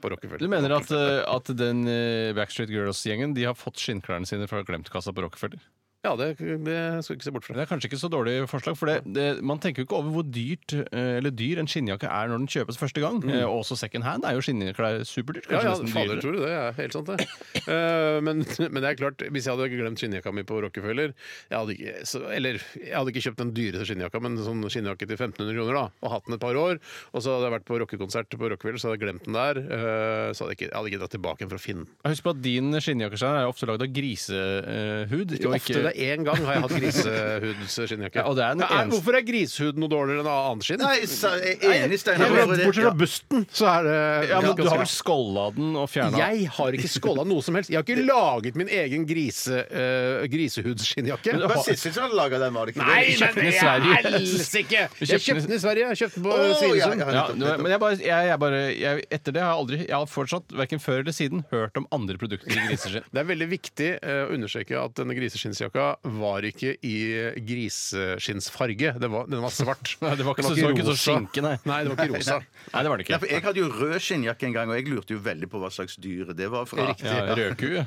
S1: På
S3: Du
S1: Rockefeller.
S3: mener at, eh, at den eh, Backstreet Girls-gjengen De har fått skinnklærne sine fra glemtkassa på Rockefeller?
S1: Ja, det, det skal du ikke se bort fra.
S3: Det er kanskje ikke så dårlig forslag, for det, det, man tenker jo ikke over hvor dyrt eh, eller dyr en skinnjakke er når den kjøpes første gang. Eh, og også second hand er jo skinnklær superdyrt.
S1: Ja,
S3: Kanskje
S1: ja,
S3: nesten
S1: fader,
S3: dyrere.
S1: tror du det? er helt sant, det. Eh, men, men det er klart, hvis jeg hadde glemt skinnjakka mi på Rockefeller jeg hadde ikke, så, Eller jeg hadde ikke kjøpt den dyreste skinnjakka, men en sånn skinnjakke til 1500 kroner, da, og hatt den et par år. Og så hadde jeg vært på rockekonsert på Rockefeller, så hadde jeg glemt den der. eh, så hadde jeg, ikke, jeg hadde ikke dratt tilbake igjen for å finne den.
S3: Husk på at din skinnjakke Steinar, er jo ofte lagd av grisehud.
S1: Ikke
S3: og
S1: ofte, det er én gang har jeg hatt grisehudsskinnjakke.
S3: Ja, og det er den eneste-
S1: hvorfor er grishud noe dårligere enn annet skinn?
S2: Nei, så jeg er enig, Steinar.
S1: Bortsett
S2: Hvorfor
S1: fra- bortsett fra
S2: det- Ja.
S1: busten, så er det
S3: ja, men
S1: ganske-
S3: Du har vel skålla den og fjerna
S1: Jeg har ikke skåla noe som helst. Jeg har ikke laget min egen grise, eh, grisehudsskinnjakke.
S2: Det var Sissel som laga den, var det ikke?
S1: Nei,
S2: det?
S1: men
S3: den i
S1: det er
S3: Sverige.
S1: helsike! Jeg kjøpte den i Sverige. Jeg kjøpte den på
S2: Å, ja,
S1: Svinesund.
S2: ja,
S3: ja,
S2: nettopp,
S3: det var-
S2: nettopp.
S3: men jeg bare, jeg, jeg bare jeg, Etter det har jeg aldri Jeg har fortsatt, verken før eller siden, hørt om andre produkter i griseskinn.
S1: Det er veldig viktig eh, å understreke at denne griseskinnsjakka var ikke i eh, griseskinnsfarge. Den var, den var svart.
S3: Nei, det var ikke så-
S1: Den
S3: det var ikke så
S1: rosa.
S3: skinke, nei.
S1: det var ikke rosa.
S3: Nei, det var det
S2: Ja,
S3: ikke.
S2: for jeg hadde jo rød skinnjakke en gang, og jeg lurte jo veldig på hva slags dyr det var fra.
S3: Ja, Rødku. ja.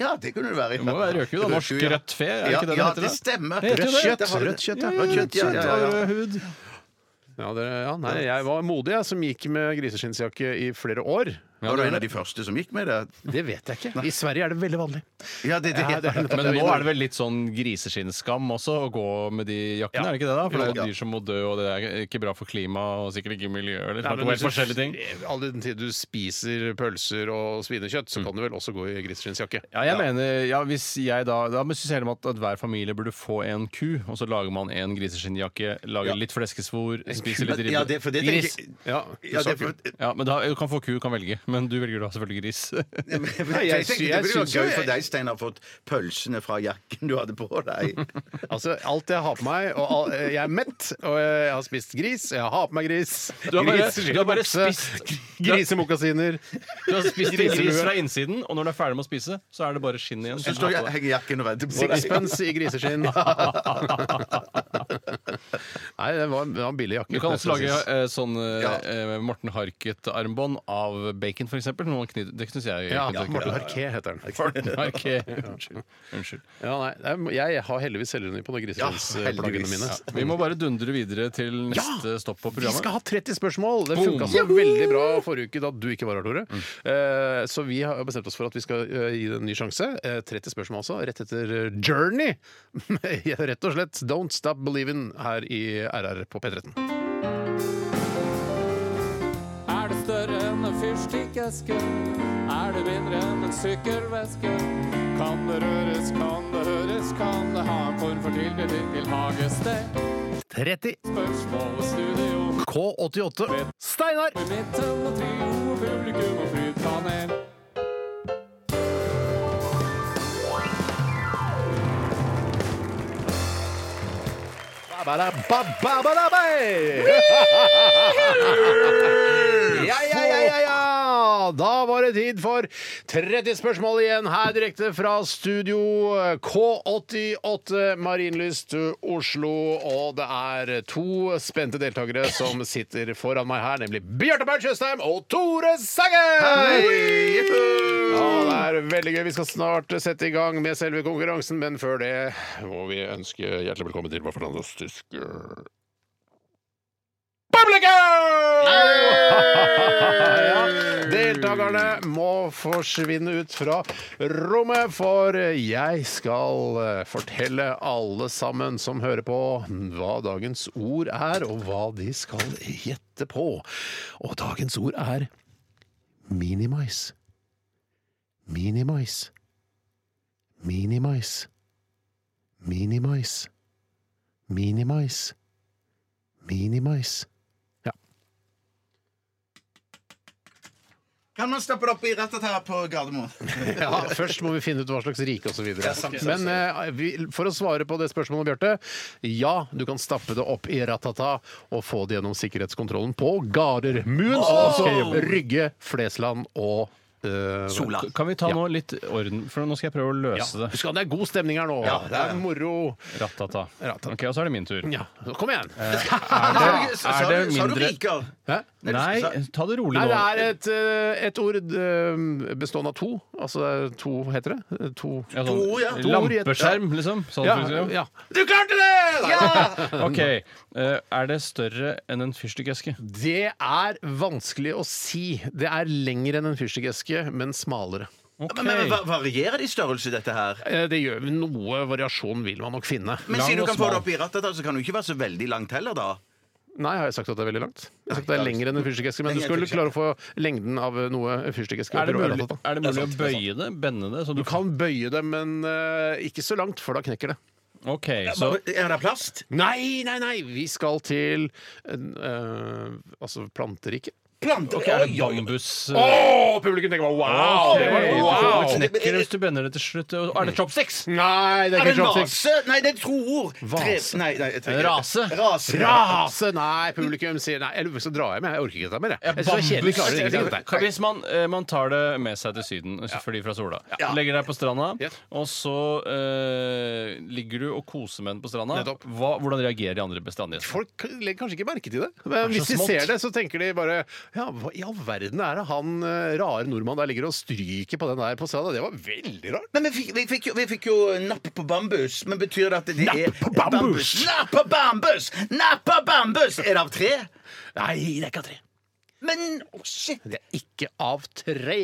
S2: Ja, det kunne det være.
S3: Det må jo være rødku, da. Norsk
S2: ja.
S3: rødt fe, er det
S2: Ja,
S3: ikke det det
S2: ja,
S3: heter,
S2: det
S3: da?
S2: stemmer.
S3: Det heter jo det.
S2: det har det.
S1: Rødt kjøtt, ja.
S2: ja. Rødt kjøtt, ja, ja, ja.
S3: og rød hud.
S1: Ja, det, ja, nei, jeg var modig, jeg, som gikk med griseskinnsjakke i flere år.
S2: Var du en av de første som gikk med det?
S1: Det vet jeg ikke. I Sverige er det veldig vanlig.
S2: Ja, det, det,
S1: Ja, det er-
S3: Men nå er det vel litt sånn griseskinnsskam også å gå med de jakkene, er det ikke det? da? For det er
S2: Ja.
S3: jo dyr som må dø, og det er ikke bra for klimaet og sikkert ikke miljøet. Eller
S1: Nei,
S3: det er
S1: men
S3: to helt
S1: hvis du-
S3: forskjellige ting.
S1: All den tid du spiser pølser og svinekjøtt, så kan du vel også gå i griseskinnsjakke.
S3: Mm. Ja, jeg mener, ja, hvis jeg da, da synes jeg heller at, at hver familie burde få en ku, og så lager man en griseskinnjakke, lager litt fleskesvor, spiser litt ribbe.
S2: Ja, det, for det
S3: Gris.
S2: tenker jeg-
S1: Ja,
S2: ja, det, for,
S3: Ja, men da, du kan få ku, kan velge. men du velger da selvfølgelig gris.
S2: Nei,
S1: jeg
S2: jeg
S1: sy-
S2: tenkte
S1: jeg
S2: det blir jo
S1: syns jo
S2: gøy
S1: jeg-
S2: for deg, Steinar, å få pølsene fra jakken du hadde på deg.
S1: Altså, alt jeg har på meg, og all, eh, jeg er mett, og jeg har spist gris, jeg har på meg gris.
S3: Du har bare-
S1: Gris-
S3: du har bare
S1: bukse,
S3: spist-
S1: Grisemokasiner.
S3: Du har spist
S1: Grisehue.
S3: gris fra innsiden, og når du er ferdig med å spise, så er det bare skinn igjen.
S2: Så står jeg, henger jakken og venter på deg.
S1: Sixpence i griseskinn. Nei, det var, det var en billig jakke.
S3: Du kan også lage
S1: Jeg synes.
S3: eh, sånn eh, eh, Morten Harket-armbånd av bacon, f.eks. Det syns jeg
S1: ja,
S3: kan tenke
S1: Morten
S3: meg.
S1: Harquet heter den.
S3: Morten Harket. Unnskyld. Unnskyld.
S1: Ja, nei, det er- jeg har heldigvis selvironi på de
S2: heldigvis.
S1: griseskinnsplaggene mine.
S3: Vi må bare dundre videre til neste stopp på
S1: Vi skal
S3: programmet.
S1: ha 30 spørsmål! Det
S3: Boom.
S1: funka så veldig bra forrige uke da du ikke var her, Tore. Eh, så vi har bestemt oss for at vi skal eh, gi det en ny sjanse. Eh, 30 spørsmål altså, rett etter eh, Journey. Ja, rett og slett Don't Stop Believin' her i RR på P13.
S9: Er det større enn en fyrstikkeske? Er det mindre enn en sykkelveske? Kan det røres, kan det høres, kan det ha en form for tilknytning til hagested?
S1: 30
S9: Spørsmål og studio
S1: K88 Steinar!
S9: i midten og trio og publikum og flytpanel.
S1: Ja, ja, ja, ja, ja! Da var det tid for 30 spørsmål igjen her direkte fra studio K88 Marienlyst Oslo. Og det er to spente deltakere som sitter foran meg her, nemlig Bjarte Bernt Tjøstheim og Tore Sagen! Ja, det er veldig gøy. Vi skal snart sette i gang med selve konkurransen, men før det må vi ønske hjertelig velkommen til vår fantastiske publikum! ja, deltakerne må forsvinne ut fra rommet, for jeg skal eh, fortelle alle sammen som hører på, hva dagens ord er, og hva de skal gjette på. Og dagens ord er minimais. Minimais. Minimais. Minimais. Minimais. Minimais.
S2: Kan man stappe det opp i rattet her på Gardermoen?
S1: Ja, Først må vi finne ut hva slags rike osv. Men eh, vi, for å svare på det spørsmålet, Bjarte. Ja, du kan stappe det opp i ratata og få det gjennom sikkerhetskontrollen på Gardermoen. Så altså Rygge, Flesland og eh,
S2: Sola.
S3: Kan vi ta nå litt orden, for nå skal jeg prøve å
S1: Ja,
S3: løse det.
S1: husk at det er god stemning her nå. det er moro.
S3: Ratata.
S1: Ratata.
S3: Ok, og så er det min tur.
S1: Ja, kom igjen.
S2: Sa
S3: Er
S2: du-
S3: det
S2: Sa du
S3: mindre-
S2: riker?
S1: Hæ?
S3: Nei, ta det rolig
S1: Nei, det
S3: nå.
S1: er et, eh, et ord eh, bestående av to. Altså det er to, heter det? Eh, To.
S3: Ja,
S2: To ord, ja.
S3: sånn,
S2: To
S1: ord i et-
S3: lampeskjerm, liksom. Sånn
S1: Ja,
S3: fungerer det jo.
S1: ja. Du klarte det!
S3: OK. eh, Er det større enn en fyrstikkeske?
S1: Det er vanskelig å si. Det er lengre enn en fyrstikkeske, men smalere.
S2: Men, men, men va- varierer det i størrelse, dette her?
S1: Eh, Det gjør Noe variasjon vil man nok finne.
S2: Men
S3: Lang
S2: siden du
S3: og
S2: kan få
S3: smal.
S2: det opp i rattet, da, så kan du ikke være så veldig langt heller, da.
S1: Nei, har jeg sagt at det er veldig langt? Jeg har sagt at det er lengre enn en fyrstikkeske, men du
S2: Lenger enn
S1: skulle
S2: fyrstikkeske.
S1: klare å få lengden av noe fyrstikkeske.
S3: Er det
S1: oppi
S3: mulig,
S1: ratata.
S3: er det mulig å bøye det? Bende det? Så du
S1: Du kan bøye det, men eh, ikke så langt, for da knekker det.
S3: OK, så
S2: Er det plast?
S1: Nei, nei, nei! Vi skal til eh, eh, altså planteriket.
S2: Plant?
S3: Ok, er det bambus
S1: Å, publikum tenker bare wow!
S3: Ok,
S1: Det var,
S3: Du
S1: wow.
S3: får knekker hvis du bender det til slutt. Og er det chopsticks?
S1: Nei, det
S2: Er
S1: er
S2: det
S1: ikke chopsticks.
S2: rase? Nei, det er to ord. Tre-
S1: Vase.
S2: Nei, nei, jeg trenger-
S3: Rase.
S2: Rase.
S1: Rase! Nei, publikum sier nei. Eller så drar jeg med. Jeg orker ikke dette mer. jeg. Jeg synes det er kjedelig. jeg klarer ingenting av dette.
S3: Hvis man, eh, man tar det med seg til Syden, fordi fra sola Legger deg på stranda,
S1: Ja.
S3: og så eh, ligger du og koser med den på stranda.
S1: Nettopp.
S3: Hva, hvordan reagerer de andre strandgjestene?
S1: Folk legger kanskje ikke merke til det. Men
S3: Det er
S1: hvis
S3: så
S1: de
S3: smått.
S1: ser det, så tenker de bare Ja, hva i all verden er det han eh, rare nordmannen der ligger og stryker på den der på stranda? Det var veldig rart.
S2: Men vi fikk, vi, fikk jo, vi fikk jo napp på bambus. Men betyr det at det er
S1: på bambus?
S2: Napp på bambus! Napp på bambus! Er det av tre?
S1: Nei, det er ikke av tre.
S2: Men å, shit!
S1: Det er ikke av tre.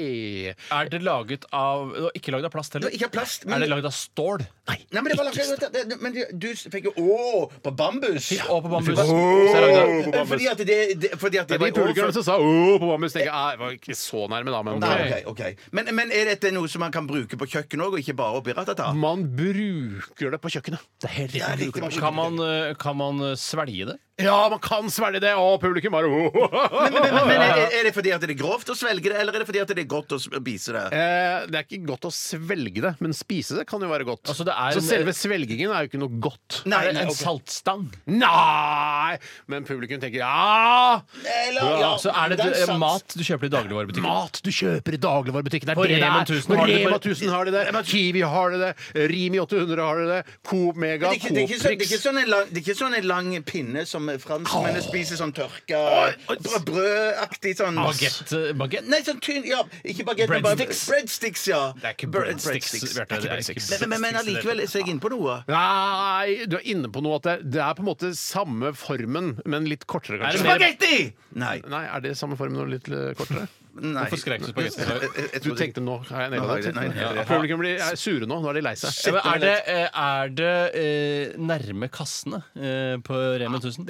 S3: Er det laget av det var Ikke laget av plast
S2: Det
S3: heller?
S2: er ikke av plast,
S3: Er
S2: men
S3: det laget av stål? Nei.
S2: Nei, men det var akkurat det- det- Men du- du fikk jo Å på bambus!
S3: Og på bambus.
S2: Åh,
S3: Så jeg lagde det.
S2: på bambus. Fordi at det, det, fordi at
S1: Det er de
S2: det var i år
S1: publikerne
S2: for-
S1: som sa åh på Bambus. tenker Jeg «Ah, jeg var ikke så nærme, da, men
S2: Nei, ok, ok. Men, men er dette noe som man kan bruke på kjøkkenet òg, og ikke bare oppi ratata?
S1: eh, Man bruker det på kjøkkenet. Det er helt
S2: Ja, riktig, man bruker
S3: Kan man, eh, kan man eh, svelge det?
S1: Ja, man kan svelge det! Og publikum bare
S2: Men, men, men, men er, er det fordi at det er grovt å svelge det, eller er det fordi at det er godt å spise det?
S1: Eh, Det er ikke godt å svelge det, men spise det kan jo være godt.
S3: Altså, det er
S1: Så
S3: en-
S1: selve svelgingen er jo ikke noe godt.
S2: Nei,
S3: Er det
S2: nei,
S3: en
S2: ok.
S3: saltstang?
S1: Nei! Men publikum tenker ja!
S2: Eller, ja,
S3: Så er det,
S2: er
S3: eh,
S2: sant.
S3: mat du kjøper i dagligvarebutikken?
S1: Mat du kjøper i dagligvarebutikken. Det er
S3: På
S1: det
S3: Rema
S1: det er.
S3: 1000
S1: På
S3: har de det,
S1: Rema
S3: bare-
S1: 1000 har de det. Kiwi har de det. Rimi 800 har de det. Coop Mega,
S2: Det er, ikke, det, er ikke
S1: Coop
S2: sånn, det, er ikke
S1: Prix.
S2: sånn en lang, det er ikke sånn en lang pinne som franskmennene spiser, sånn tørka brød- brødaktig sånn
S3: Ah, Bagett? bagett?
S2: Nei, sånn tynn ja, Ikke bagett, men bare
S3: Breadsticks?
S2: breadsticks. Ja.
S3: Det er ikke
S2: Bre-
S3: breadsticks, Bjarte. Det er ikke
S2: Men, men, men allikevel så er jeg inne på noe.
S1: Nei, du er inne på noe at det, det er på en måte samme formen, men litt kortere,
S3: Er det
S1: kanskje.
S3: mer-
S2: Spagetti! Nei.
S1: Nei, er det samme formen og litt eh, kortere?
S2: nei.
S3: Hvorfor skrek du spagetti?
S2: Jeg- jeg- jeg
S1: Du
S2: trodde-
S1: tenkte nå har jeg naila
S2: Nei,
S1: det.
S2: nei, nei,
S1: Ja,
S2: nei.
S1: Publikum blir er sure nå. Nå er de lei
S3: Ja,
S1: seg.
S3: men er det, eh, er det eh, nærme kassene eh, på Rema 1000?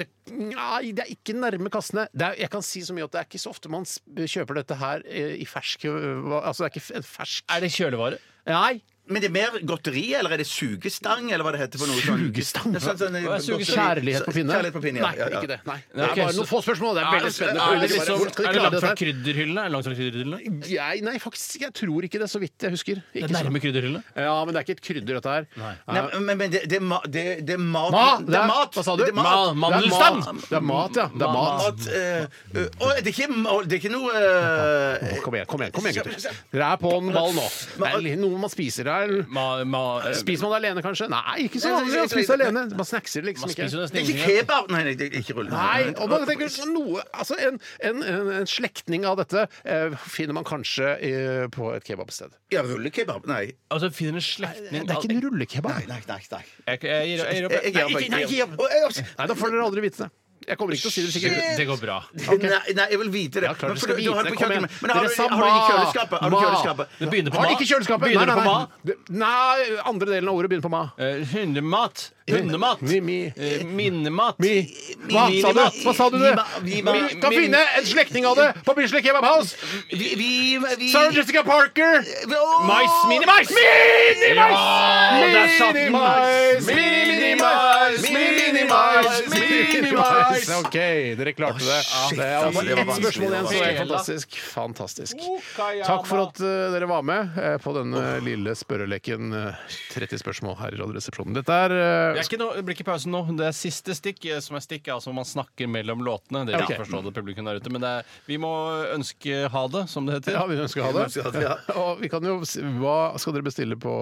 S1: Nei, det er ikke nærme kassene. Det er, jeg kan si så mye at det er ikke så ofte man s- kjøper dette her eh, i fersk eh, hva- Altså, det er ikke f- en fersk
S3: Er det kjølevare?
S1: Nei.
S2: Men det er mer godteri, eller er det sugestang, eller hva det heter for noe sånn?
S1: Sugestang?
S2: Ja, sånn- sånn-
S3: Hva er suge-
S2: godteri-
S1: Kjærlighet på pinne?
S2: Kjærlighet på pinne, ja.
S1: Nei,
S2: ja, ja.
S1: ikke det. Nei. Det
S3: Ja,
S1: er
S3: ok,
S1: bare
S3: så-
S1: noen få spørsmål. Det er veldig spennende.
S3: Er det, liksom,
S1: Publikum bare, hvordan skal
S3: er
S1: de
S3: det langt fra
S1: klare dette her?
S3: krydderhyllene? Er det langt fra krydderhyllene?
S1: Jeg, nei, faktisk, jeg tror ikke det, så vidt jeg husker.
S3: Det
S1: Ikke
S3: er
S1: så-
S3: nærme krydderhyllene.
S1: Ja, men det er ikke et krydder, dette her. Nei.
S2: Nei, men- men det, det, er ma, det, det er mat
S1: Ma-
S2: Det er mat!
S1: Hva sa du?
S2: Det er mat.
S3: Ma-
S1: Det er
S3: Mandelstang.
S1: mat. Det er mat, ja. Det er mat.
S2: Mat, eh, eh, å, det, er ikke, ma- det er ikke noe eh,
S1: Kom igjen, kom igjen, kom igjen, gutter. Dere er på en ball nå. Det er li- noe man spiser her.
S3: Ma, ma, eh,
S1: Spiser man det alene, kanskje? Nei, ikke så
S2: Nei,
S1: vanlig å
S2: nei,
S1: spise
S2: nei,
S1: alene. Man snackser det liksom
S3: man spiser jo
S1: ikke.
S3: nesten
S2: Det er ikke
S3: ingenting.
S2: kebab! Nei, nei, det er ikke rulle.
S1: Nei, og man tenker sånn noe, altså En, en, en, en slektning av dette eh, finner man kanskje eh, på et kebabsted.
S2: Ja, rullekebab. Nei.
S3: Altså, finner en
S1: Det
S3: slektning
S1: er ikke en rullekebab.
S2: Nei, nei, nei.
S3: Jeg, jeg, gir- jeg gir opp.
S2: Jeg- jeg-
S1: Nei, ikke- nei, ikke-
S2: Å, jeg- altså, også-
S1: Nei, da får dere aldri vite det. Jeg kommer ikke til å si det
S3: Det,
S1: sikkert.
S3: det går bra.
S2: Nei, nei, jeg vil vite det.
S1: Ja, klart
S2: Men
S1: du
S2: for
S1: skal vite
S2: har
S1: det.
S2: på
S1: Kom igjen.
S2: kjøkkenet. Men har
S1: Dere
S2: du,
S1: sa
S2: har du det i
S1: ma.
S2: kjøleskapet? Har du i
S1: Ma.
S2: kjøleskapet?
S3: Det begynner på
S1: Har
S3: ma.
S1: de ikke kjøleskapet?
S3: Begynner
S1: nei,
S3: på ma.
S1: nei, nei. Nei, andre delen av ordet begynner på ma.
S3: Eh, hundemat. Hundemat.
S1: Mi, mi.
S3: Eh, minnemat.
S1: Mi. Hva sa du? Hva sa du?
S2: Lima- Lima-
S1: Vi kan finne en slektning av det på Bislett Kebab House!
S2: Vi, vi, vi
S1: Sarah Jessica Parker!
S2: Åh!
S3: Mais. Minimais!
S1: Minimais!
S3: Ja, der satt den.
S1: Minimais!
S3: Minimais!
S1: Minimais!
S3: Minimais!
S1: OK, dere klarte det.
S2: shit,
S1: Det er
S2: altså, det
S1: bare
S2: var
S1: ett spørsmål igjen, så det er
S3: vanskelig.
S1: fantastisk. Fantastisk. Takk for at eh, dere var med eh, på denne lille spørreleken eh, 30 spørsmål her i Radioresepsjonen. Dette er
S3: Det,
S1: eh,
S3: er ikke noe- det blir ikke pausen nå. Det er siste stikk eh, som er stikk, altså man snakker mellom låtene. Det vil
S1: Ok.
S3: ikke forstå det publikum der ute, men det er, vi må ønske ha det, som det heter.
S1: ja, vi ønsker å ha det.
S2: Ja.
S1: Og vi kan jo, s- hva skal dere bestille på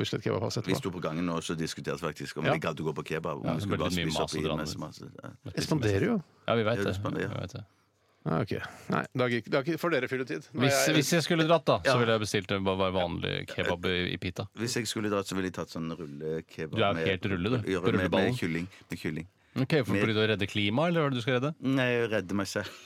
S1: Bislett Kebab House
S2: Vi
S1: etterpå?
S2: sto på gangen nå og diskuterte faktisk om
S1: Ja.
S2: vi gadd å gå på kebab. Om
S3: Ja,
S2: vi skulle bare
S3: veldig mye
S2: spise
S3: mas
S2: opp i
S3: og dra
S2: masse,
S3: ned.
S2: masse. Ja.
S1: Responderer jo.
S3: Ja, vi
S2: Ja,
S3: veit
S2: det
S3: det.
S2: er spennende, ja.
S3: Vi vet det.
S1: Ah, ok. Nei, da gikk- da får dere fylle tid. Nå er
S3: Hvis,
S1: jeg-
S3: hvis jeg skulle dratt, da, så ville jeg bestilt en bare vanlig kebab i, i pita.
S2: Hvis jeg skulle dratt, så ville jeg tatt sånn rullekebab
S3: Du er jo helt rulle, du.
S2: Ja,
S3: På
S2: Med, med,
S3: rulleballen.
S2: kylling. Med kylling.
S3: Ok, for, Fordi du vil redde klimaet, eller hva er det du skal redde?
S2: Nei, jeg redder meg selv.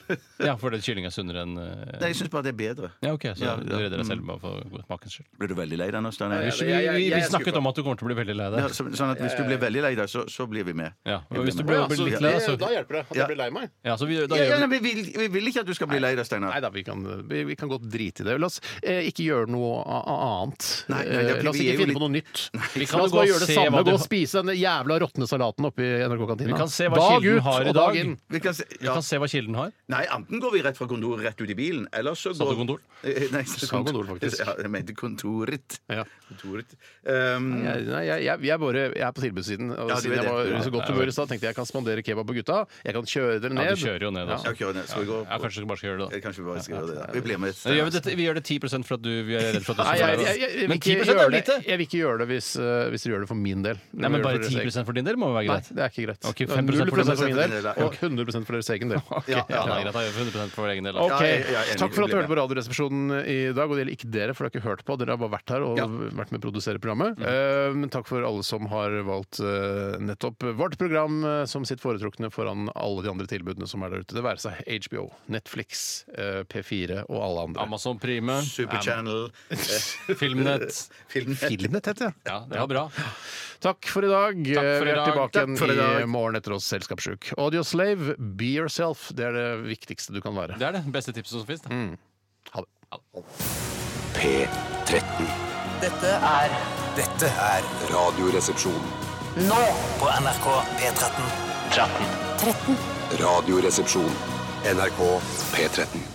S3: Ja, fordi kylling er sunnere enn eh,
S2: Nei, jeg syns bare det er bedre.
S3: Ja, ok, så
S2: Ja,
S3: du
S2: ja.
S3: redder deg selv bare for smakens skyld.
S2: Blir du veldig lei deg nå, Steinar?
S3: Vi, vi, vi, vi snakket om at du kommer til å bli veldig lei
S2: Ja,
S3: deg.
S2: så, sånn at hvis du blir veldig lei deg, så, så blir vi med.
S3: Ja, og hvis du
S1: Å
S3: blir,
S1: ja,
S3: blir
S1: så
S3: litt
S1: det-
S3: lei deg, så
S1: Da hjelper det at jeg blir lei meg.
S3: Ja, så vi, da
S2: Ja,
S3: gjør
S2: ja,
S3: vi
S2: nei, vi, vil, vi vil ikke at du skal bli lei deg,
S1: Nei
S2: Steinar.
S1: da, vi kan, vi, vi kan godt drite i det. La oss eh, ikke gjøre noe a- a- annet.
S2: Nei, nei, det-
S1: Eh, La oss
S2: vi
S1: ikke
S2: er jo
S1: finne
S2: litt-
S1: på noe nytt.
S3: Vi
S1: La
S3: kan
S1: oss
S3: gå
S1: bare
S3: og
S1: gjøre det
S3: se
S1: samme.
S3: hva
S1: Gå
S3: du
S1: og spise den jævla råtne salaten oppe i NRK-kantina.
S3: Vi kan se hva
S1: Dag
S3: Kilden
S1: ut
S3: har i
S1: og
S3: dag.
S1: inn.
S2: Vi kan se,
S3: Vi
S2: ja.
S3: kan se hva kilden har.
S2: Nei, enten går vi rett fra kontoret rett ut i bilen, eller så
S3: Sa
S2: går
S3: du kontor?
S2: Eh, Nei, jeg
S1: Sa kontor, faktisk.
S2: Ja, jeg mente kontoret.
S1: Ja.
S2: kontoret. Um,
S1: Jeg, nei, jeg, jeg, jeg, er bare, jeg er på tilbudssiden. Og
S2: Ja, du
S1: siden
S2: vet
S1: jeg
S2: det.
S1: var i
S2: Ja,
S1: så godt
S3: ja,
S1: humør i stad, tenkte jeg jeg kan spandere kebab på gutta. Jeg kan kjøre dere ned.
S3: Ja, du kjører jo ned altså.
S2: ja,
S3: også.
S2: kjør ned. Skal vi gå
S3: Ja, kanskje du bare skal gjøre det, da.
S2: Eh, Kanskje vi bare skal gjøre det. da. Vi blir med.
S3: Nei, gjør vi, dette, vi gjør det 10 for at du vi er redd Altså, for at du
S1: Nei,
S3: skal
S1: jeg,
S3: få deg
S1: jeg,
S3: det.
S1: jeg, jeg, vil
S3: Men
S1: ikke
S3: 10
S1: gjøre
S3: er
S1: det.
S3: lite!
S1: jeg vil ikke gjøre det hvis, eh, hvis dere gjør det for min del. Dere
S3: Nei,
S1: må
S3: men
S1: gjøre
S3: bare
S1: det for deres
S3: 10 for din del må jo være
S1: egen-
S3: greit.
S1: Nei, det er ikke greit.
S3: Ok, 5% for
S1: 0% for
S3: din
S1: min
S3: del.
S1: del, og 100 for deres egen del.
S3: Ja, ja, det er greit. Da gjør vi 100 for vår egen del. da.
S1: Ok,
S8: Ja, jeg- jeg er enig.
S1: Takk for at du hørte på Radioresepsjonen i dag. Og det gjelder ikke dere, for dere har ikke hørt på. Dere har bare vært her og vært med å produsere
S3: Mm.
S1: programmet. Eh, Men takk for alle som har valgt eh, nettopp vårt program eh, som sitt foretrukne foran alle de andre tilbudene som er der ute. Det være seg HBO, Netflix, eh, P4 og alle andre.
S3: Amazon Prime,
S2: Superchannel, Eh,
S3: Filmnet.
S2: filmnett
S1: Filmnett heter det.
S3: Ja, det var bra.
S1: Takk for i dag.
S3: for
S1: Eh, Vi
S3: i
S1: er
S3: dag.
S1: tilbake
S3: Takk for i
S1: igjen
S3: dag.
S1: i morgen etter oss Selskapssjuk. Audio Slave, be yourself. Det er det viktigste du kan være.
S3: Det er det beste tipset som finnes. det.
S1: Ha det.
S4: P13.
S10: Dette er Dette er
S4: Radioresepsjon.
S10: Nå på NRK P13. 13.
S6: 13.
S4: Radioresepsjon. NRK P13.